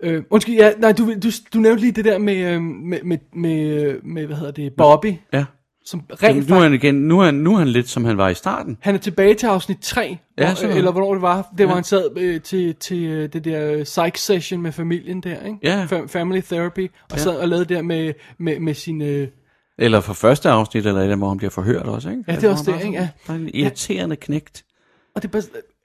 Øh, undskyld, ja, nej, du, du, du nævnte lige det der med, øh, med, med, med, med hvad hedder det, Bobby,
Ja.
som rent
Jamen, nu
faktisk,
er han igen, nu er, han, nu er han lidt som han var i starten.
han er tilbage til afsnit 3,
Ja,
hvor,
sådan noget.
eller hvornår det var, det ja. hvor
Ja.
han sad øh, til, til øh, det der øh, psych session med familien der, ikke?
Ja.
Fam- family therapy, og ja. sad og lavede det der med, med, med sin... Øh,
Eller fra første afsnit, eller et af dem, hvor han bliver forhørt også, ikke? Altså,
Ja, det er
Hvor
også
han
det,
bare
ikke?
sådan- Bare en irriterende knægt.
og det er bare,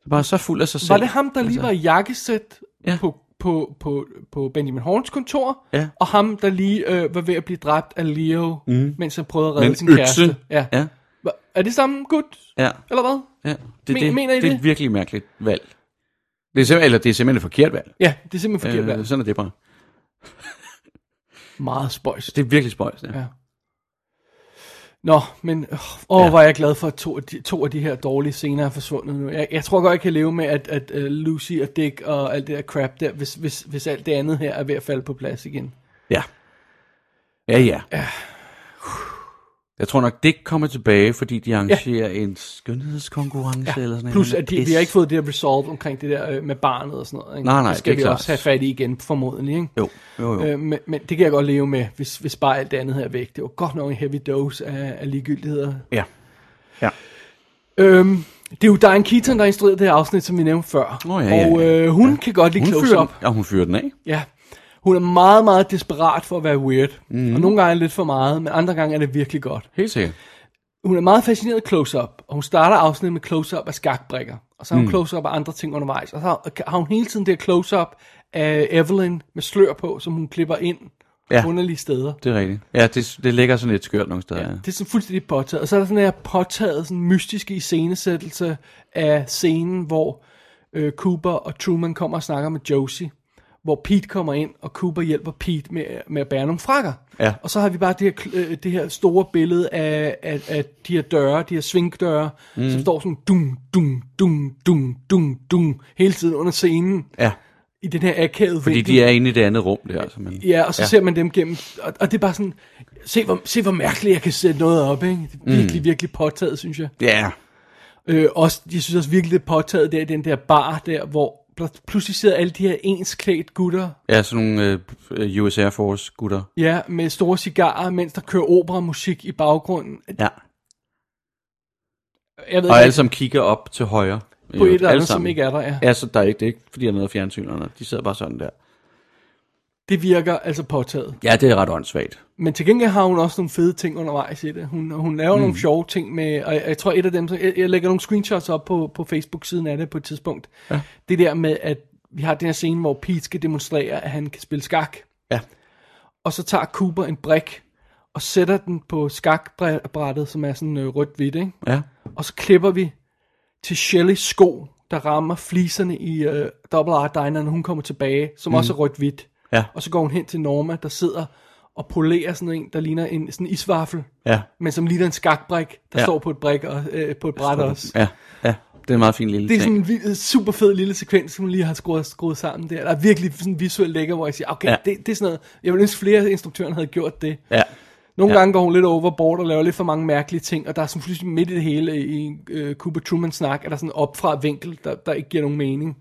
Bare så fuld af sig selv.
Var det ham, der lige var i jakkesæt ja.
altså- Ja.
på, på, på, på Benjamin Horns kontor?
Ja.
Og ham, der lige øh, var ved at blive dræbt af Leo, mm. mens han prøvede at redde
Mhm. Men
sin
økse.
kæreste. Ja.
Ja,
Hva- Er det samme gut?
ja,
Eller hvad?
ja. Det,
Men-
det,
mener I
det, er
det?
et virkelig mærkeligt valg. Det er simpelthen, eller det er simpelthen et forkert valg.
Ja, det er simpelthen forkert.
øh,
valg.
sådan er det bare.
Meget spøjs.
Det er virkelig spøjs, ja.
Ja. Nå, men øh, åh, ja.
Ja.
hvor er jeg glad for, at to af de, to af de her dårlige scener er forsvundet nu. Jeg, jeg tror godt, jeg kan leve med, at, at uh, Lucy og Dick og alt det der crap der, hvis, hvis, hvis alt det andet her er ved at falde på plads igen.
Ja, ja. ja. Jeg tror nok, det kommer tilbage, fordi de arrangerer ja. en skønhedskonkurrence ja. eller sådan
Plus,
noget
at de, vi har ikke fået det resolved omkring det der øh, med barnet og sådan noget. Ikke?
Nej, nej,
det skal
det er
vi
klart.
også have fat i igen, formodentlig. Ikke?
Jo, jo, jo.
Øh, men, men, det kan jeg godt leve med, hvis, hvis bare alt det andet her er væk. Det var godt nok en heavy dose af, af ligegyldigheder.
Ja.
Øhm, det er jo Diane Keaton, der instruerede det her afsnit, som vi nævnte før.
Nå, ja, ja,
og
ja,
øh, hun kan godt lide
Hun
close
fyrer,
up.
den, ja, hun fyrer den af.
Ja. Hun er meget, meget desperat for at være weird. Mm. Og nogle gange er det lidt for meget, men andre gange er det virkelig godt.
Helt sikkert.
Hun er meget fascineret af close-up, og hun starter afsnittet med close-up af skakbrikker. Og så har hun mm. close-up af andre ting undervejs. Og så har- har hun hele tiden det her close-up af Evelyn med slør på, som hun klipper ind
Ja.
ja. underlige steder.
Det er rigtigt. Ja, det, det ligger sådan lidt skørt nogle steder.
Ja.
Ja.
Det er sådan fuldstændig påtaget. Og så er der sådan her påtaget sådan mystiske iscenesættelse af scenen, hvor øh, Cooper og Truman kommer og snakker med Josie. Hvor Pete kommer ind, og Cooper hjælper Pete med, med at bære nogle frakker.
Ja.
Og så har vi bare det her, kl- øh, det her store billede af, af, af de her døre, de her svingdøre,
Mhm.
mm. som står sådan dum, dum, dum, dum, dum, dum, hele tiden under scenen.
ja.
I den her akavede
Fordi
vinkel.
de er inde i det andet rum der. Så man,
Ja, og så ja. ser man dem gennem, og, og det er bare sådan, se hvor, se hvor mærkeligt jeg kan sætte noget op, ikke? Det er virkelig, mm. virkelig påtaget, synes jeg.
ja.
Øh, også, jeg synes også virkelig, det er påtaget der i den der bar der, hvor pl- pludselig sidder alle de her ensklædt gutter,
ja, sådan nogle øh, US Air Force gutter.
ja, med store cigarer, mens der kører operamusik i baggrunden.
Ja.
Jeg ved
Og alle
ikke,
sammen kigger op til højre.
på et eller andet, som ikke er der, ja.
Ja, så der er ikke, det er ikke, fordi der er noget fjernsyn eller noget. De sidder bare sådan der.
Det virker altså påtaget.
Ja, det er ret åndssvagt.
Men til gengæld har hun også nogle fede ting undervejs i det. Hun, hun laver mm. nogle sjove ting med, og jeg, jeg tror et af dem, så jeg, jeg lægger nogle screenshots op på, på Facebook-siden af det på et tidspunkt. Ja. Det der med, at vi har den her scene, hvor Pete skal demonstrere, at han kan spille skak.
Ja.
Og så tager Cooper en brik og sætter den på skakbrættet, som er sådan øh, rødt-hvidt, ikke?
Ja.
Og så klipper vi til Shellys sko, der rammer fliserne i øh, Double R Diner, når hun kommer tilbage, som mm. også er rødt-hvidt.
Ja.
Og så går hun hen til Norma, der sidder og polerer sådan en, der ligner en sådan en isvaffel,
Ja.
men som ligner en skakbrik, der
Ja.
ja. står på et brik og, øh, på et bræt også.
Ja. Ja. Det er en meget fin lille
Det er
ting.
sådan en vild- super fed lille sekvens, som hun lige har skruet, skruet sammen der. Der er virkelig sådan visuelt lækker, hvor jeg siger, okay,
Ja.
ja. det, det, er sådan noget. Jeg ville ønske, flere af instruktørerne havde gjort det.
Ja.
Nogle
Ja.
ja. gange går hun lidt overboard og laver lidt for mange mærkelige ting, og der er sådan pludselig midt i det hele i øh, Cooper Truman snak, er der sådan en opfra vinkel, der, der ikke giver nogen mening.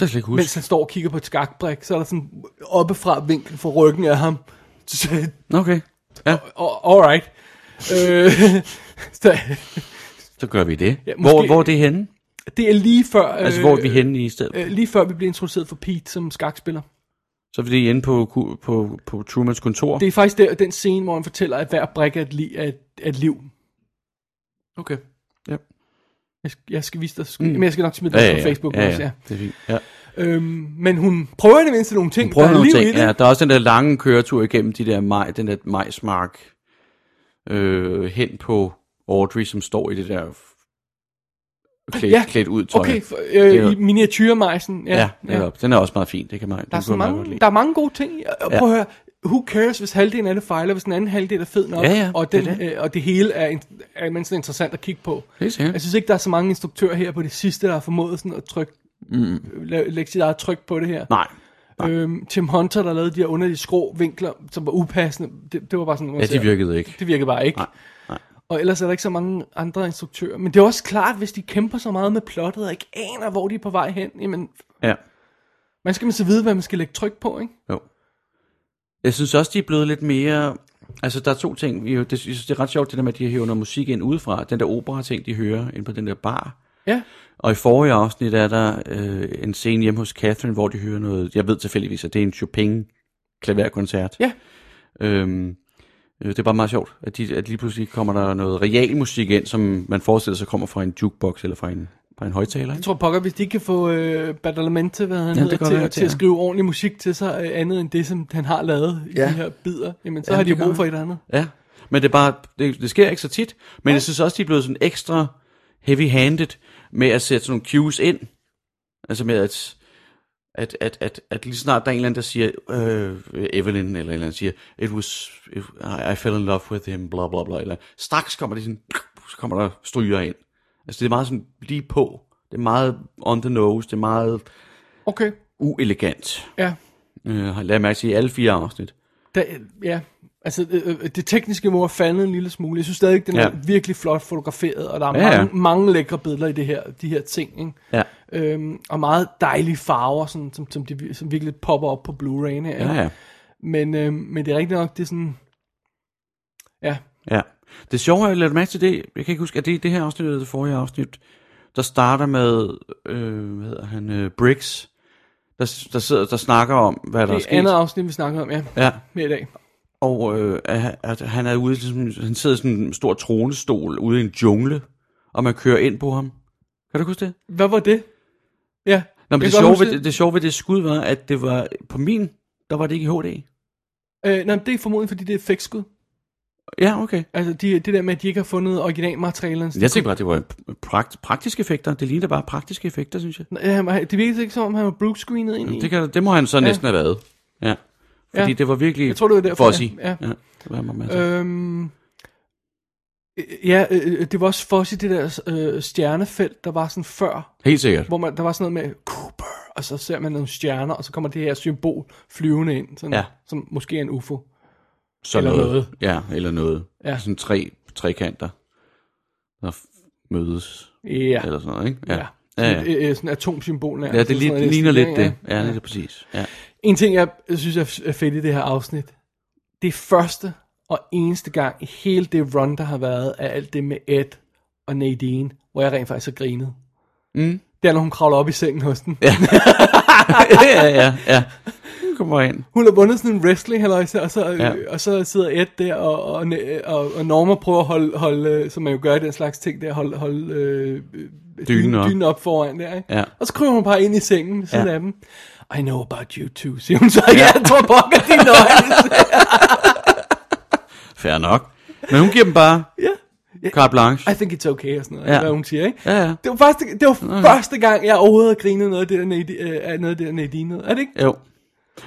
Det kan jeg slet ikke
Mens
huske.
han står og kigger på et skakbræk, så er der sådan oppefra vinkel for ryggen af ham. (laughs) Så
Nå, Okay. Ja,
Oh, alright. øh, (laughs) så,
så gør vi det.
Ja, måske-
hvor, hvor er det henne?
det er lige før... Øh,
Altså, hvor er vi henne i stedet?
Øh, lige før vi bliver introduceret for Pete som skakspiller.
Så er vi inde på, ku- på, på Trumans kontor.
Det er faktisk der, den scene, hvor han fortæller, at hver brik er et, li- er et, er et liv.
Okay. Ja.
Jeg skal, jeg skal vise dig, sk- mm. men jeg skal nok smide
Ja,
det
ja,
på
ja.
Facebook
ja, ja.
også, ja.
Det er fint. Ja.
Øhm, men hun prøver i det mindste nogle ting,
Prøv
der er
nogle
liv
ting.
i det.
Ja, der er også den der lange køretur igennem de der maj, den der majsmark øh, hen på Audrey, som står i det der f- klædt, ja.
Ja,
klædt ud tøj.
Okay, for,
Det er
øh,
jo-
i miniatyrmejsen. Ja,
Ja, ja. Den er også meget fin. Det kan man,
Der er,
den kunne
så
jeg meget godt lide.
mange, der er mange gode ting. i- Og
Ja.
prøv at høre, who cares, hvis halvdelen af det fejler, hvis den anden halvdel er fed nok,
Ja, ja,
og,
det
den,
er det.
Øh, og det hele er, en, er mindst interessant at kigge på.
Helt sikkert.
Jeg synes ikke, der er så mange instruktører her på det sidste, der har formået sådan at trykke, mm. læ- lægge sit eget tryk på det her.
Nej.
Øhm, Tim Hunter, der lavede de her underlige skrå vinkler, som var upassende, det, det var bare sådan...
Ja, de virkede ikke.
Det virkede bare ikke.
Nej, nej.
Og ellers er der ikke så mange andre instruktører. Men det er også klart, hvis de kæmper så meget med plottet, og ikke aner, hvor de er på vej hen, jamen,
Ja.
man skal man så vide, hvad man skal lægge tryk på, ikke?
Jo. Jeg synes også, de er blevet lidt mere... Altså, der er to ting. Vi jo- det- Jeg synes, det er ret sjovt, det der med, at de hører noget musik ind udefra. Den der opera-ting, de hører ind på den der bar.
Ja.
Og i forrige afsnit er der øh, en scene hjemme hos Catherine, hvor de hører noget... Jeg ved tilfældigvis, at det er en Chopin-klaverkoncert.
Ja.
Øhm, øh, det er bare meget sjovt, at, de, at lige pludselig kommer der noget real musik ind, som man forestiller sig kommer fra en jukebox eller fra en, fra en højtaler.
Jeg
ikke?
tror pokker, hvis de ikke kan få øh, Badalamente, hvad han
det
ja, hedder,
kan
til,
være,
at- til
ja.
at skrive ordentlig musik til sig, øh, andet end det, som han har lavet i
Ja.
de her bidder, jamen så
Ja,
har de
det
jo
kan
brug for
være.
et eller andet.
Ja, men det er bare, det, det sker ikke så tit, men jeg synes også, de er blevet sådan ekstra heavy-handed med at sætte sådan nogle cues ind. Altså med at, at, at, at, at lige snart der er en eller anden, der siger, øh, Evelyn eller en eller anden siger, it was, it, I- I fell in love with him, bla bla bla, eller straks kommer det sådan, så kommer der stryger ind. Altså det er meget sådan lige på, det er meget on the nose, det er meget
Okay,
uelegant.
ja.
Øh, har jeg lagt mærke til i alle fire afsnit.
Da, ja. Altså, øh, øh, det tekniske må have faldet en lille smule. Jeg synes stadig, den er
Ja.
virkelig flot fotograferet, og der er
Ja, ja.
mange, mange lækre billeder i det her, de her ting. Ikke?
Ja.
Øhm, og meget dejlige farver, sådan, som, som, de, vir- som virkelig popper op på Blu-ray'en her.
Ja, ja.
Men, øhm, men det er rigtigt nok, det er sådan... Ja,
Ja. Det sjove er, at mærke til det, jeg kan ikke huske, er det i det her afsnit eller det forrige afsnit, der starter med, øh, hvad hedder han, øh, Briggs, der, der, sidder, der snakker om, hvad der er
det
sket.
er andet afsnit, vi snakker om, ja,
Ja,
her i dag.
og øh, at, at han er ude, ligesom, han sidder i sådan en stor tronestol ude i en jungle, og man kører ind på ham. Kan du huske det?
Hvad var det? Ja,
Nå, men
jeg
det
kan godt
sjove,
huske
ved, det, det sjove ved det skud var, at det var på min, der var det ikke i HD.
Øh, nej, men det er formodentlig, fordi det er fækskud.
Ja, okay.
Altså, de, det der med, at de ikke har fundet originalmaterialerne.
Jeg tænkte bare, at det var prakt, praktiske effekter. Det lignede bare praktiske effekter, synes jeg.
Ja, men det virkede ikke som om, han øh, var bluescreenet ind i.
Det, kan, det må han så ja. næsten have været. Ja. Fordi
Ja.
det var virkelig
Jeg tror, det var derfor,
fuzzy.
ja. Ja.
ja. Det var man øh,
Øhm, øh, ja, øh, øh, det var også fuzzy, det der øh, stjernefelt, der var sådan før,
Helt sikkert.
hvor man, der var sådan noget med Cooper, og så ser man nogle stjerner, og så kommer det her symbol flyvende ind, sådan,
Ja.
som måske er en UFO.
Så
eller noget.
Ja, eller noget.
Ja.
Ja. Sådan tre trekanter, der f- mødes.
Ja,
Eller sådan noget, ikke?
Ja.
Ja. Ja, ja.
Sådan, et, øh, øh, sådan atomsymbolen
ja det, li- det ligner lidt det. Ja, det er præcis. Ja.
En ting, jeg synes er er fedt i det her afsnit, det er første og eneste gang i hele det run, der har været af alt det med Ed og Nadine, hvor jeg rent faktisk har grinet. Mm. Det er, når hun kravler op i sengen hos den. Ja.
ja, ja, ja. Nu kommer jeg ind.
Hun har vundet sådan en wrestling halløjse, og så, ja.
Ja.
og så sidder Ed der, og, og, Ne- og, og Norma prøver at holde, holde, øh, som man jo gør i den slags ting der, holde, holde øh, øh, dynen,
op.
dynen op foran der. Ikke?
Ja.
Og så kryber hun bare ind i sengen ved siden
Ja.
af dem. I know about you too, siger hun så. Ja, (laughs) jeg tror pokker, de nøjes. (laughs)
Fair nok. Men hun giver dem bare
ja.
carte blanche.
I think it's okay, og sådan noget,
Ja.
ja. hvad hun siger, ikke?
Ja, Mm. ja.
Det var, første, det var første gang, jeg overhovedet havde grinet noget af det der, Nadine, øh, af noget af det der Nadine, noget. er det ikke?
Jo.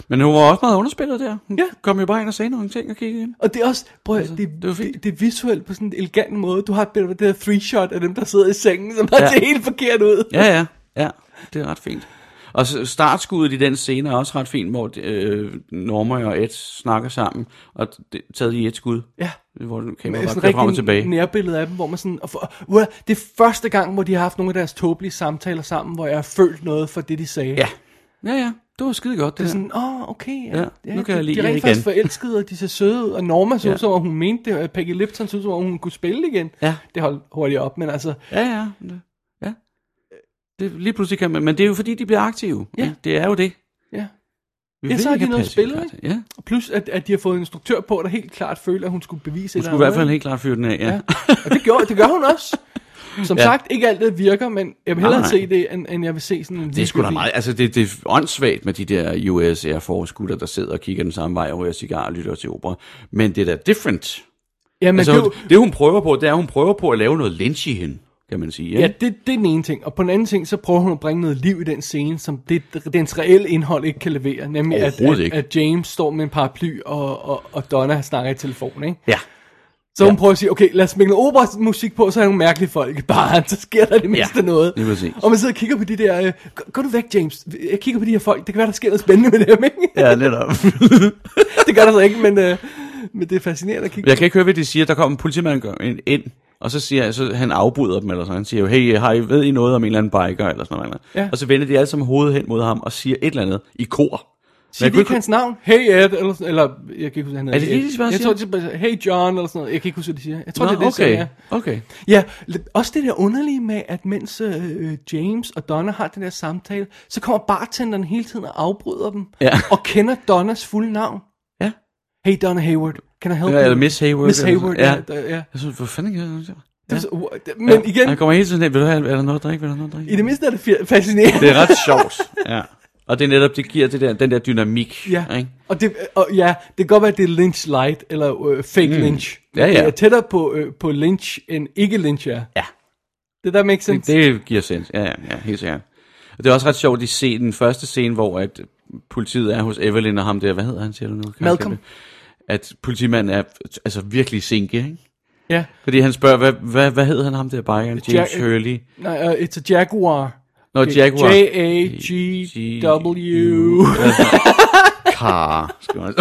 Men hun var også meget underspillet der. Hun
Ja.
ja. kom jo bare ind og sagde nogle ting og kiggede ind.
Og det er også, prøv at, det,
Altså, det var
det,
fint.
det, det, er visuelt på sådan en elegant måde. Du har et billede af det der three-shot af dem, der sidder i sengen, som bare ja.
Ja.
ser helt forkert ud.
Ja, ja, ja. Det er ret fint. Og så startskuddet i den scene er også ret fint, hvor øh, Norma og Ed snakker sammen, og det, taget i et skud,
Ja.
hvor den
Men
kamera
sådan
bare
et
kører frem og
rigtig
tilbage.
nærbillede af dem, hvor man sådan... Og for, uh, det er første gang, hvor de har haft nogle af deres tåbelige samtaler sammen, hvor jeg har følt noget for det, de sagde.
Ja. Ja, ja. Det var skide godt, det, det
Sådan, åh, oh, okay.
Ja, nu kan
de,
jeg lide
de er
jer
rent faktisk
igen.
forelskede, og de ser søde ud. Og Norma så ud,
Ja.
som om hun mente det, og Peggy Lipton så ud, som om hun kunne spille igen.
Ja.
Det holdt hurtigt op, men altså...
Ja, ja. Det- ja. Det, lige pludselig kan man, men det er jo fordi, de bliver aktive. Ja. Det er jo det.
Ja.
Vi
Ja,
vil
så har
ikke
de
have
noget at
passive
spille,
karakter.
ikke?
Ja.
Plus, at, at de har fået en instruktør på, der helt klart føler, at hun skulle bevise
Hun
et
skulle i hvert fald helt klart fyre den af, ja.
Ja. Og det, gjorde, det gør hun også. Som ja.
Ja.
sagt, ikke alt det virker, men jeg vil
Nej,
hellere
nej.
se det, end, end jeg vil se sådan en
Det er sgu da
videobevis.
meget, altså det, det er åndssvagt med de der US Air Force gutter, der sidder og kigger den samme vej og ryger cigar og lytter til opera. Men det er da different.
Jamen,
altså,
det, er jo-
det, hun prøver på, det er, at hun prøver på at lave noget lynch i hende, kan man sige. Ikke?
Ja, det, det er den ene ting. Og på den anden ting, så prøver hun at bringe noget liv i den scene, som det, dens reelle indhold ikke kan levere. Nemlig at, at,
Overhovedet ikke.
at James står med en paraply, og, og, og Donna snakker i telefon, ikke?
ja.
Så hun
Ja.
prøver at sige, okay, lad os smække noget operamusik på, så er nogle mærkelige folk i baren, (laughs) så sker der det mindste noget.
lige præcis.
Og man sidder og kigger på de der, øh, gå, gå du væk, James, jeg kigger på de her folk, det kan være, der sker noget spændende med dem, ikke?
ja netop.
(laughs) det gør der så ikke, men, øh, men det er fascinerende at kigge.
(laughs) jeg kan ikke høre, hvad de siger. Der kommer en politimand gør- ind- ind, og så siger så han afbryder dem, eller sådan. Han siger jo, hey, har I, ved I noget om en eller anden biker, eller sådan noget.
Ja.
Ja. Og så vender de alle sammen hovedet hen mod ham og siger et eller andet i kor.
Siger
jeg
de
kunne
ikke hans navn? Hey Ed, eller, sådan- eller jeg kan ikke huske, han hedder
Er det det, de bare
Jeg
siger?
tror, de bare siger, hey John, eller sådan noget. Jeg kan ikke huske, hvad de siger. Jeg tror,
Nå,
det er det, de siger,
okay.
ja.
okay.
Ja, l- også det der underlige med, at mens øh, øh, James og Donna har den der samtale, så kommer bartenderen hele tiden og afbryder dem,
Ja.
og kender Donnas fulde navn.
Ja.
Hey Donna Hayward, can I help
Eller,
you?
eller Miss Hayward.
Miss
eller
Hayward,
sådan-
ja. ja. ja.
Jeg synes, hvad fanden gør jeg?
Det er så- wha- det- Men
ja.
igen,
Han kommer hele tiden hen, vil du have, er der noget at drikke, vil du have noget at drikke?
i det mindste er det fi- fascinerende.
det er ret sjovt, ja. Og det er netop, det giver det der, den der dynamik,
Ja,
ikke?
og det, og ja, det kan godt være, at det er Lynch Light, eller øh, fake mm. Lynch.
Ja, ja.
Det er tættere på, øh, på Lynch, end ikke Lynch er.
Ja.
Det der makes sense.
Det, det giver sens, ja, ja, ja, helt sikkert. Og det er også ret sjovt, de se den første scene, hvor at politiet er hos Evelyn og ham der, hvad hedder han, siger du nu? Kan jeg
Malcolm.
ikke det? At politimanden er altså virkelig sinke, ikke?
Ja.
Fordi han spørger, hvad, hvad, hvad hedder han ham der, Bayern? James
Jack-
Hurley?
Nej, uh, it's a Jaguar.
Nå, Jaguar. G-
E
E
J-A-G-W.
Car, skal man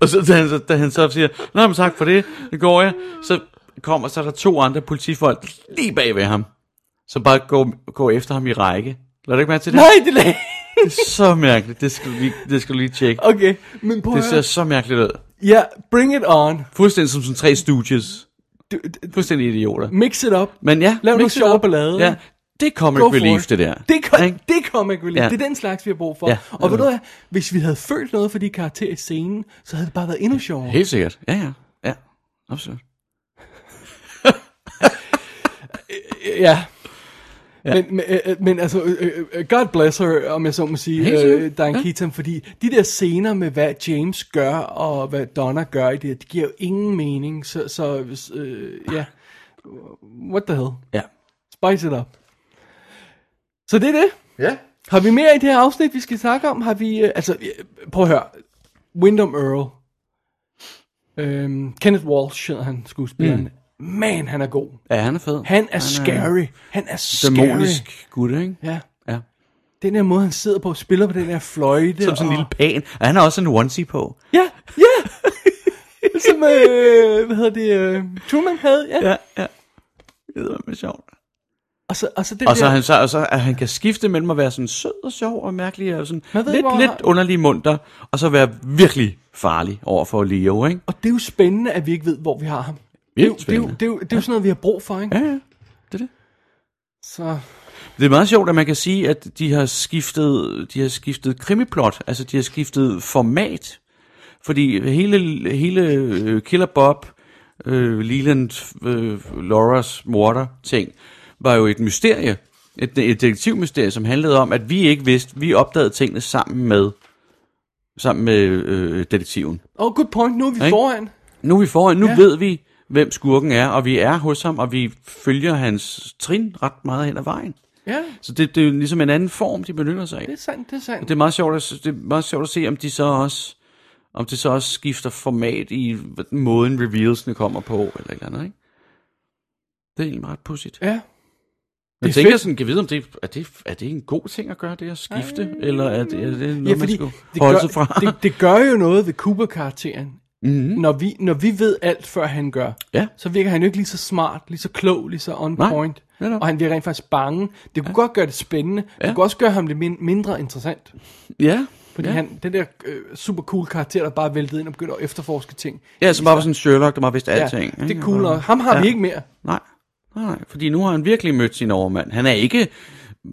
og så da, han, så- da han så siger, Nå, men tak for det, nu går jeg. Så kommer, så er der to andre politifolk lige bag ved ham, som bare går, går efter ham i række. Lad du ikke mærke til det?
(laughs) Nej, det er
Det er så mærkeligt. Det skal du lige, det skal du lige tjekke.
Okay, men prøv
Det
at
ser
høre.
så mærkeligt ud.
Ja, bring it on.
Fuldstændig som sådan tre stooges.
Du, d-
Fuldstændig idioter.
mix it up.
Men ja,
Lav nogle
mix it
sjove
up.
ballader.
Ja, det er comic
Go for
relief,
it.
det der.
Det, kom,
Ikke?
det kom ikke relief.
Ja.
Ja. Det er den slags, vi har brug for.
Ja,
og ved
det
du
er
hvad, hvis vi havde følt noget for de karakterer i scenen, så havde det bare været endnu sjovere.
Helt sikkert. Ja, ja. Ja, absolut.
Ja. ja. Men, men, øh, øh, men altså, øh, øh, øh, God bless her, om jeg så må sige,
Helt
øh,
sikkert.
Dan
Ja.
ja. Keaton, fordi de der scener med, hvad James gør, og hvad Donna gør i det, her, det giver jo ingen mening, så, så hvis, øh, ja, what the hell,
Ja.
spice it up. Så det er det.
Ja.
Har vi mere i det her afsnit, vi skal snakke om? Har vi, øh, altså, øh, prøv at høre, Wyndham Earl, øhm, Kenneth Walsh hedder han, skuespilleren, mm. man, han er god.
Ja, han er fed.
Han er scary. Han er scary.
Dæmonisk gutte, ikke?
Ja.
Ja.
Den her måde, han sidder på og spiller på den her fløjte.
Som sådan en
og...
lille pan. Og han har også en onesie på.
Ja, ja. (laughs) Som, øh, hvad hedder det, øh, Truman havde, ja. ja.
ja. Det er med sjovt.
Og så, og så det
Og så,
der,
er han, så, og så at han kan skifte mellem at være sådan sød og sjov og mærkelig og sådan
Man ved
lidt,
ikke, hvor han
lidt
har-
underlig munter, og så være virkelig farlig over for Leo, ikke?
og det er jo spændende, at vi ikke ved, hvor vi har ham. Det er jo, det er jo, det er jo, det er jo sådan noget, vi har brug for, ikke?
Ja, ja. Det er det.
Så,
Det er meget sjovt, at man kan sige, at de har skiftet, de har skiftet krimiplot, altså de har skiftet format, fordi hele, hele øh, Killer Bob, øh, Leland, øh, Laura's morter ting, var jo et mysterie, et, et detektivmysterie, som handlede om, at vi ikke vidste, vi opdagede tingene sammen med, sammen med øh, detektiven.
oh, good point, nu er vi
Ikke?
foran.
Nu er vi foran, nu ja.
Ja.
ved vi, hvem skurken er, og vi er hos ham, og vi følger hans trin ret meget hen ad vejen.
Ja,
Så det, det er jo ligesom en anden form, de benytter sig af.
det er sandt, det er sandt.
Det er meget sjovt at, det er meget sjovt at se, om de så også om det så også skifter format i hvordan- måden revealsene kommer på, eller et eller andet, ikke? Det er egentlig meget pudsigt.
Ja.
Jeg
er
tænker
fedt.
sådan, kan jeg vide, om det er, er det, er det en god ting at gøre det, at skifte, Ej. eller er det, er det noget,
Ja,
man
fordi
skal
det
holde
gør,
sig fra? Mhm.
det, det gør jo noget ved Cooper-karakteren. Mm-hmm. Når, vi, når vi ved alt, før han gør,
(laughs) Ja.
så virker han jo ikke lige så smart, lige så klog, lige så on
Nej,
point.
netop.
Og han bliver rent faktisk bange. Det kunne ja. godt gøre det spændende. Ja.
Ja.
Det kunne også gøre ham lidt min- mindre interessant.
ja.
Fordi
ja.
ja. han, den der øh, super cool karakter, der bare væltede ind og begyndte at efterforske ting.
ja, så bare var sådan en Sherlock, der bare vidste alting.
ja, det
ikke?
er cool. Og ham har ja. vi ikke mere.
Nej. Nej, nej, fordi nu har han virkelig mødt sin overmand. Han er ikke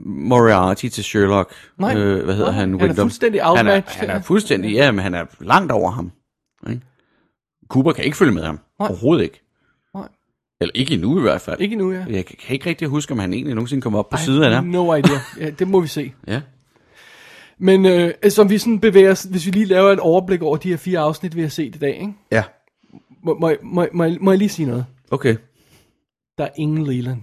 Moriarty til Sherlock.
Nej.
Øh, hvad hedder
Nej,
han?
han er
Wyndham.
fuldstændig
Han
outmatched.
er, han er fuldstændig, ja, men han er langt over ham. Ikke? Cooper kan ikke følge med ham.
Nej.
Overhovedet ikke.
Nej.
Eller ikke endnu i hvert fald.
Ikke endnu, ja.
Jeg kan- kan ikke rigtig huske, om han egentlig nogensinde kommer op på siden af ham.
No idea. Ja, det må vi se.
Ja.
Men øh, som vi sådan bevæger os, hvis vi lige laver et overblik over de her fire afsnit, vi har set i dag, ikke?
Ja.
Må, må, jeg- må, jeg- må, jeg- må jeg lige sige noget?
Okay.
Der er ingen Leland.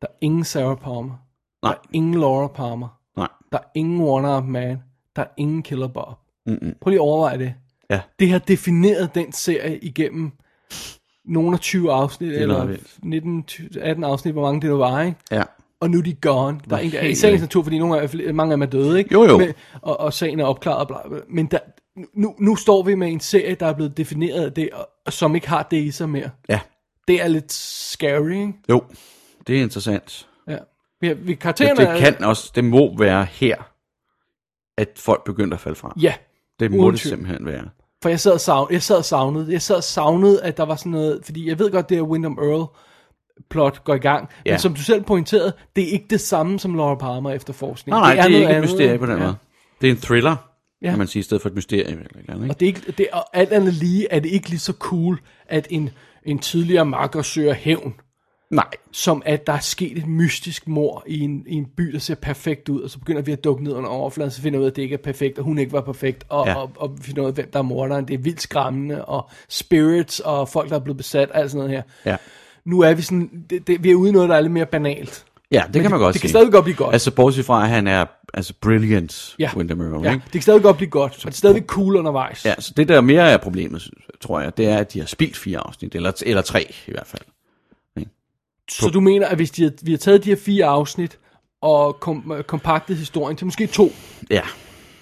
Der er ingen Sarah Palmer.
Nej.
Der er ingen Laura Palmer.
Nej.
Der er ingen One Arm Man. Der er ingen Killer Bob.
Mm-mm.
Prøv lige at overveje det.
Ja.
Det har defineret den serie igennem nogle af 20 afsnit,
er meget
eller
vildt.
19, 20, 18 afsnit, hvor mange det nu var, ikke?
Ja.
Og nu er de gone. Der er ingen, I
helt
sagens
vildt.
natur, fordi nogle af, mange af dem er døde, ikke?
Jo, jo.
Men, og, og sagen er opklaret, og bla, bla. men der, nu, nu står vi med en serie, der er blevet defineret af det, og, og som ikke har det i sig mere.
Ja.
Det er lidt scary, ikke?
Jo. Det er interessant.
Ja. Vi, vi
Det,
karaktererne
det
er-
kan også, det må være her, at folk begynder at falde fra.
Ja,
Det må
uden
det
tvivl.
simpelthen være.
for jeg sad, og savn, jeg sad og savnede, jeg sad og savnede, at der var sådan noget, fordi jeg ved godt, det er Wyndham Earl plot går i gang, ja.
Ja.
men som du selv pointerede, det er ikke det samme som Laura Palmer efterforskning.
Nej, nej, det er,
noget
ikke et
andet,
mysterie på den
ja.
ja. måde. Det er en thriller, ja.
Ja.
kan man sige, i stedet for et mysterium. Eller et eller andet, ikke?
Og det er ikke, det, og alt andet lige er det ikke lige så cool, at en, en tidligere makker søger hævn,
Nej.
som at der er sket et mystisk mor i en, i en by, der ser perfekt ud, og så begynder vi at dukke ned under overfladen, så finder vi ud af, at det ikke er perfekt, og hun ikke var perfekt, og,
Ja.
ja. og, og vi finder ud af, hvem der er morderen. Det er vildt skræmmende, og spirits, og folk, der er blevet besat, og alt sådan noget her.
Ja,
Nu er vi sådan, det, det, vi er ude i noget, der er lidt mere banalt.
ja det kan man godt
det kan
sige.
stadig godt blive godt.
Altså, bortset fra, at han er altså, brilliant,
Ja.
ja. Windham Earl.
Ja,
Ja.
det kan stadig godt blive godt, og det er stadig cool undervejs.
ja, så det der mere er problemet, tror jeg, det er, at de har spildt fire afsnit, eller, eller tre i hvert fald.
Så du mener, at hvis de har, vi har taget de her fire afsnit og kom, øh, kompaktet historien til måske to,
Ja,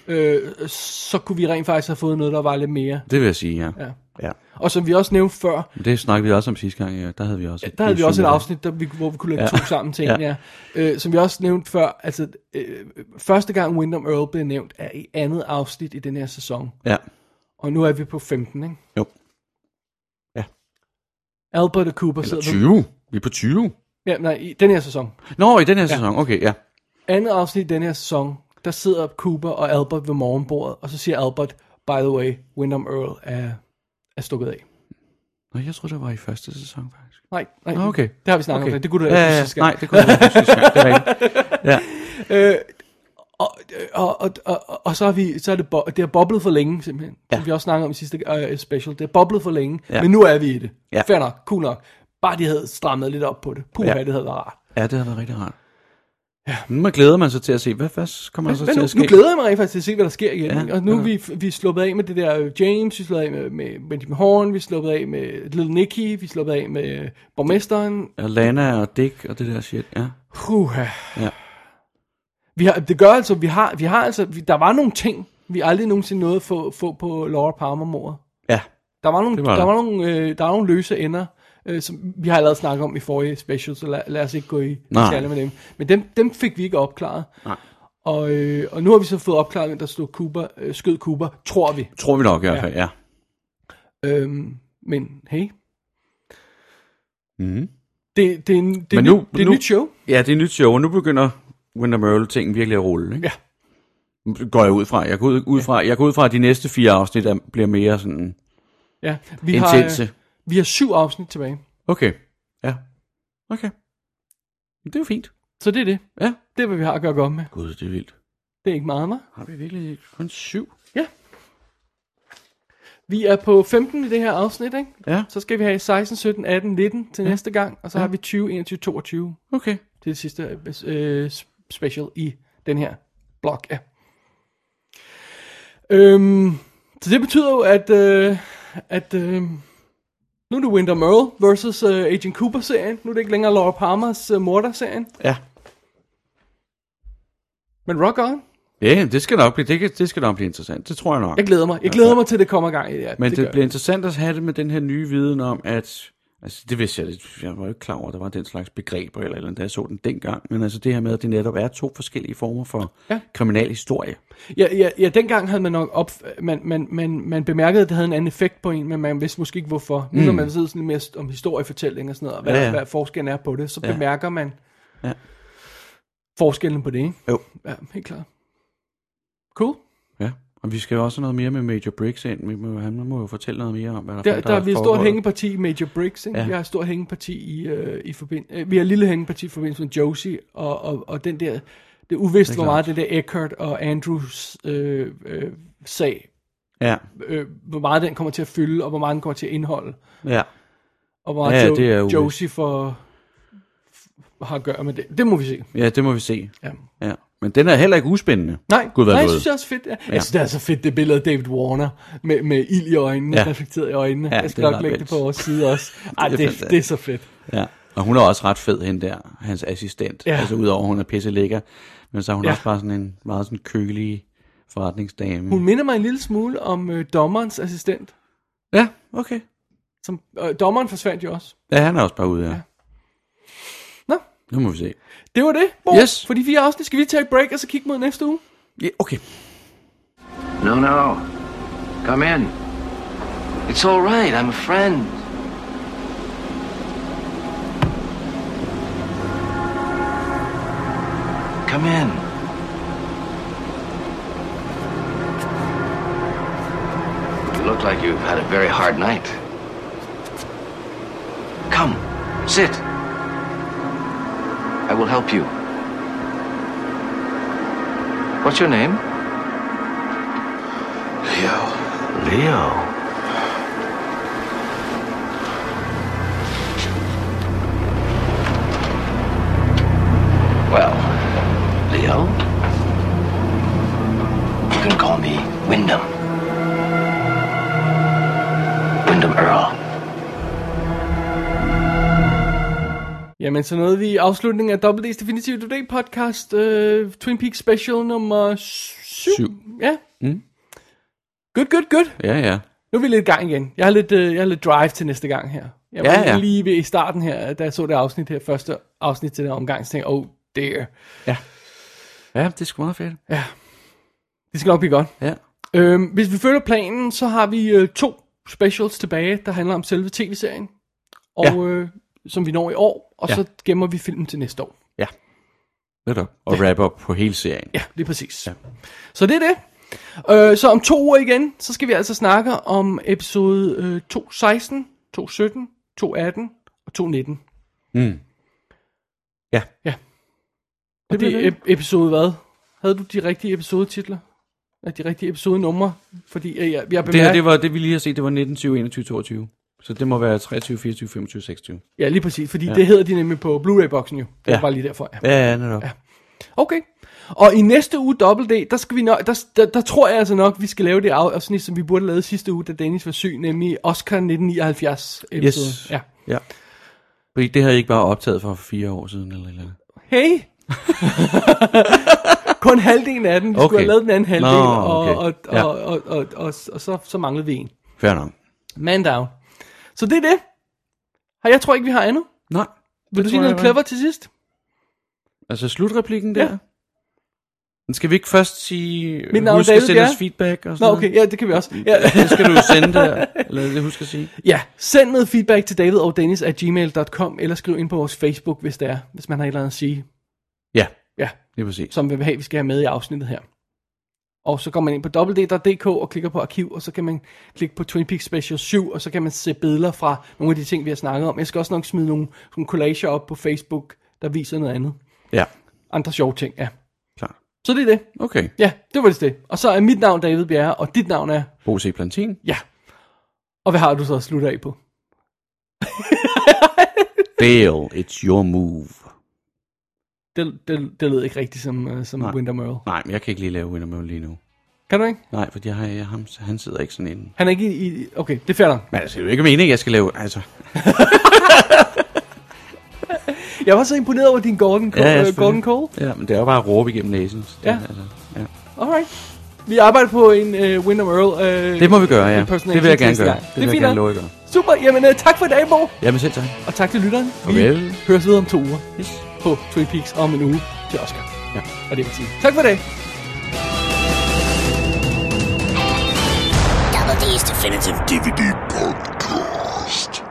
øh, så kunne vi rent faktisk have fået noget, der var lidt mere.
Det vil jeg sige, ja.
Ja.
ja.
Og som vi også nævnte før,
Det snakkede vi også om sidste gang, ja. Der havde vi også,
der havde vi også et
syvende.
afsnit, der vi, hvor vi kunne lægge
Ja.
ja. to sammen til en, ja. Øh, som vi også nævnte før, altså øh, første gang Wyndham Earl blev nævnt, er i andet afsnit i den her sæson.
Ja,
Og nu er vi på 15, ikke?
jo.
Albert og Cooper
Eller
sidder på...
20. Vi er på 20.
Ja, nej, i den her sæson.
Nå, i den her sæson, okay, ja.
Andet afsnit i den her sæson, der sidder Cooper og Albert ved morgenbordet, og så siger Albert, by the way, Wyndham Earl er, er stukket af.
Nå, jeg tror det var i første sæson, faktisk.
Nej,
Nå,
nej,
Ah, okay.
det har vi snakket okay. om, det kunne du da
ja,
ikke
ja,
sidste gang.
Nej, det kunne du ikke sidste
(laughs)
gang, det er rigtigt. Ja.
og, og, og, og, og så, er vi, så er det, bo, det er boblet for længe, simpelthen. Ja. Som vi også snakkede om i sidste øh, special. Det er boblet for længe,
Ja.
ja. men nu er vi i det.
Ja.
Fair nok, cool nok. Bare de havde strammet lidt op på det. Puh,
Ja.
ja. det havde været rart.
ja, det har været rigtig rart. Ja, nu glæder man sig til at se, hvad, hvad kommer der så
Men
til
nu,
at ske?
nu glæder jeg mig rent faktisk til at se, hvad der sker igen.
Ja,
Ja. Og nu er
ja.
vi, vi er sluppet af med det der øh, James, vi er sluppet af med, med Benjamin Horn, vi er sluppet af med Little Nicky, vi er sluppet af med øh, borgmesteren.
Ja, Lana og Dick og det der shit, ja.
Puh,
Ja.
Vi har, det gør altså, vi har, vi har altså, vi, der var nogle ting, vi aldrig nogensinde nåede at få, få på Laura Palmer-mordet.
Ja,
Der var nogle,
Det var
var der
der.
var nogle, øh, der var nogle løse ender, øh, som vi har allerede snakket om i forrige special, så lad, lad os ikke gå i
Nej.
detaljer med dem. Men dem, dem fik vi ikke opklaret. Nej. Og, øh, og nu har vi så fået opklaret, hvem der stod Cooper, øh, skød Cooper, tror vi.
tror vi nok i hvert fald, ja.
Øhm, men hey,
Mm-hmm.
det, det er, en, det er, en
Men nu-
ny, det er
nu-
et nyt show.
Ja, det er et nyt show, og nu begynder Winter Merle ting virkelig at rulle, ikke?
Ja.
Går jeg ud fra. Jeg går ud, ud fra, jeg går ud fra at de næste fire afsnit er, bliver mere sådan...
Ja, vi
Intense.
Har, øh, vi har syv afsnit tilbage,
Okay. Ja. Okay. Men Det er jo fint.
så det er det.
Ja.
Det er, hvad vi har at gøre godt med.
Gud, det er vildt.
Det er ikke meget, hva'?
Har vi virkelig kun syv?
Ja. Vi er på 15 i det her afsnit, ikke?
Ja.
Så skal vi have 16, 17, 18, 19 til ja. næste gang, og så ja. har vi 20, 21, 22
Okay.
til det sidste øh, special i den her blok. Ja. Øhm, så det betyder jo, at, øh, at øh, nu er det Winter Merle versus øh, Agent Cooper-serien. Nu er det ikke længere Laura Palmers øh, morder-serien.
Ja.
Men rock on.
Ja, det skal nok blive, det, kan, det skal nok blive interessant. Det tror jeg nok.
Jeg glæder mig. Jeg glæder mig til, det kommer i gang i det her.
Men det,
gør
det
jeg.
bliver interessant at have det med den her nye viden om, at... Altså, det vidste jeg lidt. Jeg var jo ikke klar over, at der var den slags begreber, eller, eller andet, da jeg så den dengang. Men altså, det her med, at det netop er to forskellige former for ja.
Ja.
kriminalhistorie.
Ja, ja, ja, dengang havde man nok op, man, man, man, man bemærkede, at det havde en anden effekt på en, men man vidste måske ikke hvorfor. Nu når man ved sådan lidt mere om historiefortælling og sådan noget, og hvad,
Ja,
Mm. ja,
ja.
ja. hvad forskellen er på det, så
Ja.
bemærker man
Ja.
ja. forskellen på det, ikke?
Jo.
Ja, helt klart. Cool.
Ja, og vi skal jo også have noget mere med Major Briggs ind. Vi må, han må jo fortælle noget mere om, hvad der,
Der, der, er vi et stort
foregået.
hængeparti i Major Briggs, ikke?
Ja.
Ja. Vi har et stort hængeparti i, øh, i forbind, øh, vi har et lille hængeparti i forbindelse med Josie, og, og, og den der, det er uvist,
er
hvor
klart.
meget det der Eckhart og Andrews øh, øh, sag,
Ja,
øh, hvor meget den kommer til at fylde, og hvor meget den kommer til at indeholde.
ja.
Og hvor meget
Ja,
ja, jo,
det er
det
jo-
er Josie for, for, har at gøre med det. Det må vi se.
ja, det må vi se.
Ja.
Ja. Men den er heller ikke uspændende.
Nej,
Gud, hvad
nej jeg
noget.
synes det er også fedt. Ja.
Ja.
Jeg synes, det er så fedt, det billede af David Warner med, med ild i øjnene,
Ja.
ja. reflekteret i øjnene.
Ja,
Ja, jeg skal
det er
nok
ret
lægge
vildt.
det på vores side
(laughs)
også. Ej, det,
fantastisk.
det, det er så fedt.
Ja. Og hun er også ret fed, hende der, hans assistent. Ja.
Ja.
Altså udover, at hun er pisse lækker. Men så er hun ja.
Ja.
også bare sådan en meget sådan kølig forretningsdame.
Hun minder mig en lille smule om øh, dommerens assistent.
Ja, okay.
Som, øh, dommeren forsvandt jo også.
Ja, han er også bare ude, ja. ja.
Nå.
Nu må vi se.
Det var det, Bo.
Yes.
For de fire afsnit skal vi tage et break, og så kigge mod næste uge.
Ja, okay.
No, no. Come in. It's all right. I'm a friend. Come in. You look like you've had a very hard night. Come, sit. I will help you. What's your name? Leo. Well, Leo, you can call me Wyndham. Wyndham Earl.
Jamen, så nåede vi i afslutningen af WD's Definitive Today podcast, øh, Twin Peaks special nummer 7.
Syv.
Ja.
Mm.
Good, good, good.
Ja, ja.
Nu er vi lidt i gang igen. Jeg har lidt, øh, jeg har lidt drive til næste gang her. Jeg var
Ja,
ja, ja.
ja.
lige ved i starten her, da jeg så det afsnit her, første afsnit til den her omgang, så tænkte jeg, oh dear.
Ja, det er sgu meget fedt.
Det skal nok blive godt.
Ja.
Øhm, hvis vi følger planen, så har vi øh, to specials tilbage, der handler om selve tv-serien, og
Ja.
øh, som vi når i år, og
Ja.
så gemmer vi filmen til næste år.
Ja. Netop. Og wrap up på hele serien.
Ja, lige præcis. Ja. Så det er det. Øh, så om to uger igen, så skal vi altså snakke om episode øh, 216, 217, 218 og 219.
Mm. Ja.
Og
bliver
det er
det.
ep- episode hvad? Havde du de rigtige episodetitler? Ja, de rigtige episodenumre? Fordi øh, jeg, jeg
Det her,
bemærker...
det var det, vi lige har set, det var 19, 20, 21, 22. Så det må være 23, 24, 25, 26.
Ja, lige præcis, fordi ja. det hedder de nemlig på Blu-ray-boksen jo. Det er
Ja.
bare lige derfor, ja.
Ja, ja, netop. Ja.
Okay. Og i næste uge Double D, der, skal vi nok, der, der, der tror jeg altså nok, vi skal lave det af- afsnit, som vi burde lave sidste uge, da Dennis var syg, nemlig Oscar 1979 episode.
Yes.
Ja.
ja. Fordi det havde I ikke bare optaget for fire år siden, eller eller andet. (laughs)
Hey! Kun halvdelen af den. Vi okay.
Okay.
skulle have lavet den anden halvdel,
Nå,
og, og,
okay. Ja.
og, og, og, og, og så, så manglede vi en.
Fair nok.
Man down. Så det er det. Har- Jeg tror ikke, vi har andet.
Nej.
Vil du sige noget clever til sidst?
Altså slutreplikken der?
Ja.
Ja. Men skal vi ikke først sige,
Mit
Mit
navn er
husk at
David
sende
Bjerre.
os feedback og
Nå,
sådan
okay. Ja, det kan vi også. Ja.
noget? Det skal du sende der, eller det husk at sige.
Ja, send noget feedback til David og Dennis at gmail.com, eller skriv ind på vores Facebook, hvis det er, hvis man har et eller andet at sige,
Ja,
ja,
det er præcis.
som vi vil have, vi skal have med i afsnittet her. Og så går man ind på www.dk og klikker på arkiv, og så kan man klikke på Twin Peaks Special 7, og så kan man se billeder fra nogle af de ting, vi har snakket om. Jeg skal også nok smide nogle, nogle collager op på Facebook, der viser noget andet.
Ja,
Andre sjove ting, ja.
klar.
Så det er det.
Okay.
Ja, det var det det. Og så er mit navn David Bjerre, og dit navn er...
Bo C. Plantin.
Ja. Og hvad har du så at slutte af på?
Dale, it's your move.
Det, det, det lød ikke rigtigt som, uh, som Windham Earl.
Nej, men jeg kan ikke lige lave Winner Mode lige nu.
Kan du ikke?
Nej, fordi jeg har, jeg, ham, han sidder ikke sådan inde.
Han er ikke i... i okay, det er fair nok.
Men altså, det er jo ikke meningen, jeg skal lave, altså.
Jeg var så imponeret over din Gordon Cole.
Ja, ja,
Ja,
selvfølgelig.
Gordon Cole.
Ja, men det er jo bare at råbe igennem næsen. så det-
øh, Ja.
Altså, ja.
Alright. Vi arbejder på en uh, Windham Earl. Uh,
Det må vi gøre, ja. Det vil jeg gerne gøre.
Det,
Det vil jeg
fint nok.
gerne love at gøre.
Super. Jamen, uh, tak for i dag, Bo.
Jamen selv tak.
Og tak til lytteren.
Farvel.
Vi høres ved om to uger
Yes.
på Twin Peaks om en uge til Oscar.
Ja.
Og det vil sige. Tak for i dag.
Double D's Definitive DVD Podcast.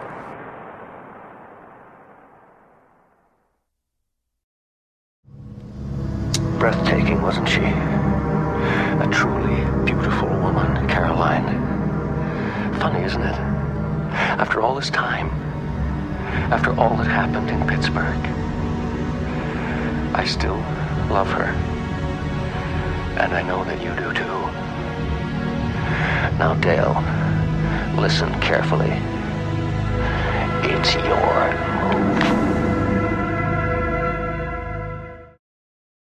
Breathtaking, wasn't she? A truly beautiful woman, Caroline. Funny, isn't it? After all this time, after all that happened in Pittsburgh, I still love her. And I know that you do too. Now, Dale, listen carefully. It's your